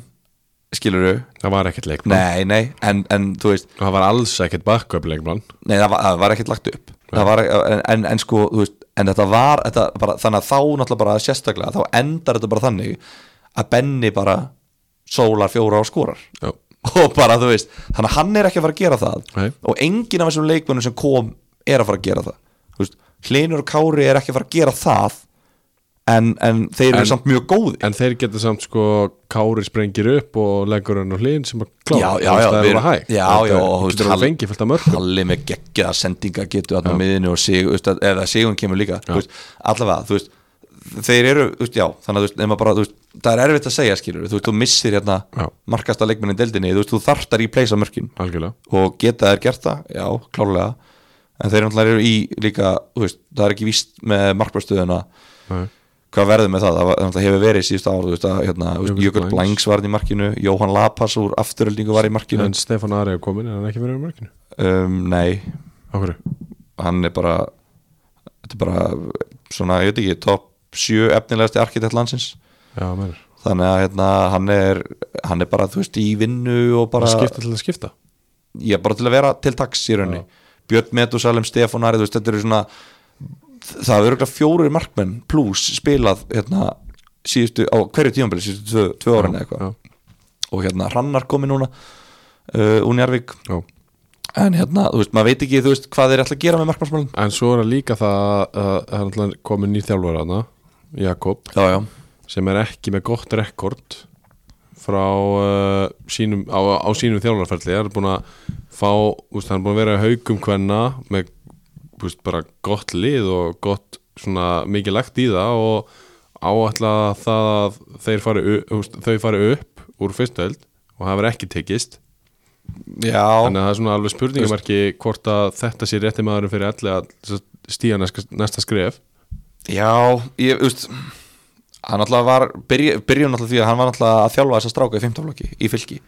Speaker 2: skilurðu,
Speaker 1: Það var ekkert leikmann
Speaker 2: nei, nei en, en þú veist,
Speaker 1: Það var alls ekkert backup leikmann
Speaker 2: Nei, það var, það var ekkert lagt upp Það var, en, en, en sko, þú veist En þetta var, þetta bara, þannig að þá náttúrulega bara sérstaklega, þá endar þetta bara þannig að Benni bara sólar fjóra og skorar
Speaker 1: Já,
Speaker 2: og bara, þú veist, þannig að hann er ekki að fara að gera það
Speaker 1: Nei.
Speaker 2: og enginn af þessum leikmönnum sem kom er að fara að gera það Þú veist, Hlynur og Kári er ekki að fara að gera það en, en þeir eru
Speaker 1: En-
Speaker 2: samt mjög góði
Speaker 1: En þeir geta samt sko Kári sprengir upp og leggur hann á hlýn sem að klára
Speaker 2: Já, já, já,
Speaker 1: Það
Speaker 2: við-
Speaker 1: er bara hægt
Speaker 2: já,
Speaker 1: Þetta
Speaker 2: já,
Speaker 1: er-
Speaker 2: og þú veist,
Speaker 1: Getur hann
Speaker 2: Hall-
Speaker 1: fengið fullt af mörgum
Speaker 2: Halli með geggjaða sendinga getur þarna á miðinu og sig, veist, að- eða sigun kemur líka þú veist, allavega, þú veist þeir eru, þú veist, já, þannig að þú veist, nema bara, þú veist það er erfitt að segja, skilur, þú veist, þú missir hérna
Speaker 1: Já.
Speaker 2: markasta leikmenni í deildinni, þú veist, þú þarftar í pleysa mörkin
Speaker 1: Algjörlega
Speaker 2: og geta þær gert það, já, klárlega en þeir náttúrulega eru í líka þú veist, það er ekki víst með markbærstöðuna
Speaker 1: Nei.
Speaker 2: hvað verður með það, það var- náttúrulega hefur verið síðust ára, þú veist, að hérna, þú veist,
Speaker 1: Jökull
Speaker 2: Jökull
Speaker 1: Blængs.
Speaker 2: Blængs var hann í markinu, Jóhann Lapas úr afturöldingu var í markinu
Speaker 1: En Stefán Ari er komin en hann ekki verið í mörginu
Speaker 2: um, nei,
Speaker 1: Á hverju?
Speaker 2: hann er bara þetta er bara svona, ég veit ekki, top 7 efnilegasti arkitekt landsins
Speaker 1: Já, mennur
Speaker 2: þannig að hérna, hann er hann er bara, þú veist, í vinnu og bara,
Speaker 1: Það skipta til að skipta
Speaker 2: ég bara til að vera til taks í raunni, Björn Metusalem Stefán Ari, þú veist, þetta eru svona það eru örugglega fjórir markmenn pluss spilað, hérna síðustu, á hverju tímabili, síðustu tvö, tvö ára eða eitthvað,
Speaker 1: Já,
Speaker 2: og hérna Hrannar komi núna uh, úr Njarvík
Speaker 1: já
Speaker 2: en hérna, þú veist, maður veit ekki, þú veist, hvað þeir ætla að gera með markmannsmálun
Speaker 1: En svo er það líka það að það er náttúrulega komin nýr þjálfur hana Jakob
Speaker 2: já, já,
Speaker 1: sem er ekki með gott rekord frá uh, sínum, á, á sínum þjálfarferli hann er búin að fá úst, hann er búin að vera í haugum hvenna með úst, bara gott lið og gott svona mikið lagt í það og áætla það að þeir fari, u- úst, þau fari upp úr fyrstöld og það verður ekki tekist
Speaker 2: já
Speaker 1: þannig að það er svona alveg spurningamarki hvort að þetta sé rétti maðurinn fyrir allir að stíja næsta, næsta skref
Speaker 2: Já, ég, þú veist hann alltaf var, byrjum byrjun alltaf því að hann var alltaf að þjálfa þessa stráka í 15 flokki í fylki.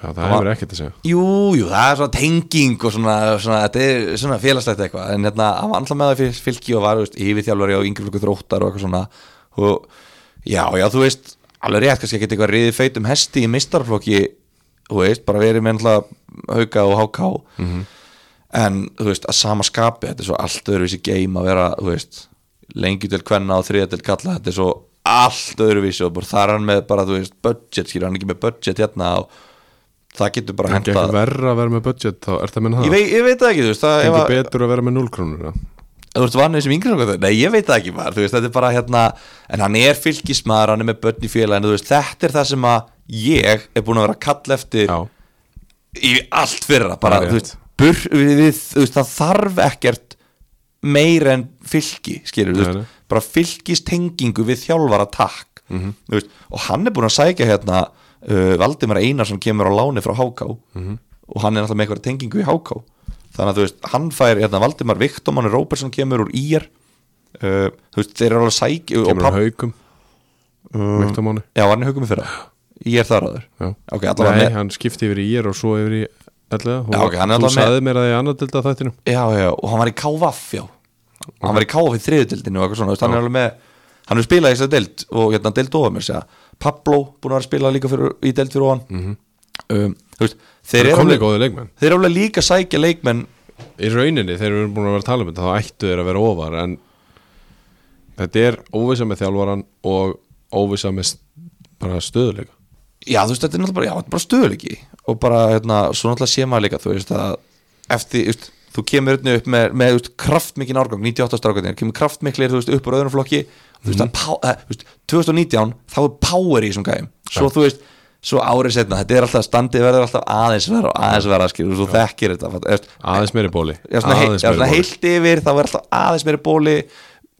Speaker 1: Já, það hefur ekkert að segja
Speaker 2: Jú, jú, það er svona tenging og svona, svona þetta er svona félagslegt eitthvað, en hérna, hann var alltaf með það fyrir fylki og var, þú veist, yfirþjálfari og yngri flokku þróttar og eitthvað svona og, já, já, þú veist, alveg rétt kannski að geta eitthvað riðið feitum hesti í mistarflokki þú veist, bara verið með alltaf hauka og háká en þú veist að sama skapi þetta er svo allt öðruvísi game að vera þú veist lengju til kvenna og þriða til kalla þetta er svo allt öðruvísi og bara þar er hann með bara þú veist budget skilur hann er ekki með budget hérna og það getur bara
Speaker 1: ekki
Speaker 2: hentað
Speaker 1: ekki verra að vera með budget þá er það minn það
Speaker 2: ég, vei, ég veit það ekki þú veist það, ef
Speaker 1: Gengur
Speaker 2: að,
Speaker 1: betur að vera með 0 krónur eða?
Speaker 2: ef þú veist vanið sem yngri strákur, nei ég veit það ekki maður þú veist þetta er bara hérna en hann er fylgismæður hann er með börn í félaginu þú veist þetta er það sem að ég er búin að vera að kalla eftir
Speaker 1: Já,
Speaker 2: í allt fyrra bara,
Speaker 1: Það er
Speaker 2: þú veist, bur, við, við, þú veist, það þarf ekkert meira en fylki skilur, þú
Speaker 1: Nei, Mhm.
Speaker 2: veist, bara fylkist tengingu við þjálfara takk mm veist, og hann er búin að sækja hérna uh, Valdimar Einarsson kemur á láni frá Háká
Speaker 1: Mhm.
Speaker 2: og hann er náttúrulega með eitthvað tengingu í Háká þannig að þú veist, hann fær hérna Valdimar Viktomann Róbertsson kemur úr Ír uh, þú veist, þeir eru alveg að sækja og Mm.
Speaker 1: kemur hann
Speaker 2: papp,
Speaker 1: haugum Viktamáni
Speaker 2: já, var hann í haugum í fyrra Ír þar áður
Speaker 1: Já.
Speaker 2: ok, allavega
Speaker 1: Nei,
Speaker 2: með-
Speaker 1: hann skipti yfir í ég og svo yfir í Ellega,
Speaker 2: Já, ok, hann er
Speaker 1: þú
Speaker 2: allavega
Speaker 1: sagði mér að ég annað dilda þættinu
Speaker 2: já, já, og hann var í KVF já, hann var í KVF í þriðutildinu og eitthvað svona, þú veist, hann er alveg með hann er spilað í þessari deild og hérna deild ofan mér segja Pablo búin að vera að spila líka fyrir, í deild fyrir ofan um, þú veist, þeir
Speaker 1: Þeir
Speaker 2: eru
Speaker 1: eru komnir
Speaker 2: alveg,
Speaker 1: góðið leikmenn
Speaker 2: þeir eru alveg líka að sækja leikmenn
Speaker 1: Í rauninni, þeir eru búin að vera að tala um þetta Þá ættu þeir að vera ofar En þetta er óvisa með þjálfaran Og óvisa með s- bara stöðuleika
Speaker 2: já þú veist þetta er náttúrulega bara, já, þetta er bara stöðuleiki og bara hérna, svo náttúrulega sé maður líka þú veist að eftir, þú veist, þú kemur hérna upp með, með þú veist, kraftmikinn árgang 98 strákarnir, kemur kraftmiklir þú veist, upp úr öðrum flokki þú veist, mm. pá, að, þú veist 2019 þá er power í þessum gæðum svo þú veist, svo árið setna þetta er alltaf standið verður alltaf aðeins verður og aðeins verður aðskil og svo þekkir þetta fatt- eftir,
Speaker 1: Aðeins meiri bóli
Speaker 2: já, svona, hei, já,
Speaker 1: Aðeins meiri
Speaker 2: svona
Speaker 1: bóli.
Speaker 2: heilt yfir þá er alltaf aðeins meiri bóli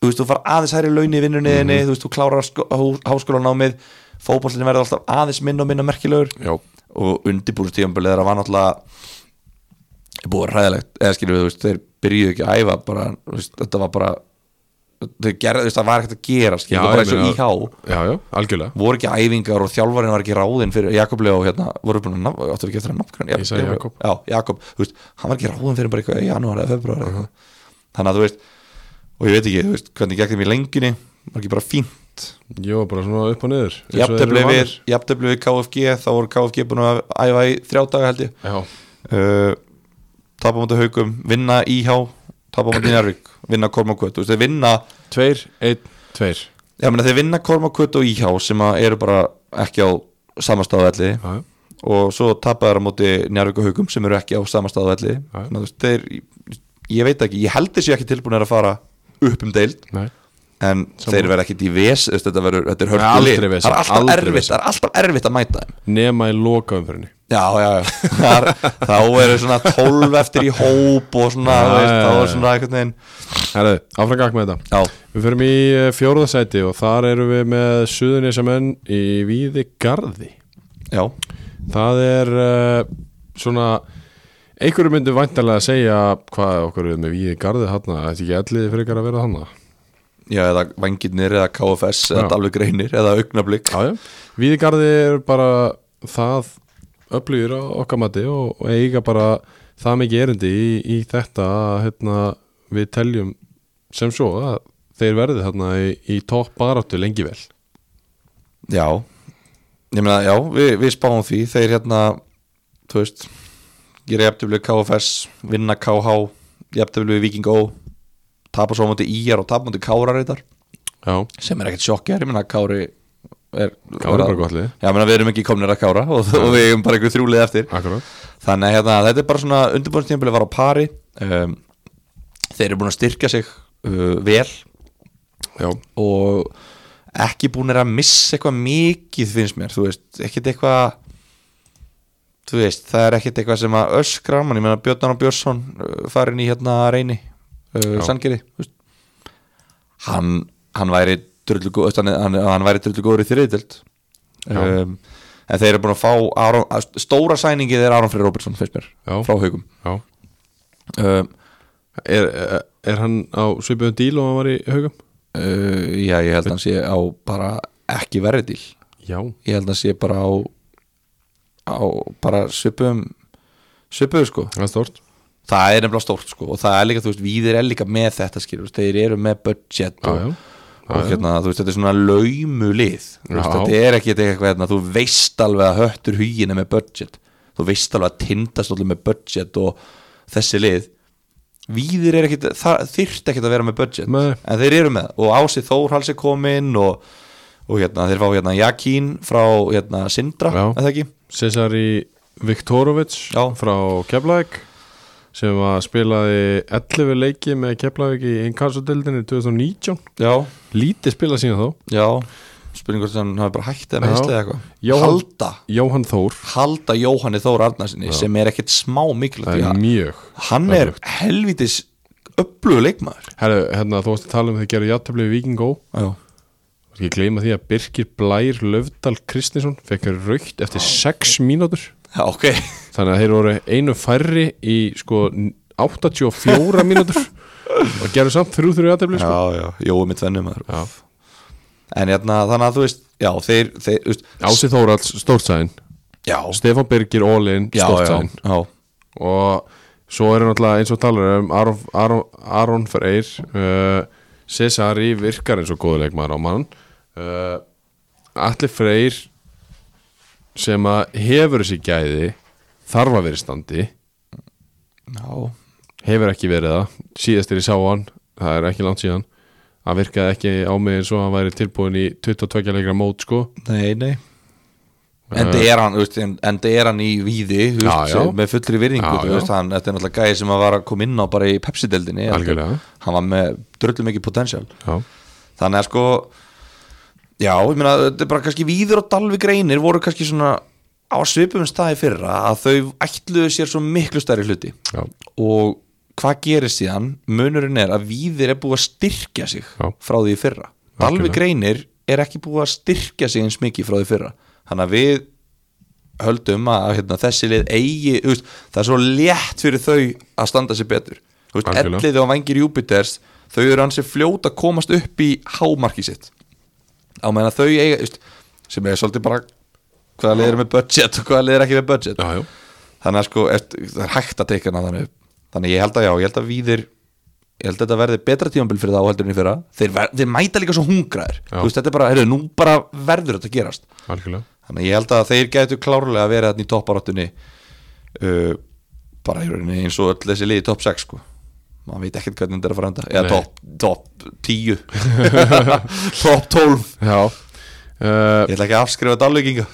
Speaker 2: þú veist, þú far aðeins hæri laun í vinnunni mm
Speaker 1: Mhm.
Speaker 2: þú veist, þú klárar sko- hú- háskólanámið fótbollin verður alltaf aðeins minna og minna merkilegur
Speaker 1: Já,
Speaker 2: og undirbúrstíðanbúlið þeirra var náttúrulega búið ræðilegt, eða skilur við, þú veist, þeir byrjuðu ekki að æfa bara, þú veist, þetta var bara þau gerðu, þú veist, það var ekkert að gera
Speaker 1: já,
Speaker 2: skilur, bara
Speaker 1: ég
Speaker 2: eins og
Speaker 1: meina-
Speaker 2: íhá
Speaker 1: já, já, algjörlega
Speaker 2: voru ekki æfingar og þjálfarinn var ekki ráðinn fyrir Jakob Leo hérna, voru búin að nafn, áttu ekki eftir að nafn
Speaker 1: Ég sagði Jakob.
Speaker 2: Já, Jakob, þú veist, hann var ekki ráðinn fyrir bara eitthvað í janúar eða februar uh þannig að þú veist, og ég veit ekki, þú veist, hvernig gekk þeim í lengjunni, var ekki bara fínt
Speaker 1: Ég var bara svona upp og niður eins og þeir eru
Speaker 2: jafntefli við,
Speaker 1: vanir.
Speaker 2: jafntefli við KFG þá voru KFG búin að æfa í þrjá daga held ég
Speaker 1: Já,
Speaker 2: uh, tapa á mútið haugum, vinna íhá tapa á mútið Njárvík, vinna Kormakvöt þú veist, þeir vinna,
Speaker 1: tveir, einn, tveir
Speaker 2: já menna þeir vinna Kormakvöt og íhá sem að eru bara ekki á samastaðvelli
Speaker 1: Já, já,
Speaker 2: og svo tapa þeir á mútið Njárvík og haugum sem eru ekki á samastaðvelli
Speaker 1: Já.
Speaker 2: þannig að þú veist, þeir, ég veit ekki ég held þessi ekki tilbúinir að fara upp um deild
Speaker 1: nei
Speaker 2: en þeir verða ekkit í ves þú veist, þetta, verður, þetta er
Speaker 1: Það er
Speaker 2: hörkulið
Speaker 1: aldrei vesen,
Speaker 2: það er alltaf
Speaker 1: aldrei
Speaker 2: erfitt,
Speaker 1: vesen.
Speaker 2: það er alltaf erfitt að mæta þeim
Speaker 1: Nema í lokaumfyrinni
Speaker 2: Já, já, já Þar, Þá eru svona 12 eftir í hóp og svona,
Speaker 1: Já,
Speaker 2: þú veist,
Speaker 1: já,
Speaker 2: þá
Speaker 1: já.
Speaker 2: er svona einhvern veginn
Speaker 1: Herðu, áfram gakk með þetta
Speaker 2: Já,
Speaker 1: Við förum í fjóruðasæti og þar erum við með Suðunisamenn í Víði Garði
Speaker 2: já,
Speaker 1: Það er uh, svona einhverju myndu væntalega að segja hvað okkur er með Víði Garði þarna Þetta er ekki allir frekar að vera þarna
Speaker 2: já, eða vangirnir eða KFS eða
Speaker 1: Já.
Speaker 2: Dalvi Greinir eða Augnablík
Speaker 1: Já, já. Víðigarði er bara það öflugir á okkar mati og, og eiga bara það mikið erindi í, í þetta að hérna, við teljum sem svo að þeir verði þarna í, í topp baráttu lengi vel
Speaker 2: Já, ég meina, já, við, við spáum því Þeir hérna, þú veist gera jafntöflu KFS vinna KH, jafntöflu Viking Ó tapa svo á múti IR og tapa á múti Kára reyndar
Speaker 1: Já,
Speaker 2: sem er ekkert sjokkjar, ég meina Kári er,
Speaker 1: Kári er bara gott lið.
Speaker 2: Já, ég meina, við erum ekki komnir að Kára og, og við erum bara einhver þrjúlið eftir
Speaker 1: akkurat
Speaker 2: Þannig að hérna, þetta er bara svona undirbúinstíðanbili var á pari um, Þeir eru búin að styrkja sig uh, vel
Speaker 1: Já,
Speaker 2: og ekki búin að missa eitthvað mikið finnst mér, þú veist, ekkert eitthvað þú veist, það er ekkert eitthvað sem að öskra mann, ég meina Björnar og Björnsson uh, farin í hérna reyni uh,
Speaker 1: Já.
Speaker 2: Sandgerði, þú veist hann, hann væri drullu góð, hann, hann, hann væri drullu góður í þriðdelt
Speaker 1: Já.
Speaker 2: um, en þeir eru búin að fá Aron, að- stóra sæningið er Aron Freyr Robertson, finnst mér
Speaker 1: Já.
Speaker 2: frá haugum
Speaker 1: já
Speaker 2: um,
Speaker 1: Er, er- er hann á svipuðum díl og hann var í haugum?
Speaker 2: uh, já, ég held að hann sé á bara ekki verri til
Speaker 1: Já,
Speaker 2: ég held að sé bara á, á bara svipum svipuðu sko
Speaker 1: það er stort
Speaker 2: það er nefnilega stórt sko og það er líka, þú veist, víðir er líka með þetta skilur þeir eru með budget
Speaker 1: Já,
Speaker 2: og,
Speaker 1: já,
Speaker 2: og hérna, þú veist, þetta er svona laumulið þú veist,
Speaker 1: Já.
Speaker 2: þetta er ekki eitthvað hérna, þú veist alveg að höttur hugin er með budget þú veist alveg að tindast allir með budget og þessi lið víðir er ekkit, það þyrft ekkit að vera með budget
Speaker 1: Nei.
Speaker 2: en þeir eru með það. og Ási Þórhals er komin og, og hérna, þeir fá hérna Jakín frá hérna Sindra,
Speaker 1: Já.
Speaker 2: er það ekki?
Speaker 1: Cesari Viktorovic
Speaker 2: Já.
Speaker 1: frá Keflavík sem að spilaði 11 leiki með Keflavík í Inkasso-dildinni 2019
Speaker 2: Já, já,
Speaker 1: lítið spilað síðan þá
Speaker 2: já spurningur sem hann hafi bara hægt eða með
Speaker 1: Já.
Speaker 2: hislið eða eitthvað
Speaker 1: Jóhann-
Speaker 2: Halda,
Speaker 1: Jóhann Þór,
Speaker 2: halda Jóhanni Þór Arnarsinni sem er ekkit smá mikilvægt
Speaker 1: það
Speaker 2: því
Speaker 1: er
Speaker 2: að
Speaker 1: mjög
Speaker 2: hann er helvitis upplöðu leikmaður
Speaker 1: Herru, hérna, þú varst að tala um þau gerðu játtöfli við Víking Ó
Speaker 2: já,
Speaker 1: og ég gleyma því að Birkir Blær Löfdal Kristinsson fekk raukt eftir 6 mínútur
Speaker 2: já ok
Speaker 1: þannig að þeir voru einu færri í sko 84 mínútur og gerðu samt 3-3 játtöfli sko.
Speaker 2: já, já, Jói mitt vennum maður
Speaker 1: Já.
Speaker 2: en hérna, þannig að þú veist, já, þeir, þeir þú veist,
Speaker 1: Ási Þóralds, stórtsæðin
Speaker 2: já,
Speaker 1: Stefán Birgir Ólin,
Speaker 2: já, já,
Speaker 1: stórtsæðin
Speaker 2: já
Speaker 1: og svo eru náttúrulega eins og talar um Aron, Aron, Aron Freyr uh, Cesari virkar eins og góðuleikmaður á mann uh, Allir Freyr sem að hefur þessi gæði þarf að vera í standi
Speaker 2: Já,
Speaker 1: hefur ekki verið það síðast er ég sá hann, það er ekki langt síðan hann virkaði ekki á mig eins og hann væri tilbúin í 22 leikra mót sko
Speaker 2: nei, nei En það er hann, þú veist, en, en það er hann í víði þú
Speaker 1: Já,
Speaker 2: veist,
Speaker 1: já.
Speaker 2: með fullri virðingu
Speaker 1: Já,
Speaker 2: þú veist,
Speaker 1: já.
Speaker 2: hann, þetta er náttúrulega gæði sem að var að koma inn á bara í Pepsi-deldinni
Speaker 1: Algjörlega.
Speaker 2: hann var með dröllum mikið potential
Speaker 1: Já,
Speaker 2: þannig að sko já, ég meina, þetta er bara kannski víður og dalvi greinir voru kannski svona á svipum staði í fyrra að þau ætluðu sér svo miklu stærri hluti
Speaker 1: já,
Speaker 2: og hvað gerir síðan munurinn er að víðir er búið að styrkja sig
Speaker 1: Já.
Speaker 2: frá því í fyrra Dalvi
Speaker 1: Algjörlega.
Speaker 2: Greinir er ekki búið að styrkja sig eins mikið frá því í fyrra þannig að við höldum að hérna, þessi lið eigi þú veist, það er svo létt fyrir þau að standa sig betur Þú veist,
Speaker 1: Algjörlega.
Speaker 2: ellið og vangir Júpiters þau eru hansi fljóta að komast upp í hámarki sitt á meðan að þau eiga þú veist, sem er svolítið bara hvaða lið er með budget og hvaða lið er ekki með budget
Speaker 1: já, já.
Speaker 2: þannig að sko eft, það er hægt að teika hana þannig upp þannig ég held að já, ég held að víðir ég held að þetta verði betra tímambil fyrir það áheldurinn í fyrra þeir, ver, þeir mæta líka svo hungraðir
Speaker 1: Já.
Speaker 2: þú veist þetta er bara, heyrðu, nú bara verður þetta að gerast
Speaker 1: algjörlega
Speaker 2: þannig að ég held að þeir gætu klárlega að vera þarna í topparáttunni uh, bara í rauninni eins og öll þessi liði top 6 sko maður veit ekkert hvernig þetta er að fara enda
Speaker 1: Nei.
Speaker 2: eða top, top 10 top 12
Speaker 1: Já uh,
Speaker 2: ég ætla ekki að afskrifa dálíkinga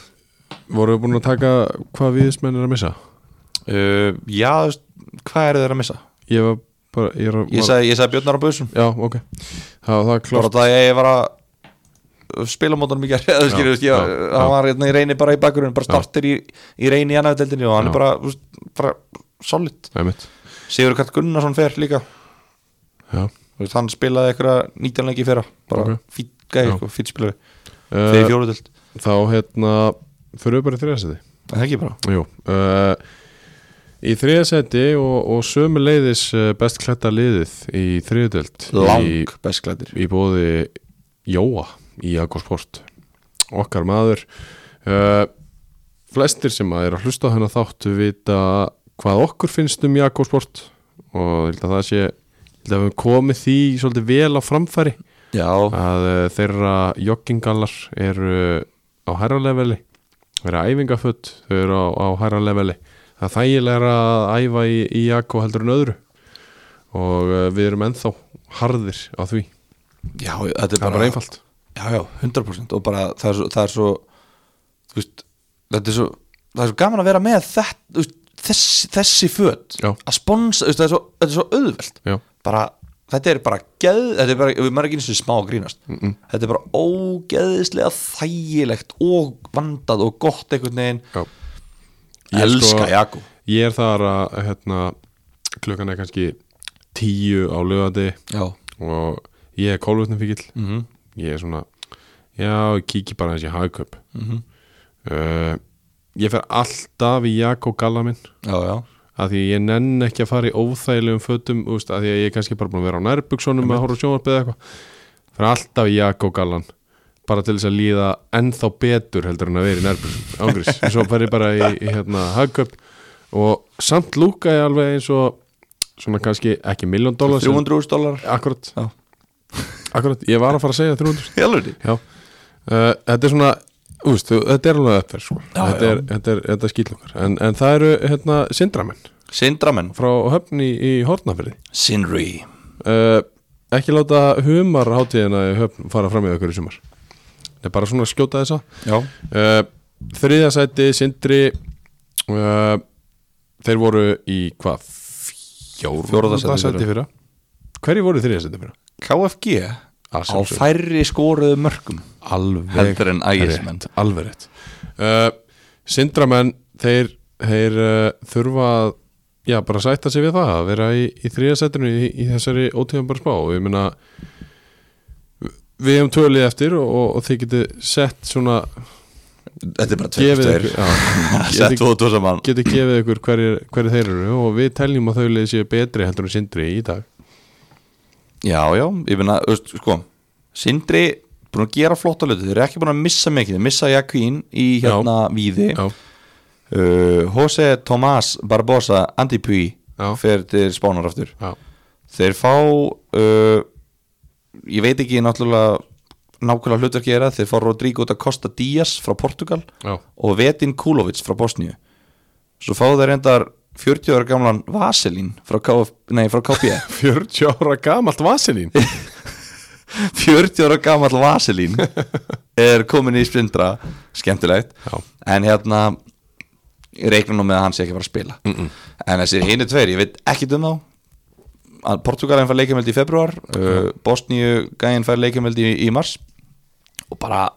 Speaker 1: Voru við búin að taka hvað viðismenn er að missa?
Speaker 2: uh, já, þú veist, hvað eru þeir að missa?
Speaker 1: Ég var bara Ég, var,
Speaker 2: ég sagði, ég sagði Björnar á busum
Speaker 1: Já, ok Það, það er
Speaker 2: bara
Speaker 1: klart
Speaker 2: það að ég var að spila mótunum í gær eða skilur, þú veist, ég,
Speaker 1: já,
Speaker 2: hann
Speaker 1: já.
Speaker 2: var hérna í reyni bara í bakgrunn bara startir í, í reyni í annaðveldinni og hann
Speaker 1: Já.
Speaker 2: er bara, þú veist, bara solid
Speaker 1: Nei mitt
Speaker 2: Sigur Karl Gunnarsson fer líka
Speaker 1: Já
Speaker 2: Þú veist, hann spilaði eitthvað 19 leiki í fyrra bara
Speaker 1: Ok.
Speaker 2: okay. fýtt gæði,
Speaker 1: Já.
Speaker 2: sko, fýtt spilari þegar
Speaker 1: uh,
Speaker 2: fjóruðöld,
Speaker 1: Þá hérna Fyrir við bara í þriðasæti
Speaker 2: það er ekki bara
Speaker 1: Jú uh, Í þriðasæti og, og sömu leiðis best klætta liðið í þriðudöld í,
Speaker 2: lang best glætir
Speaker 1: í bóði Jóa í Agosport Okkar maður uh, Flestir sem að er að hlusta á hennar þáttu vita hvað okkur finnst um Jakobsport og ég held að það sé ég held að við höfum komið því svolítið vel á framfæri
Speaker 2: já,
Speaker 1: að eh, þeirra joggingallar eru á hærra leveli þau eru æfingaföld, þau eru á, á hærra leveli það er þægilega að æfa í, í Jakko heldur en öðru og eh, við erum ennþá harðir á því,
Speaker 2: já, þetta er
Speaker 1: það er bara einfalt
Speaker 2: já, já, 100% og bara það er svo, það er svo þú veist, þetta er svo það er svo gaman að vera með þetta, þú veist, þessi, þessi föt
Speaker 1: Já.
Speaker 2: að sponsa, þú veist, það er svo, þetta er svo auðvelt
Speaker 1: Já,
Speaker 2: bara, þetta er bara geð, þetta er bara, maður er ekki eins og smá að grínast -mm. þetta er bara ógeðislega þægilegt og vandað og gott einhvern veginn
Speaker 1: já
Speaker 2: ég elska sko, Jakku
Speaker 1: Ég er þar að hérna, klukkan er kannski tíu á lögati
Speaker 2: já,
Speaker 1: og ég er kólvötnum fíkil
Speaker 2: mm -hmm.
Speaker 1: ég er svona já, ég kíki bara þessi hagköp mm
Speaker 2: mhm.
Speaker 1: uh, ég fer alltaf í Jakko Galla minn
Speaker 2: já, já,
Speaker 1: að því ég nenn ekki að fara í óþægilegum fötum úst, að því að ég er kannski bara búin að vera á nærbuksonum að horfa á sjónvarpið eða eitthvað fer alltaf í Jakko Gallan bara til þess að líða ennþá betur heldur en að vera í nærbuksonum ángriðs svo fer ég bara í, í hérna, hagköp og samt lúka ég alveg eins og svona kannski ekki miljón dólar
Speaker 2: 300.000 dólar
Speaker 1: akkurat,
Speaker 2: já,
Speaker 1: akkurat, ég var að fara að segja 300
Speaker 2: helviti
Speaker 1: Já, uh, þetta er svona úst, þetta er alveg uppferð sko.
Speaker 2: Já,
Speaker 1: þetta,
Speaker 2: já.
Speaker 1: er, þetta, er, þetta er skýtlokar en, en það eru hérna, syndramenn
Speaker 2: Sindramen,
Speaker 1: frá höfn í, í Hortnafyrði
Speaker 2: Sinri
Speaker 1: uh, ekki láta humar hátíðina í höfn fara fram í okkur í sumar þetta er bara svona að skjóta þessa
Speaker 2: já,
Speaker 1: uh, þriðja sæti syndri uh, þeir voru í hvað fjóra
Speaker 2: Fjórða sæti í
Speaker 1: sæti fyrra hverju voru í þriðja sæti fyrra?
Speaker 2: KFG
Speaker 1: Að
Speaker 2: á
Speaker 1: sjálfsögðu.
Speaker 2: færri skoruðu mörgum
Speaker 1: alveg
Speaker 2: Heldur en Ægismenn.
Speaker 1: rétt, alveg rétt uh, sindramenn þeir, þeir uh, þurfa að já, bara sætta sig við það að vera í, í þriðasættinu í, í þessari ótíðan bara spá og ég meina við hefum tölið eftir og, og, og þið getið sett svona
Speaker 2: Þetta er bara tveir,
Speaker 1: gefið
Speaker 2: tveir.
Speaker 1: ykkur, já,
Speaker 2: Sett
Speaker 1: getið,
Speaker 2: tvo og tvo saman
Speaker 1: getið gefið ykkur hverjir hverjir þeir eru og við teljum að þau liðið séu betri heldur en sindri í dag
Speaker 2: Já, já, ég finna, veist, sko Sindri, búin að gera flotta hluti Þeir eru ekki búin að missa mikið, þeir missa Jakvín Í hérna víði
Speaker 1: já,
Speaker 2: uh, Jose Tomás Barbosa Antipuy
Speaker 1: Já.
Speaker 2: Fer til spánar aftur
Speaker 1: já,
Speaker 2: Þeir fá uh, ég veit ekki náttúrulega nákvæmlega hlutverki er að þeir fá Rodrigo da Costa Díaz frá Portugal
Speaker 1: Já.
Speaker 2: og Vetin Kulovic frá Bosníu svo fá þeir reyndar 40 ára gamlan Vaselin frá, Kf, nei, frá KPF
Speaker 1: 40 ára gamalt vaselín
Speaker 2: 40 ára gamall vaselín er komin í sprindra skemmtilegt
Speaker 1: Já.
Speaker 2: en hérna ég reikna nú með að hann sé ekki að fara að spila -mm. en þessi hinu tveir, ég veit ekki um þá Að Portugalin fær leikjumöldi í februar uh, Bosníu gæin fær leikjumöldi í, í mars og bara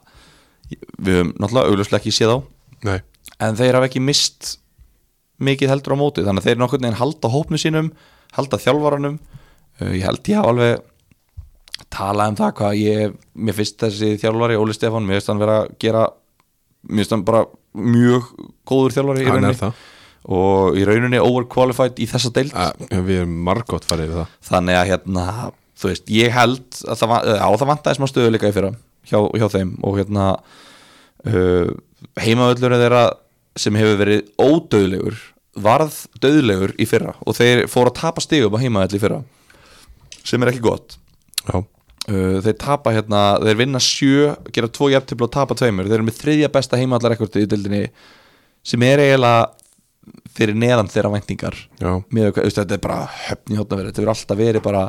Speaker 2: við höfum náttúrulega augljóslega ekki séð á
Speaker 1: Nei,
Speaker 2: en þeir hafa ekki mist mikið heldur á móti þannig að þeir nokkurn veginn halda hópnu sínum halda þjálfaranum uh, ég held ég hafa alveg talað um það hvað ég, mér finnst þessi þjálfari Óli Stefán, mér finnst hann vera að gera mér finnst hann bara mjög góður þjálfari í
Speaker 1: hann er
Speaker 2: rauninni
Speaker 1: það
Speaker 2: og í rauninni overqualified í þessa deild
Speaker 1: Æ, Við erum margótt farið við það
Speaker 2: þannig að hérna, þú veist, ég held að það, va- eða, á það vantaði smá stöðuleika í fyrra hjá, hjá þeim og hérna uh, heimavöllur þeirra sem hefur verið ódöðlegur varð döðlegur í fyrra og þeir fóru að tapa stigum á heimavöll í fyrra sem er ekki gott
Speaker 1: Já,
Speaker 2: uh, þeir tapa hérna, þeir vinna sjö gera tvo jafntefli og tapa tveimur þeir eru með þriðja besta heimavallarrekordi í dildinni sem er eiginlega fyrir neðan þeirra væntingar
Speaker 1: já,
Speaker 2: með, þú veist, þetta er bara höfn í hóttanverið, þetta er alltaf verið bara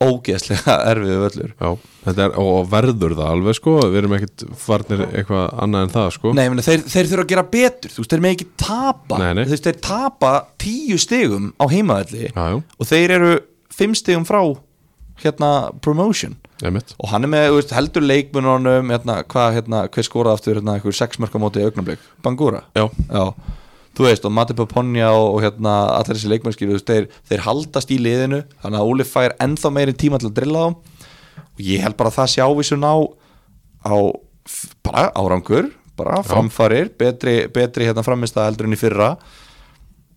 Speaker 2: ógeðslega erfiðu völlur
Speaker 1: já Þetta er, og verður það alveg sko Við erum ekkert farnir eitthvað annað en það sko
Speaker 2: Nei, meni, þeir, þeir þurfa að gera betur, þú veist, þeir með ekki tapa
Speaker 1: Nei, nei.
Speaker 2: Þú veist, þeir tapa tíu stigum á heimaðalli
Speaker 1: Já, já,
Speaker 2: og þeir eru fimm stigum frá hérna promotion
Speaker 1: emitt
Speaker 2: og hann er með, þú veist, heldur leikmununum hérna, hvað, hérna, hver skoraði aftur hérna, einhver sex mörka móti í augnablik, Bangura
Speaker 1: Já,
Speaker 2: Já, þú veist og Mati Paponja og, og hérna allir þessi leikmennskir, þeir, þeir haldast í liðinu þannig að Óli fær ennþá meiri tíma til að drilla þá og ég held bara að það sé ávísun á, á f- bara árangur, bara framfarir betri, betri hérna framist að heldur enn í fyrra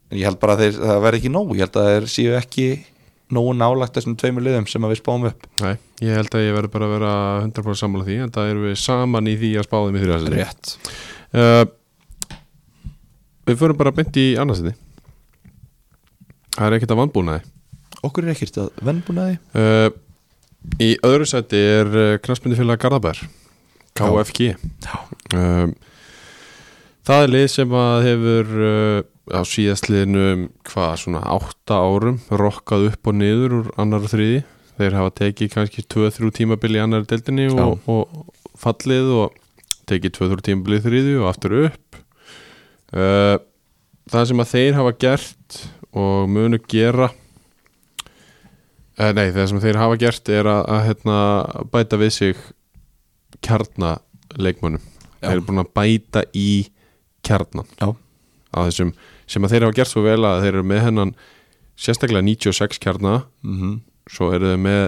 Speaker 2: en ég held bara að þeir, það verði ekki nóg, ég held að þeir séu ekki nógu nálagt þessum tveimur liðum sem að við spáum upp
Speaker 1: nei, ég held að ég verður bara að vera 100% sammála því En það erum við saman í því að spáðum í þrjá
Speaker 2: Rétt
Speaker 1: uh, Við förum bara beint í annarsinni Það er ekkert að vannbúnaði
Speaker 2: Okkur er ekkert að vennbúnaði
Speaker 1: uh, Í öðru sæti er uh, knastmyndifélag Garðabær KFG
Speaker 2: Já,
Speaker 1: um, Það er lið sem að hefur uh, á síðastliðinum hvað svona átta árum rokkað upp og niður úr annar og þriði þeir hafa tekið kannski 2-3 tímabil í annar deildinni og, og fallið og tekið 2-3 tímabil í þriði og aftur upp uh, Það sem að þeir hafa gert og munu gera eh, Nei, það sem þeir hafa gert er að, að hérna, bæta við sig kjarnaleikmönnum
Speaker 2: Já.
Speaker 1: þeir eru búin að bæta í kjarnan
Speaker 2: já,
Speaker 1: að þessum sem að þeir hafa gert svo vel að þeir eru með hennan sérstaklega 96 kjarna
Speaker 2: mhm,
Speaker 1: svo eru þeir með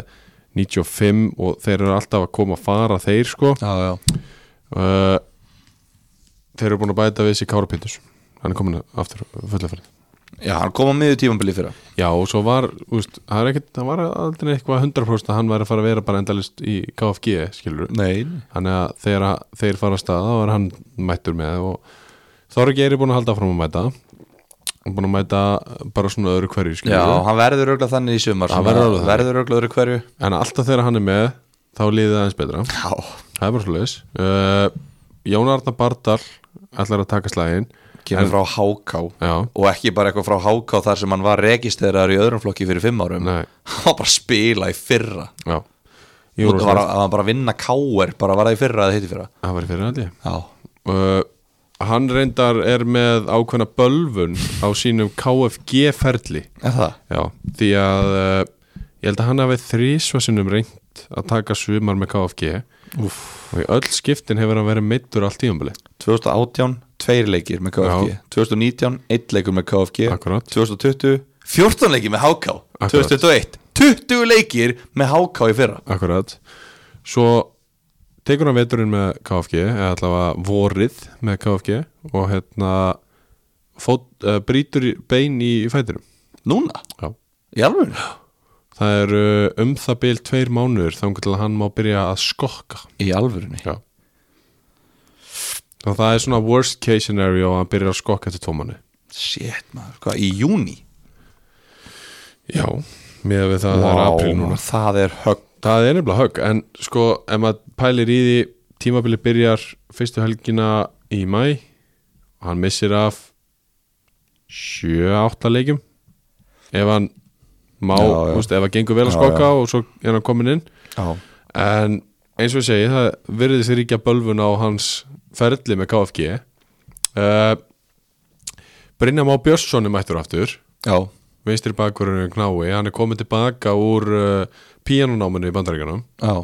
Speaker 1: 95 og þeir eru alltaf að koma að fara þeir sko
Speaker 2: já, já
Speaker 1: uh, þeir eru búin að bæta við sig Kára Pindus hann er komin aftur fullaferð
Speaker 2: Já, hann kom á miður tímambili fyrra
Speaker 1: já og svo var, úst, það, er ekkit, það var aldrei eitthvað 100% að hann væri að fara að vera bara endalist í KFG skilur
Speaker 2: Nei,
Speaker 1: þannig að þegar að- þeir fara að staða þá er hann mættur með og Þorgeir er búin að halda fram að mæta hann er búin að mæta bara svona öðru hverju skilur
Speaker 2: Já,
Speaker 1: við.
Speaker 2: hann verður auðvitað þannig í sumar
Speaker 1: Hann
Speaker 2: svona,
Speaker 1: verður örugglega þannig.
Speaker 2: verður auðvitað öðru hverju
Speaker 1: en alltaf þegar hann er með þá líði það eins betra
Speaker 2: Já,
Speaker 1: það er bara svo leiðis uh, Jón Arna Bardal ætlar að taka slægin
Speaker 2: kemur frá Háká
Speaker 1: já,
Speaker 2: og ekki bara eitthvað frá Háká þar sem hann var registrar í öðrum flokki fyrir fimm árum
Speaker 1: Nei.
Speaker 2: hann var bara að spila í fyrra
Speaker 1: já
Speaker 2: og það var
Speaker 1: Júrósvöld,
Speaker 2: að- hann var bara að vinna káer bara var það í fyrra eða hitti fyrra
Speaker 1: það var í fyrir allir
Speaker 2: Já,
Speaker 1: uh, hann reyndar er með ákveðna bölvun á sínum KFG ferli
Speaker 2: er það?
Speaker 1: Já, því að uh, ég held að hann hafi þrísva sinnum reynt að taka sumar með KFG Úf. og í öll skiptin hefur hann verið meittur allt tíumbili
Speaker 2: 2018, tveir leikir með KFG 2019, eitt leikur með KFG
Speaker 1: Akkúrat.
Speaker 2: 2020, 14 leikir með Háká
Speaker 1: Akkúrat.
Speaker 2: 2021, 20 leikir með Háká í fyrra
Speaker 1: Akkurat Svo tekur hann veturinn með KFG eða allavega vorið með KFG og hérna fót, uh, brýtur í- bein í, í fætinum
Speaker 2: Núna,
Speaker 1: Já
Speaker 2: í alveg
Speaker 1: Það eru uh, um það bil tveir mánuður þangar til að hann má byrja að skokka
Speaker 2: Í alvörunni
Speaker 1: Já Og það er svona worst case scenario að hann byrja að skokka eftir tvo manni
Speaker 2: Shit maður, hvað, í júni?
Speaker 1: Já, með við það að það er apríl núna
Speaker 2: það er högg
Speaker 1: það er nefnilega högg en sko, ef maður pælir í því tímabili byrjar fyrstu helgina í mæ og hann missir af 7-8 leikjum ef hann má,
Speaker 2: Já, já.
Speaker 1: þú veist, ef hann gengur vel að
Speaker 2: Já,
Speaker 1: skokka og svo er hann komin inn
Speaker 2: Já,
Speaker 1: en eins og ég segi, það virðist ríkja bölvun á hans ferli með KFG uh, Brynja Má Björnsson er mættur aftur
Speaker 2: já,
Speaker 1: vinstri bakkurinn knái, hann er komin tilbaka úr uh, píanunáminu í bandaríkanum
Speaker 2: já.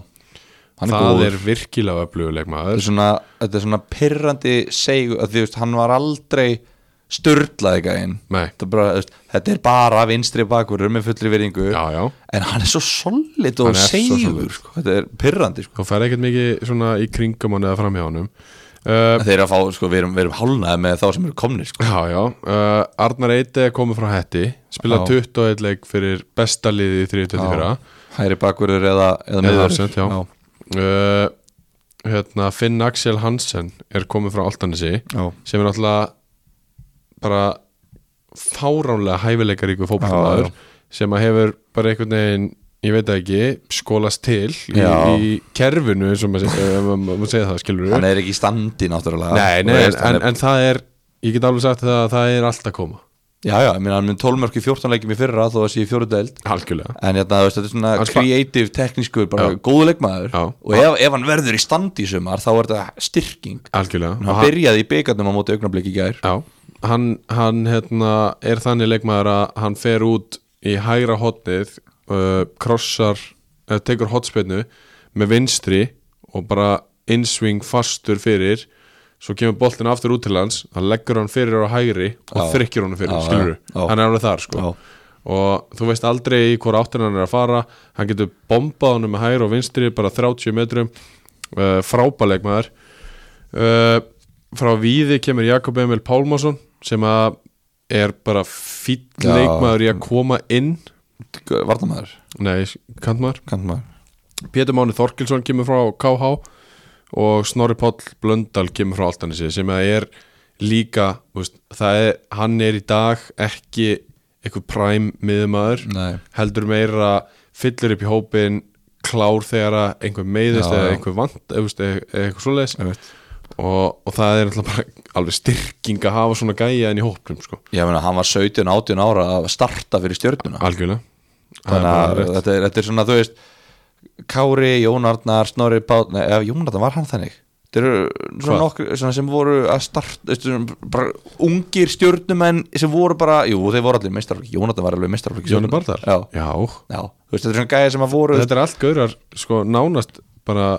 Speaker 2: Hann
Speaker 1: það
Speaker 2: góður.
Speaker 1: er virkilega
Speaker 2: þetta
Speaker 1: öfluguleikmaður
Speaker 2: er svona, þetta er svona pyrrandi segu að því veist, hann var aldrei störlaði gæinn
Speaker 1: Nei.
Speaker 2: Þetta er bara, þú veist, þetta er bara vinstri bakurur með fullri veringu
Speaker 1: já, já,
Speaker 2: en hann er svo solid
Speaker 1: Hann
Speaker 2: og
Speaker 1: er svo
Speaker 2: segur
Speaker 1: solid.
Speaker 2: sko. þetta er pyrrandi sko.
Speaker 1: þá fer ekkert mikið svona í kringum hann eða framhjá honum uh,
Speaker 2: þeir eru að fá, sko, við erum, við erum hálnaði með þá sem eru komnir sko.
Speaker 1: já, já, uh, Arnar Eite er komið frá hætti, spila
Speaker 2: Já.
Speaker 1: 21 leik fyrir besta liðið í 324
Speaker 2: hæri bakurur eða, eða
Speaker 1: eða
Speaker 2: miðvörður.
Speaker 1: arsent, já, Uh, hérna, Finn Axel Hansen er komið frá Altanesi
Speaker 2: já.
Speaker 1: sem er náttúrulega bara fáránlega hæfileikaríku
Speaker 2: Já,
Speaker 1: fótballmaður
Speaker 2: já.
Speaker 1: sem að hefur bara einhvern veginn ég veit það ekki, skólast til í,
Speaker 2: Já.
Speaker 1: í kerfinu eins og maður segja, maður segja það, skilur
Speaker 2: hann er ekki í standi náttúrulega
Speaker 1: Nei, nei,
Speaker 2: Og
Speaker 1: en,
Speaker 2: veist, hann
Speaker 1: en, en það er ég get alveg sagt það að það er allt að koma
Speaker 2: já, já, ég meina, hann mun 12 mörg í 14 leikjum í fyrra þó að sé í fjóru deild
Speaker 1: algjörlega
Speaker 2: en hérna, þú veist, þetta er svona
Speaker 1: Hann spa-
Speaker 2: kreatív, teknískur, bara
Speaker 1: Já.
Speaker 2: góðu leikmaður
Speaker 1: Já.
Speaker 2: og ef, ef hann verður í standi í sumar þá er þetta styrking
Speaker 1: algjörlega
Speaker 2: hann
Speaker 1: Og
Speaker 2: byrjaði í byggarnum á móti augnablik í gær
Speaker 1: Já, hann, hann hérna, er þannig leikmaður að hann fer út í hægra hotnið uh, krossar, uh, tekur hotspinnu með vinstri og bara innsving fastur fyrir svo kemur boltin aftur út til hans hann leggur hann fyrir á hægri og
Speaker 2: Já.
Speaker 1: þrykkir hann fyrir,
Speaker 2: Já,
Speaker 1: skilur
Speaker 2: já, já.
Speaker 1: hann er alveg þar sko
Speaker 2: Já.
Speaker 1: og þú veist aldrei í hvora áttin hann er að fara hann getur bombað hann með hægri og vinstri bara 30 metrum uh, frábæleikmaður uh, frá Víði kemur Jakob Emil Pálmarsson sem að er bara fýll
Speaker 2: Já.
Speaker 1: leikmaður í að koma inn
Speaker 2: Varnamæður,
Speaker 1: nei, kantmaður
Speaker 2: kantmæður
Speaker 1: Pétur Máni Þorkilsson kemur frá KH og Snorri Páll Blöndal kemur frá Altanesi sem að er líka, þú veist, það er hann er í dag ekki eitthvað præm miðumadur
Speaker 2: Nei.
Speaker 1: heldur meira fyllir upp í hópin klár þegar að einhver meiðist
Speaker 2: Já,
Speaker 1: eða
Speaker 2: já.
Speaker 1: einhver vant eða þú veist, eða- eða eitthvað svoleiðis og, og það er náttúrulega bara alveg styrking að hafa svona gæja inn í hópnum sko.
Speaker 2: Ég meina, hann var 17-18 ára að starta fyrir stjörnuna
Speaker 1: algjörlega Það er
Speaker 2: Þannig
Speaker 1: bara
Speaker 2: að
Speaker 1: rétt.
Speaker 2: þetta er, þetta er svona, þú veist Kári, Jón Arnar, Snorri Páll Nei, ef Jón Arnar var hann þannig Þetta eru svona
Speaker 1: Hvað?
Speaker 2: nokkur svona sem voru að starta veistu, svona bara Ungir stjörnumenn sem voru bara Jú, þeir voru allir meistarflokki Jón Arnar var alveg meistarflokki
Speaker 1: Jóni Bardar
Speaker 2: Já,
Speaker 1: já.
Speaker 2: já, þú veist, þetta er svona gæði sem að voru
Speaker 1: þetta er allt gaurar sko nánast bara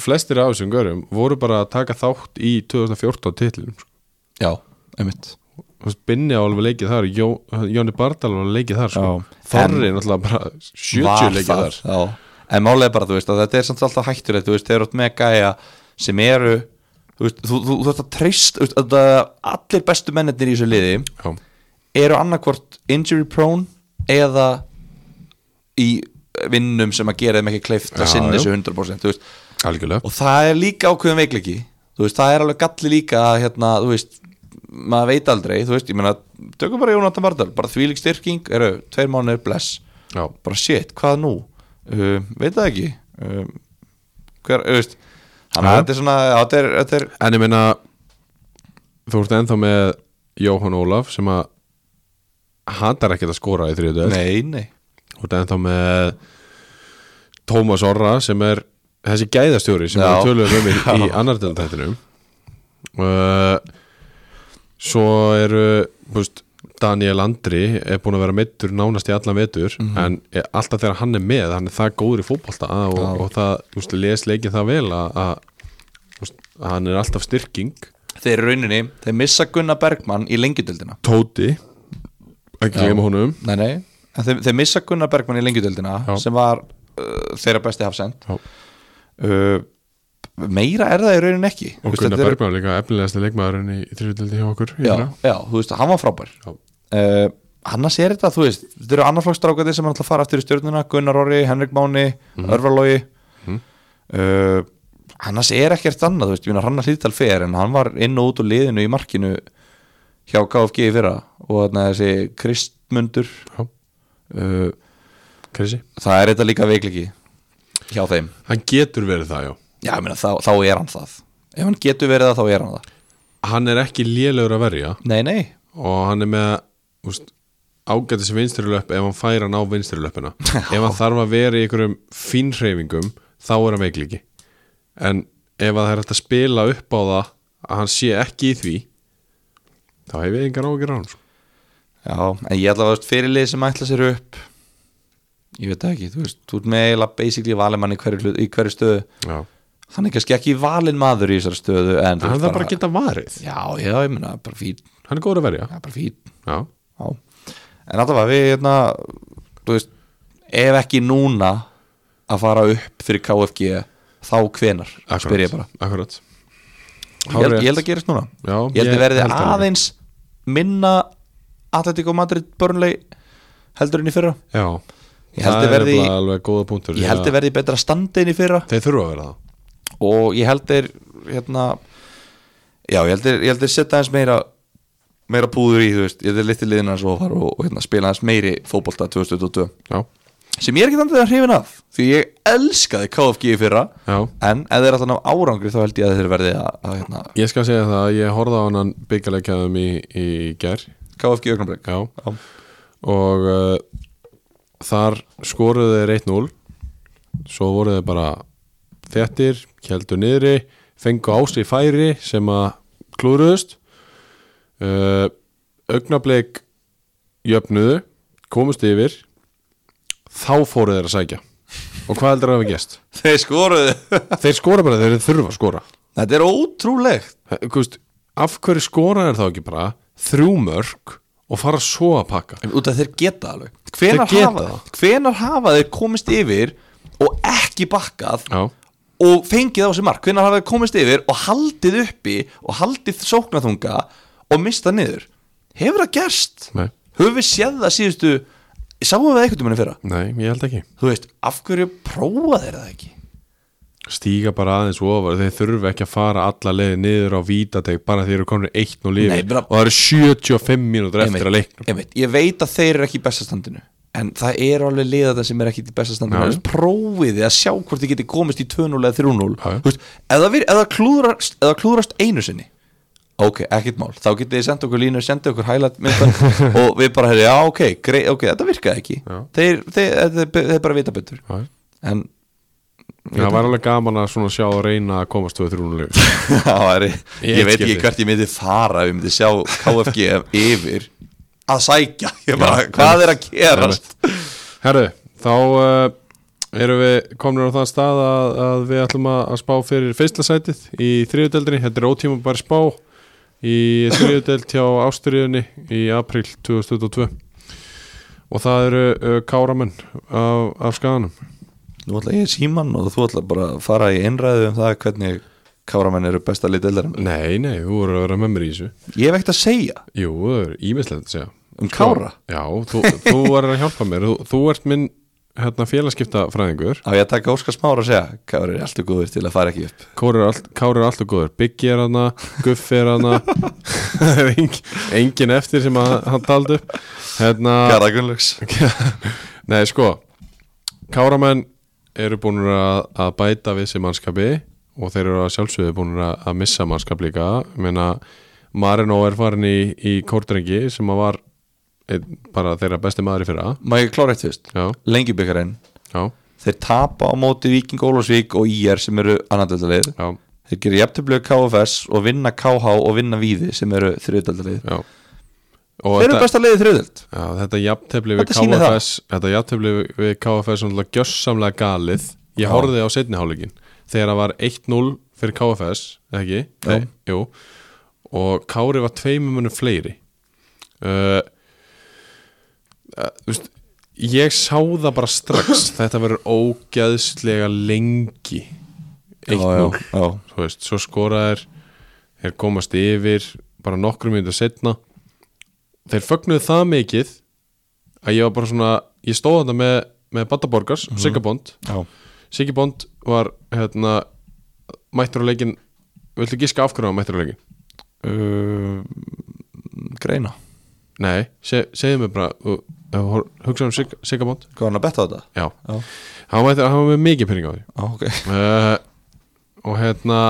Speaker 1: flestir af þessum gaurum voru bara að taka þátt í 2014 titlum sko.
Speaker 2: Já, einmitt
Speaker 1: Þú veist, Binni á alveg leikið þar Jó, Jóni Bardal var leikið þar sko.
Speaker 2: Já.
Speaker 1: Þorri náttúrulega bara 70 leikið þar
Speaker 2: já. en málega bara þú veist að þetta er samt alltaf hættulegt þú veist þeir eru oft með gæja sem eru þú veist þú, þú, þú ert að treyst þú veist, að það- allir bestu mennirnir í þessu liði
Speaker 1: já.
Speaker 2: eru annarkvort injury prone eða í vinnum sem að gera þeim ekki kleift
Speaker 1: Já,
Speaker 2: að sinna
Speaker 1: já.
Speaker 2: þessu 100% þú veist
Speaker 1: algjörlega
Speaker 2: og það er líka ákveðum veikleiki þú veist, það er alveg galli líka að, hérna, þú veist, maður veit aldrei þú veist, ég meina, tökum bara Jónatan Vardal bara þvílík styrking, eru, tveir mánuðir bless
Speaker 1: já.
Speaker 2: bara shit, hvað nú uh, veit það ekki uh, hver, þú veist þannig að
Speaker 1: Já.
Speaker 2: þetta er svona, já, þetta er, þetta er
Speaker 1: en ég meina þú ert ennþá með Jóhann Ólaf sem að hattar ekkert að skora í þriðu döð
Speaker 2: nei, nei,
Speaker 1: og það er ennþá með Tómas Orra sem er þessi gæðastjóri sem
Speaker 2: Já.
Speaker 1: við töluðum um í, í annar deltættinum uh, svo eru búst, Daniel Andri er búin að vera meittur nánast í allan vetur
Speaker 2: Mhm.
Speaker 1: en er, alltaf þegar hann er með hann er það góður í fótbolta og, og,
Speaker 2: Já.
Speaker 1: það búst, les leikin það vel að, að búst, hann er alltaf styrking
Speaker 2: þeir eru rauninni þeir missa Gunnar Bergmann í lengjudöldina
Speaker 1: Tóti ekki
Speaker 2: Já.
Speaker 1: glemma honum
Speaker 2: nei, nei, en þeir, þeir missa Gunnar Bergmann í lengjudöldina
Speaker 1: Já.
Speaker 2: sem var uh, þeirra besti hafsend
Speaker 1: Já.
Speaker 2: uh, meira er það í rauninni ekki Þú
Speaker 1: og
Speaker 2: veist,
Speaker 1: Gunnar
Speaker 2: þetta er-
Speaker 1: Bergman líka efnilegasti leikmaðurinn í, í þriðutildi hjá okkur í
Speaker 2: já,
Speaker 1: fyrra.
Speaker 2: já, þú veist, hann var frábær
Speaker 1: Já.
Speaker 2: uh, annars er þetta, þú veist þetta eru annarflokkstrákandi sem hann ætla að fara aftur í stjórnuna Gunnar Orri, Henrik Máni,
Speaker 1: Mhm.
Speaker 2: Örvarlógi uh, annars er ekkert annað, þú veist, ég finna Rannar Hlítal fer en hann var inn og út úr liðinu í markinu hjá KFG í fyrra og þarna þessi Kristmundur
Speaker 1: Já.
Speaker 2: uh,
Speaker 1: Krissi
Speaker 2: það er þetta líka veikliki hjá þeim
Speaker 1: hann getur verið það, já
Speaker 2: Já, ég meina, þá, þá er hann það Ef hann getur verið það, þá er hann það
Speaker 1: hann er ekki lélegur að verja
Speaker 2: Nei, nei,
Speaker 1: og hann er með úst, ágætis vinsturlöp ef hann fær hann á vinsturlöpina ef hann þarf að vera í einhverjum fínhreyfingum þá er hann veiklíki en ef að það er hægt að spila upp á það að hann sé ekki í því þá hef ég engar ágjur á hann
Speaker 2: já, en ég ætla að veist fyrirlið sem ætla sér upp Ég veit það ekki, þú veist, þú ert með eiginlega basically valimann í hverju, hlut- í hverju stöðu
Speaker 1: já.
Speaker 2: Hann er kannski ekki valinn maður í þessari stöðu En
Speaker 1: hann
Speaker 2: þú veist
Speaker 1: þarf bara að geta varið
Speaker 2: Já, já, ég meina, bara fín
Speaker 1: hann er góður að verja
Speaker 2: Já, bara fín
Speaker 1: já.
Speaker 2: Já, en allavega við hérna, þú veist, ef ekki núna að fara upp fyrir KFG þá hvenar, spyr ég bara
Speaker 1: akkurat.
Speaker 2: ég held, ég held að gerist núna
Speaker 1: Já,
Speaker 2: ég held
Speaker 1: ég
Speaker 2: að verði
Speaker 1: held það líka.
Speaker 2: aðeins minna Atletico Madrid Burnley heldur en í fyrra
Speaker 1: já.
Speaker 2: Ég held að
Speaker 1: það er
Speaker 2: verði-
Speaker 1: nefnilega alveg góða punktur
Speaker 2: ég held að verði í betra standi en í fyrra
Speaker 1: þeir þurfa að vera það
Speaker 2: og ég held þeir hérna, já, ég held þeir, ég held þeir setja aðeins meira meira púður í, þú veist, ég held þeir litið liðina svo og, og, og hérna, spila aðeins meiri fótbolta 2022
Speaker 1: já,
Speaker 2: sem ég er ekki þannig að hrifin af því ég elskaði KFG í fyrra
Speaker 1: já
Speaker 2: en ef þeir er alltaf ná árangri þá held ég að þeir verði að, að hérna,
Speaker 1: Ég skal segja það að ég horfði á hann byggjarleikjaðum í, í gær
Speaker 2: KFG augnablik
Speaker 1: já. og uh, þar skoruðu þeir 1-0 svo voru þeir bara þettir, keldu niðri fengu á sig færi sem að klúruðust uh, augnablik jöfnuðu, komust yfir þá fóru þeir að sækja og hvað heldur að hafa gest?
Speaker 2: þeir skoruðu
Speaker 1: Þeir skora bara þegar þeir þurfa að skora
Speaker 2: þetta er ótrúlegt
Speaker 1: Kust, af hverju skora er þá ekki bara þrjú mörg og fara svo að pakka
Speaker 2: en út af þeir geta alveg hvenar,
Speaker 1: Þeir geta
Speaker 2: hafa, hvenar hafa þeir komist yfir og ekki bakkað
Speaker 1: já,
Speaker 2: og fengið á sig mark hvenar hafa þeir komist yfir og haldið uppi og haldið sóknathunga og mistað niður hefur það gerst?
Speaker 1: Nei.
Speaker 2: höfum við séð það síðustu sáum við það einhvern veginn fyrra?
Speaker 1: nei, ég held ekki
Speaker 2: þú veist, af hverju prófa þeir það ekki
Speaker 1: stíga bara aðeins ofar, þeir þurfa ekki að fara alla leiði niður á vítateg bara þeir eru konur 1-0
Speaker 2: Nei,
Speaker 1: yfir
Speaker 2: bara-
Speaker 1: og það eru 75 mínútur eftir að leiknum
Speaker 2: ég, veit, ég veit að þeir eru ekki í bestastandinu en það eru alveg liðata sem er ekki í bestastandinu
Speaker 1: Já.
Speaker 2: ja. prófiði að sjá hvort þið geti komist í 2-0 eða 3-0
Speaker 1: Já, já.
Speaker 2: Þú veist, ef það vir- ef það klúðrast, ef það klúðrast einu sinni ok, ekkert mál, þá getið þið senda okkur línu senda okkur highlight myndan og við bara hefði, já ok, grei, ok, þetta virkaði ekki
Speaker 1: Já.
Speaker 2: þeir, þeir, þeir, þeir bara vita betur
Speaker 1: Já, já.
Speaker 2: en
Speaker 1: það var alveg gaman að svona sjá og reyna að komast 2-3 leik
Speaker 2: það væri,
Speaker 1: Í
Speaker 2: ég,
Speaker 1: eitt
Speaker 2: veit ekki
Speaker 1: skipti.
Speaker 2: hvert ég myndi fara ef ég myndi sjá KFG yfir að sækja ég bara, hvað er að gerast
Speaker 1: Herru, þá uh, erum við komin á þann stað að, að við ætlum að, að spá fyrir feislasætið í þriðudeldinni, þetta er ótíma bara spá í þriðudeld hjá Ástriðunni í april 2022 og það eru uh, káramenn af, af skaganum
Speaker 2: nú ætla ég í síman og þú ætla bara að fara í einræðu um það hvernig káramenn eru besta lið deildarinnar
Speaker 1: Nei, nei, þú voru að vera með mér í þessu
Speaker 2: ég hef ekkert að segja
Speaker 1: Jú, það er ímislegt að segja
Speaker 2: um kára
Speaker 1: Já, þú, þú verður að hjálpa mér þú, þú ert minn hérna, félagskipta fræðingur
Speaker 2: á ég að taka Óskar Smára að segja kára er alltaf góður til að fara ekki upp
Speaker 1: Kári er, allt, Kári er alltaf góður Biggi er hana, Guffi er hana Það er engin, engin eftir sem að, hann taldi upp hérna,
Speaker 2: Kara Gunnlaugs
Speaker 1: Nei sko Káramenn eru búin að, að bæta við sér mannskapi og þeir eru að sjálfsögðu búin að, að missa mannskap líka Ég meina, Marino er farin í, í Kórdrengi sem að var einn, bara þeirra besti maður í fyrra
Speaker 2: má ég klára eitt fyrst
Speaker 1: Já,
Speaker 2: lengjubikarinn
Speaker 1: já,
Speaker 2: þeir tapa á móti Víking Ólafsvík og IR sem eru annardeltalið
Speaker 1: já,
Speaker 2: þeir gera jafntöflög KFS og vinna KH og vinna Víði sem eru þriðdaldalið
Speaker 1: já Og
Speaker 2: Þeir eru
Speaker 1: þetta-
Speaker 2: besta liðið þriðdöld
Speaker 1: Já, þetta jafntefli við
Speaker 2: Þetta sýnir það.
Speaker 1: KFS Þetta jafntefli við KFS er gjössamlega galið Ég horfði á setniháleikin þegar það var 1-0 fyrir KFS eða ekki? Nei, jú og Kári var tveimum munum fleiri uh, uh, þú veist, Ég sá það bara strax þetta verður ógeðslega lengi 1-0 þú veist, svo skoraðir þeir komast yfir bara nokkrum myndu setna þeir fögnuðu það mikið að ég var bara svona ég stóð þetta með, með Bataborgars mm -hmm. Sigabond, Sigabond var hérna, mættur á leikin viltu gíska af hverju hann var mættur á leikin?
Speaker 2: Greina
Speaker 1: Nei, se, segðu mér bara þú- ef við hor- hugsaðum um Sig- Sigabond
Speaker 2: Hvað var hann að betta á þetta?
Speaker 1: já,
Speaker 2: Já,
Speaker 1: hann var, hann var með mikið pening á því
Speaker 2: ah, ok
Speaker 1: uh, og hérna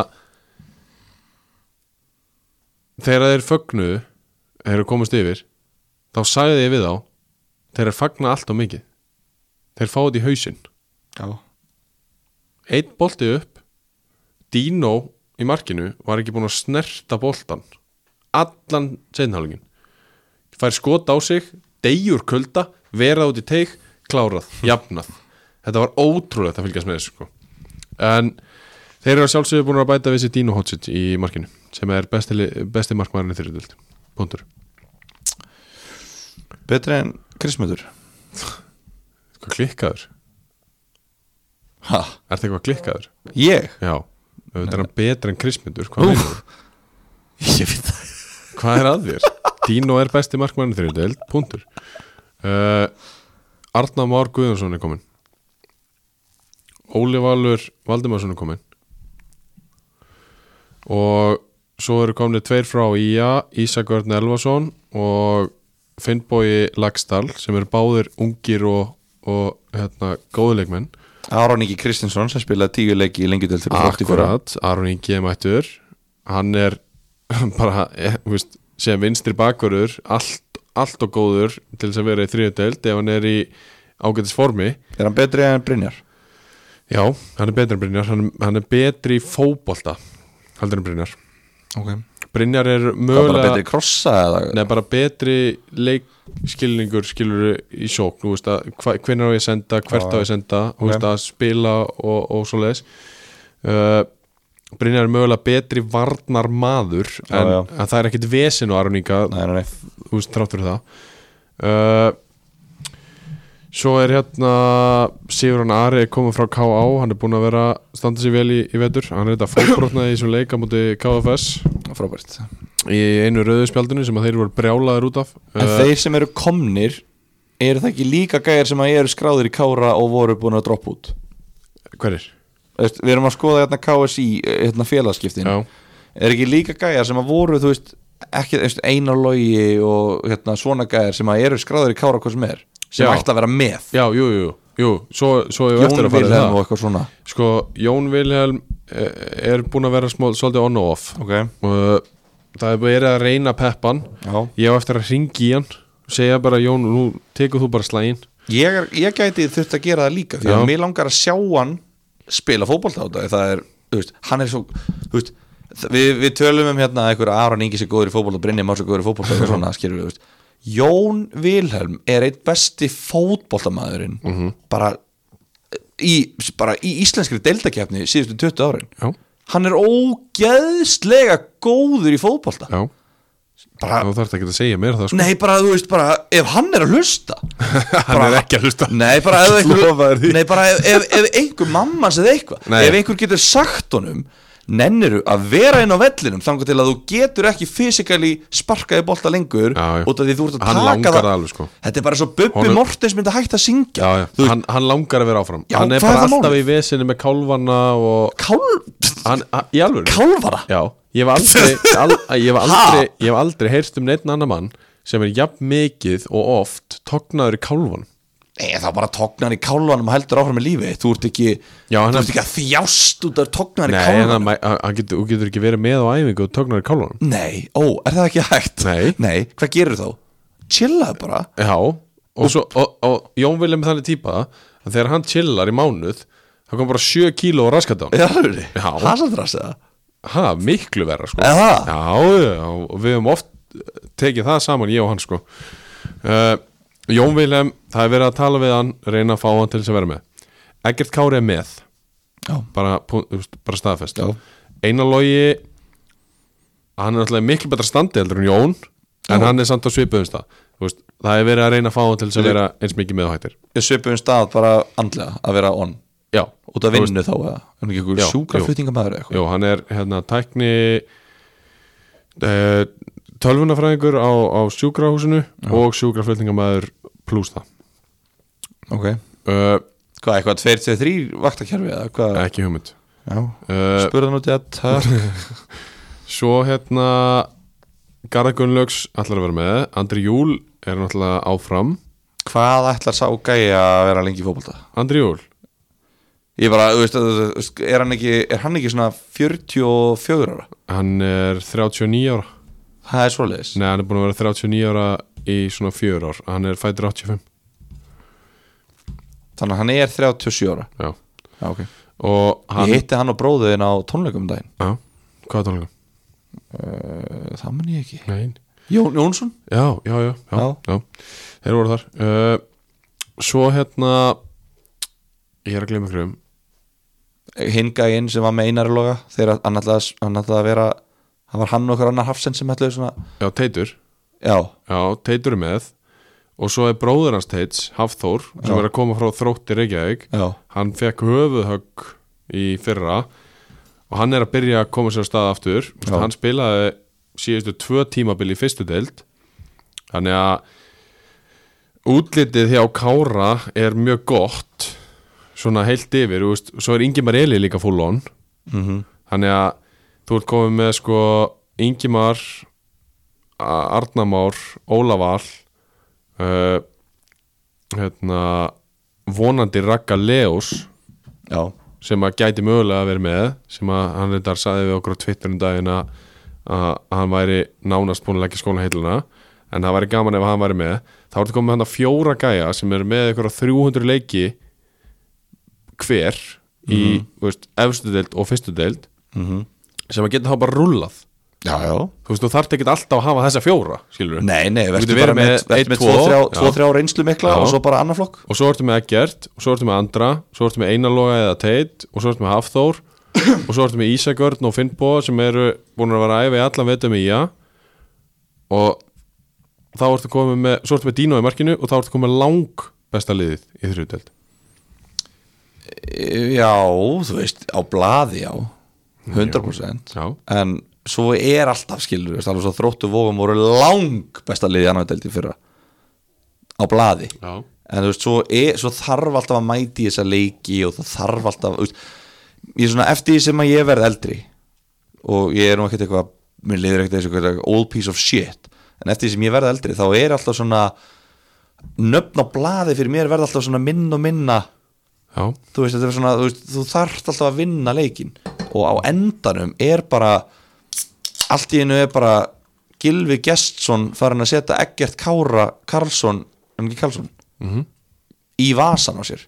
Speaker 1: þegar þeir fögnuðu þeir eru komast yfir þá sagði ég við þá þeir eru fagna allt og mikið þeir fáið í hausinn
Speaker 2: Já,
Speaker 1: einn bolti upp Dino í markinu var ekki búin að snerta boltan allan seinhálingin fær skot á sig deyjur kulda, vera út í teik klárað, jafnað þetta var ótrúlegt að fylgjast með þessu sko. en þeir eru að sjálfsögðu búin að bæta við sér Dino Hotsic í markinu sem er besti, li- besti markmaðurinn þeirri dild punktur,
Speaker 2: betri en Krismötur
Speaker 1: eitthvað klikkaður
Speaker 2: Ha,
Speaker 1: er það eitthvað klikkaður?
Speaker 2: ég?
Speaker 1: Já, auðvitað er hann betra en Krismundur hvað, meinarðu?
Speaker 2: Ég veit það
Speaker 1: hvað er að þér? Dino er besti markmann þeirri deild, punktur uh, Arna Már Guðjónsson er komin Óli Valur Valdimarsson er komin og svo eru komin tveir frá IA Ísak Örn Elvason og Finnbói Lagstall sem eru báðir ungir og, og hérna, góðuleikmenn
Speaker 2: Aron Ingi Kristinsson sem spilaði tíu leiki í lengjudelt fyrir Þrótt í fyrra.
Speaker 1: Akkurat, Aron Ingi er mættur hann er bara, eh, þú veist, sem vinstri bakverður allt, allt og góður til þess að vera í þriðudeld ef hann er í ágætis formi
Speaker 2: Er hann betri en Brynjar?
Speaker 1: Já, hann er betri en Brynjar hann, hann er betri í fótbolta heldur en Brynjar
Speaker 2: Ok
Speaker 1: Brynjar er
Speaker 2: Það er bara
Speaker 1: mögulega
Speaker 2: betri krossa eða
Speaker 1: Nei, bara betri leikskilningur skilur í sjók, þú veist að hvernig á ég að senda, hvert á ég að senda þú veist að spila og, og svo leiðis uh, Brynjar er mögulega betri varnar maður en,
Speaker 2: já.
Speaker 1: en það er ekkit vesinn á Aroníka
Speaker 2: Nei, nei, nei
Speaker 1: þú veist, þrátt fyrir það uh, Svo er hérna Sigurðan Ari komið frá K.A. hann er búinn að vera, standa sér vel í, í vetur hann er þetta fótbrotnaði í þessum leika múti KFS
Speaker 2: Frábært
Speaker 1: í einu rauðu spjaldinu sem að þeir voru brjálaðir út af
Speaker 2: En
Speaker 1: Uh,
Speaker 2: þeir sem eru komnir eru það ekki líka gæjar sem að eru skráðir í Kára og voru búin að droppa út
Speaker 1: Hverir?
Speaker 2: Veist, Við erum að skoða hérna KSI eh, hérna félagskiptin
Speaker 1: Já,
Speaker 2: er ekki líka gæjar sem að voru þú veist, ekki þú veist, einar logi og hérna, svona gæjar sem að eru skráður í kára hvað sem er sem
Speaker 1: Já.
Speaker 2: ætla að vera með
Speaker 1: já, jú, jú, jú Svo, svo ég
Speaker 2: Jón
Speaker 1: eftir að fara í
Speaker 2: Vilhelm
Speaker 1: það
Speaker 2: og eitthvað svona
Speaker 1: Sko, Jón Vilhelm eh, er búinn að vera smá, svolítið on og off
Speaker 2: ok,
Speaker 1: og það er verið að reyna peppan
Speaker 2: já
Speaker 1: ég á eftir að ringi í hann segja bara Jón, nú tekur þú bara slægin
Speaker 2: ég, er, ég gæti þurft að gera það líka því
Speaker 1: Já.
Speaker 2: að mér langar að sjá hann spila fótbolta á þetta það er, þú veist, hann er svo þú veist, þ- við, við tölum um hérna einhver Aron Ingi sem góður í fótbolta, Brynja Már sem góður í fótbolta og svona, skilur við, þú veist Jón Vilhelm er einn besti fótboltamaðurinn bara, í, bara í íslenskri deildakefni síðustu 20 árin
Speaker 1: Já,
Speaker 2: hann er ógeðslega góður í fótbolta
Speaker 1: já,
Speaker 2: bara,
Speaker 1: þú þarft ekki að segja mér það sko.
Speaker 2: nei bara þú veist bara, ef hann er að hlusta
Speaker 1: Hann er ekki að hlusta
Speaker 2: nei bara, ef,
Speaker 1: Lofaður því.
Speaker 2: einhver, nei, bara ef, ef, ef einhver mammas eða eitthvað,
Speaker 1: Nei.
Speaker 2: ef einhver getur sagt honum nenniru að vera inn á vellinum þangar til að þú getur ekki fysikali sparkaði bolta lengur
Speaker 1: Já, já.
Speaker 2: út af því þú ert að
Speaker 1: Hann langar
Speaker 2: taka
Speaker 1: það alveg, sko.
Speaker 2: þetta er bara svo Bubbi
Speaker 1: Honum-
Speaker 2: Mortens myndi hægt að syngja
Speaker 1: Já, já,
Speaker 2: þú veist,
Speaker 1: hann, hann langar að vera áfram
Speaker 2: Já,
Speaker 1: Hann er
Speaker 2: hvað er
Speaker 1: bara
Speaker 2: það
Speaker 1: alltaf
Speaker 2: málið?
Speaker 1: í vesinu með kálfana og
Speaker 2: kálf,
Speaker 1: hann, hann, Í alvöru
Speaker 2: kálfara
Speaker 1: Já, ég hef aldrei, al, ég hef aldrei, ég hef aldrei heyrst um neitt annan mann sem er jafn mikið og oft tognaður í kálvan
Speaker 2: Nei, það bara tognar í kálvanum og heldur áfram í lífi Þú ert ekki,
Speaker 1: Já, hann
Speaker 2: þú
Speaker 1: er-
Speaker 2: ert ekki að þjást út af tognar í
Speaker 1: Nei, en hann
Speaker 2: kálvanum
Speaker 1: mæ- hann hann getur, þú getur ekki verið með á æfingu og tognaður í kálvan
Speaker 2: Nei, ó, er það ekki hægt?
Speaker 1: Nei.
Speaker 2: hvað gerir þá? Chillaðu bara
Speaker 1: Já, og, svo, og, og Jón Vilhelm er þannig típa að þegar hann chillar í mánuð þá kom bara 7 kíló og raskat á hann
Speaker 2: Já,
Speaker 1: Já.
Speaker 2: Hasandras eða?
Speaker 1: Ha, miklu verra sko
Speaker 2: Eða það?
Speaker 1: Já, já, og við höfum oft eh, tekið það saman, ég og hann sko uh, Jón Vilhelm, það er verið að tala við hann reyna að fá hann til þess að vera með Eggert Kári er með
Speaker 2: Já.
Speaker 1: bara, pú- þú veist, bara staðfest
Speaker 2: Já.
Speaker 1: Einar Logi hann er náttúrulega í miklu betra standi heldur en Jón en hann er samt á svipuðum stað Þú veist, það er verið að reyna að fá hann til þess að vera eins mikið með og hættir
Speaker 2: Ég svipum stað bara andlega að vera on
Speaker 1: Já,
Speaker 2: Út af vinnu þá eða Er hann ekki
Speaker 1: Já,
Speaker 2: einhver sjúkraflutningamæður eða eitthvað?
Speaker 1: Jú, hann er hérna tækni uh, tölvunafræðingur á, á sjúkrahúsinu og sjúkraflutningamæður pluss það
Speaker 2: Ok
Speaker 1: uh,
Speaker 2: Hvað, eitthvað 2-3 vaktakerfi eða hvað?
Speaker 1: ekki hugmynd
Speaker 2: Já Eh,
Speaker 1: uh,
Speaker 2: Spurðan út í að tök
Speaker 1: svo hérna Garðar Gunnlaugs ætlar að vera með Andri Júl er náttúrulega áfram
Speaker 2: hvað ætlar sá gæi að vera lengi í fótbolta?
Speaker 1: Andri Jól
Speaker 2: Ég bara, þú veist, þú veist, er hann ekki, er hann ekki svona 44 ára?
Speaker 1: Hann er 39 ára
Speaker 2: Það er svoleiðis
Speaker 1: Nei, hann er búin að vera 39 ára í svona 4 ár Hann er fætur 85
Speaker 2: Þannig að hann er 37 ára
Speaker 1: Já
Speaker 2: Já, okay.
Speaker 1: Og hann
Speaker 2: Ég hitti hann og bróðuðin á tónleikum um daginn
Speaker 1: Já, hvað tónleika?
Speaker 2: uh, Það man ég ekki
Speaker 1: Nei
Speaker 2: Jón Jónsson?
Speaker 1: Já, já, já, já, já.
Speaker 2: Já.
Speaker 1: Þeir voru þar uh, Svo hérna Ég er að gleyma ykkur um
Speaker 2: Hinga inn sem var með Einari Loga Þegar hann ætlaði hann ætlaði að vera Það var hann og okkur annar hafsend sem ætlaði svona
Speaker 1: Já, Teitur
Speaker 2: Já,
Speaker 1: Já, Teitur er með og svo er bróður hans Teits, Hafþór sem
Speaker 2: Já.
Speaker 1: er að koma frá þrótti Reykjavík
Speaker 2: já,
Speaker 1: hann fekk höfuðhögg í fyrra og hann er að byrja að koma sér af stað aftur
Speaker 2: Já.
Speaker 1: hann spilaði síðustu tvö tímabil í fyrstu deild þannig að útlitið hjá Kára er mjög gott svona heilt yfir, þú veist, svo er Ingimar Eli líka full on þannig að þú ert komið með sko Ingimar A- Arnamár, Ólafall uh, hérna vonandi Ragga Leos
Speaker 2: já
Speaker 1: sem að gæti mögulega að vera með sem að hann reyndar saði við okkur á Twitter um daginn að, að að hann væri nánast búin að leggja skóla heiluna en það væri gaman ef hann væri með þá ertu komið með hann að fjóra gæja sem eru með ykkur 300 leiki hver í þú veist, efstu deild og fyrstu deild
Speaker 2: mm
Speaker 1: sem að geta þá bara rullað
Speaker 2: Já, já
Speaker 1: þú veist, þú þarft ekkert alltaf að hafa þessa fjóra skilur
Speaker 2: Nei, nei,
Speaker 1: getur
Speaker 2: verður
Speaker 1: verið
Speaker 2: bara með,
Speaker 1: með
Speaker 2: með,
Speaker 1: einn,
Speaker 2: með
Speaker 1: tvo,
Speaker 2: tvo, þrjá,
Speaker 1: já.
Speaker 2: tvo, þrjá reynslu mikla
Speaker 1: Já.
Speaker 2: og svo bara annar flokk
Speaker 1: og svo ertu með Eggert og svo ertu með Andra og svo ertu með Einarloga eða Teit og svo ertu með Hafþór og svo ertu með Ísagörn og Finnbóa sem eru búin að vera að æfa í allan vetum í IA og þá ertu komið með svo ertu með Dino í markinu og þá ertu komið með lang besta liðið í þrjúdelt
Speaker 2: Eh, Já, þú veist, á blaði já 100%
Speaker 1: Já.
Speaker 2: En svo er alltaf skilur veist, alveg svo þróttu vógum voru lang besta liði annaðveldi fyrra á blaði
Speaker 1: Já.
Speaker 2: En þú veist, svo, er, svo þarf alltaf að mæti þessa leiki og það þarf alltaf þú veist, Ég er svona eftir því sem að ég verð eldri og ég er nú ekkert eitthvað mér liður ekkert eitthvað, eitthvað old piece of shit en eftir því sem ég verð eldri þá er alltaf svona nöfn á blaði fyrir mér verð alltaf svona minn og minna
Speaker 1: Já,
Speaker 2: þú veist, þetta er svona, þú, veist, þú þarft alltaf að vinna leikin og á endanum er bara allt í einu er bara Gilvi Gestsson farin að setja Eggert Kára Karlsson, en ekki Karlsson
Speaker 1: Mhm.
Speaker 2: í vasan á sér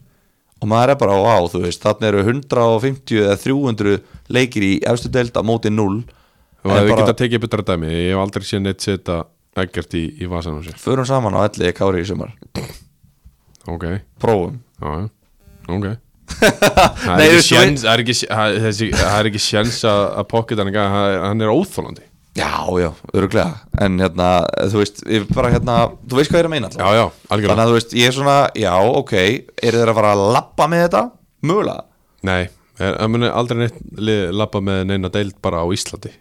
Speaker 2: og maður er bara, á, þú veist, þarna eru 150 eða 300 leikir í efstu delta móti 0
Speaker 1: og
Speaker 2: En
Speaker 1: það bara...
Speaker 2: bara-
Speaker 1: geta tekið betra dæmi ég hef aldrei séð neitt setja Eggert í, í vasanum sér
Speaker 2: förum saman á allir Kári í sumar
Speaker 1: Ok, já,
Speaker 2: prófum
Speaker 1: já, ok Það
Speaker 2: Nei,
Speaker 1: er ekki
Speaker 2: þú veist, svo er-
Speaker 1: sjens- það er ekki sj- það- þessi- það er ekki sjens að, að pocket hann, hann er- hann er óþólandi
Speaker 2: já, já, öruglega en hérna, þú veist, ég bara hérna þú veist hvað ég er að meina
Speaker 1: Já, já, algjörlega
Speaker 2: Þannig að þú veist, ég er svona, já, ok eru þeir að fara að lappa með þetta? Mögulega
Speaker 1: Nei, er- það muni aldrei neitt lið labba með neina deild bara á Íslandi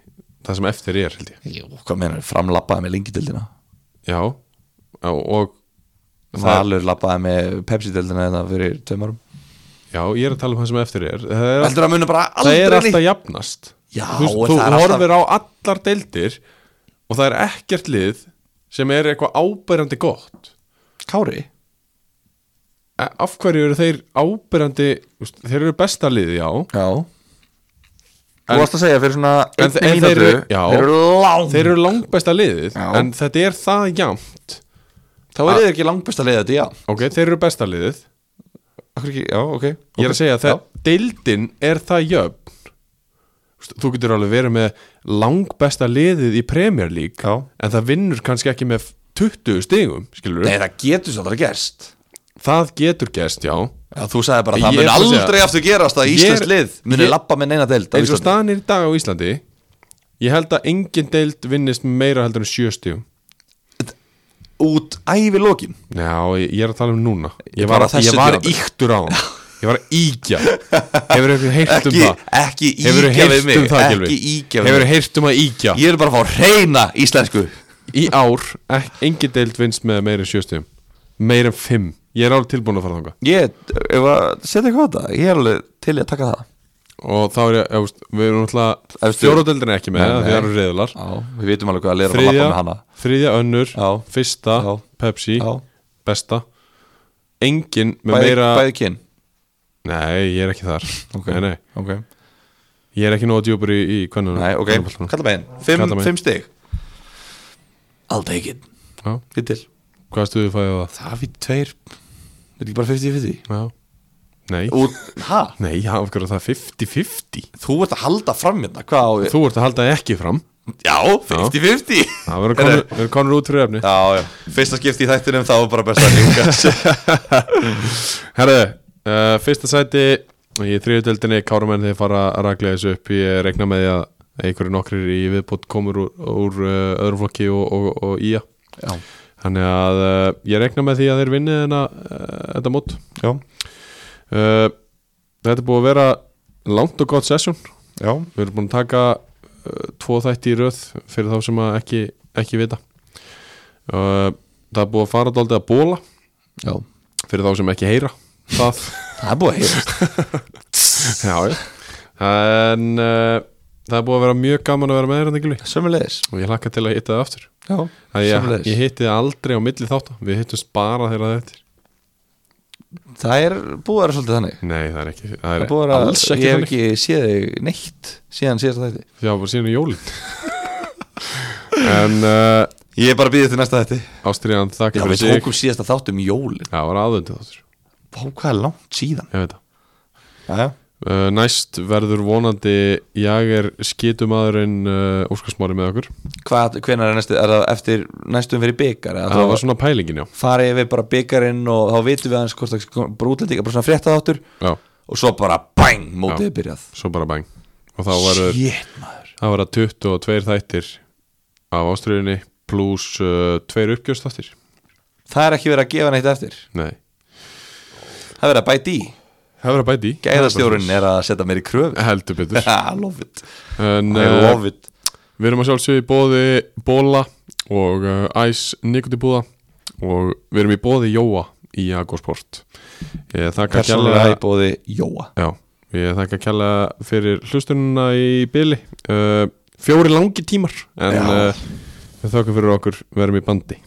Speaker 1: Það sem eftir er, held ég
Speaker 2: Jú, hvað menar, framlappaði með lengidildina
Speaker 1: Já, já og það,
Speaker 2: Valur lappaði með Pepsi-dildina þetta fyrir tveim árum
Speaker 1: Já, ég er að tala um það sem eftir er Það er, all,
Speaker 2: Heldur að munu bara
Speaker 1: það
Speaker 2: aldrei
Speaker 1: er
Speaker 2: lí-
Speaker 1: alltaf jafnast
Speaker 2: Já,
Speaker 1: Þú, veist,
Speaker 2: en
Speaker 1: þú
Speaker 2: það er alltaf-
Speaker 1: horfir á allar deildir og það er ekkert lið sem er eitthvað ábærandi gott
Speaker 2: Kári?
Speaker 1: A- Eh, Af hverju eru þeir ábærandi þú veist, Þeir eru besta liði, já
Speaker 2: Já
Speaker 1: En-
Speaker 2: Þú varst að segja fyrir svona
Speaker 1: En-
Speaker 2: einni
Speaker 1: en þeir
Speaker 2: mínútu
Speaker 1: eru- já.
Speaker 2: Þeir eru langt
Speaker 1: Þeir eru langbesta liðið
Speaker 2: Já.
Speaker 1: En þetta er það jafnt
Speaker 2: Þá eru þeir ekki langt besta leið þetta, já
Speaker 1: Ok, þeir eru besta liðið
Speaker 2: Akkur ekki, já, ok
Speaker 1: Ég er að segja að það- deildin er það jöfn Þú veist, Þú getur alveg verið með langbesta liðið í Premier League
Speaker 2: Já.
Speaker 1: En það vinnur kannski ekki með 20 stigum Skilur
Speaker 2: Nei, það getur svolítið að gerst
Speaker 1: Það getur gerst, já
Speaker 2: Já, þú sagði bara
Speaker 1: Ég
Speaker 2: að
Speaker 1: er
Speaker 2: það mun
Speaker 1: að segja-
Speaker 2: aldrei aftur gerast að
Speaker 1: Ég er-
Speaker 2: Íslands lið muni
Speaker 1: ég-
Speaker 2: lappa með neina deild á
Speaker 1: Eins og
Speaker 2: Íslandi.
Speaker 1: staðan er í dag á Íslandi Ég held að engin deild vinnist með meira heldur en 7 stigum
Speaker 2: Út ævi lokin
Speaker 1: Já, ég, ég er að tala um núna Ég
Speaker 2: Ég
Speaker 1: var,
Speaker 2: bara þessu
Speaker 1: ég var
Speaker 2: tímabil.
Speaker 1: íktur á hann Ég var að íkja Hefur eitthvað heyrt um
Speaker 2: ekki,
Speaker 1: það?
Speaker 2: ekki
Speaker 1: Hefur
Speaker 2: íkja við mig
Speaker 1: um það, Gylfi?
Speaker 2: ekki íkja við
Speaker 1: Hefurðu
Speaker 2: mig
Speaker 1: heyrt um að íkja?
Speaker 2: ég er bara að fá að reyna íslensku
Speaker 1: Í ár, ek- engin deild vinst með meira en sjöstum Meira en fimm Ég er alveg tilbúin að fara þangað
Speaker 2: ég, ef að setja eitthvað á það ég er alveg til í að taka það
Speaker 1: Og þá er ég, ég veist, við erum náttúrulega
Speaker 2: Efstu-
Speaker 1: Fjóradeildin er ekki með,
Speaker 2: Nei,
Speaker 1: nei,
Speaker 2: nei.
Speaker 1: því það eru reyðlar
Speaker 2: já, við vitum alveg hvað að lera að lappa með
Speaker 1: Þriðja,
Speaker 2: hana
Speaker 1: þriðja önnur
Speaker 2: Já.
Speaker 1: Fyrsta,
Speaker 2: Já.
Speaker 1: Pepsi
Speaker 2: já,
Speaker 1: Besta engin með
Speaker 2: bæði,
Speaker 1: meira
Speaker 2: bæði kyn
Speaker 1: Nei, ég er ekki þar
Speaker 2: Ok.
Speaker 1: nei, nei.
Speaker 2: okay.
Speaker 1: Ég er ekki nóg djúpur í, í kvennunum
Speaker 2: Nei, ok, kalla megin Fimm,
Speaker 1: Karlamegin.
Speaker 2: fimm stig I'll take it
Speaker 1: Já.
Speaker 2: Fyrir til
Speaker 1: Hvað stuðu fæði á það?
Speaker 2: Það fyrir tveir Þetta er ekki bara 50-50
Speaker 1: Já. Nei,
Speaker 2: Úr, hæ?
Speaker 1: nei, já, af hverju er það 50-50
Speaker 2: Þú ert að halda fram hérna, hvað á ég?
Speaker 1: Þú ert að halda ekki fram
Speaker 2: Já, 50-50
Speaker 1: Það verður konur, verður konur út fyrir efni
Speaker 2: Já, já, fyrsta skipti í þættinum þá var bara best að líka
Speaker 1: Herðu, uh, fyrsta sæti í þriðutöldinni Kárumenn þeir fara að raglega þessu upp ég regna með því að einhverju nokkrir í viðbót komur úr, úr uh, öðrum flokki og, og, og ía
Speaker 2: Já,
Speaker 1: þannig að uh, ég regna með því að þeir vinni þenna, uh, þetta mót
Speaker 2: já,
Speaker 1: uh, Þetta er búið að vera langt og gott sesjón
Speaker 2: já
Speaker 1: Við erum búin að taka uh, tvo þætti í röð fyrir þá sem að ekki, ekki vita uh, Það er búið að fara dálítið að bóla
Speaker 2: Já,
Speaker 1: fyrir þá sem ekki heyra það
Speaker 2: það er búið að heyra
Speaker 1: Já, já En uh, það er búið að vera mjög gaman að vera með þér hérna Gilvi
Speaker 2: Sömmulegis
Speaker 1: og ég hlakka til að hitta það aftur
Speaker 2: Já,
Speaker 1: Það ég,
Speaker 2: sömmulegis
Speaker 1: ég hitti þið aldrei á milli þátt Við hittumst bara þegar það er eftir
Speaker 2: Það er búið að vera svolítið þannig
Speaker 1: Nei, það er ekki Það
Speaker 2: Það
Speaker 1: er
Speaker 2: er búið að vera,
Speaker 1: alls ekki
Speaker 2: ég hef
Speaker 1: þannig
Speaker 2: ekki séð þig neitt síðan síðast þætti
Speaker 1: Já, bara síðan í jólin En uh,
Speaker 2: Ég er bara að býða til næsta þætti
Speaker 1: Ástriðan
Speaker 2: Já,
Speaker 1: þakka
Speaker 2: við
Speaker 1: fyrir sig
Speaker 2: tókum síðasta þátt um jólin
Speaker 1: Það var aðvöndu þáttur
Speaker 2: Vá, hvað er langt síðan
Speaker 1: Ég veit það
Speaker 2: Já, já
Speaker 1: Uh, næst verður vonandi ég er skitumadurinn uh, Óskarsmári með okkur
Speaker 2: Hvað, hvenær er næstu, er það eftir næstum fyrir byggar?
Speaker 1: það var svona pælingin já,
Speaker 2: Farið við bara byggarinn og þá vitum við aðeins hvort það kom- bara útlendinga, bara svona frétta þáttur
Speaker 1: já
Speaker 2: og svo bara bang, mótið er byrjað
Speaker 1: svo bara bang og þá verður
Speaker 2: Shit, maður
Speaker 1: Það verða 22 þættir af ástriðinni pluss uh, tveir uppgjörsþáttir
Speaker 2: Það er ekki verið að gefa neitt eftir
Speaker 1: Nei
Speaker 2: Það er verið að bæti í
Speaker 1: Það verða bæti í.
Speaker 2: Gæðastjórun er að setja mér í kröfu
Speaker 1: Heldur betur
Speaker 2: I love it
Speaker 1: en,
Speaker 2: I
Speaker 1: uh,
Speaker 2: love it
Speaker 1: Við erum að sjálfsögja í bóði Bóla og uh, Æs Nikotibúða og við erum í bóði Jóa í Agosport Ég þakka
Speaker 2: Persónulega
Speaker 1: kjalla
Speaker 2: í bóði Jóa
Speaker 1: Já, ég þakka kjalla fyrir hlustununa í byli uh, Fjóri langi tímar en
Speaker 2: Já. eh,
Speaker 1: uh, við þakka fyrir okkur, við erum í bandi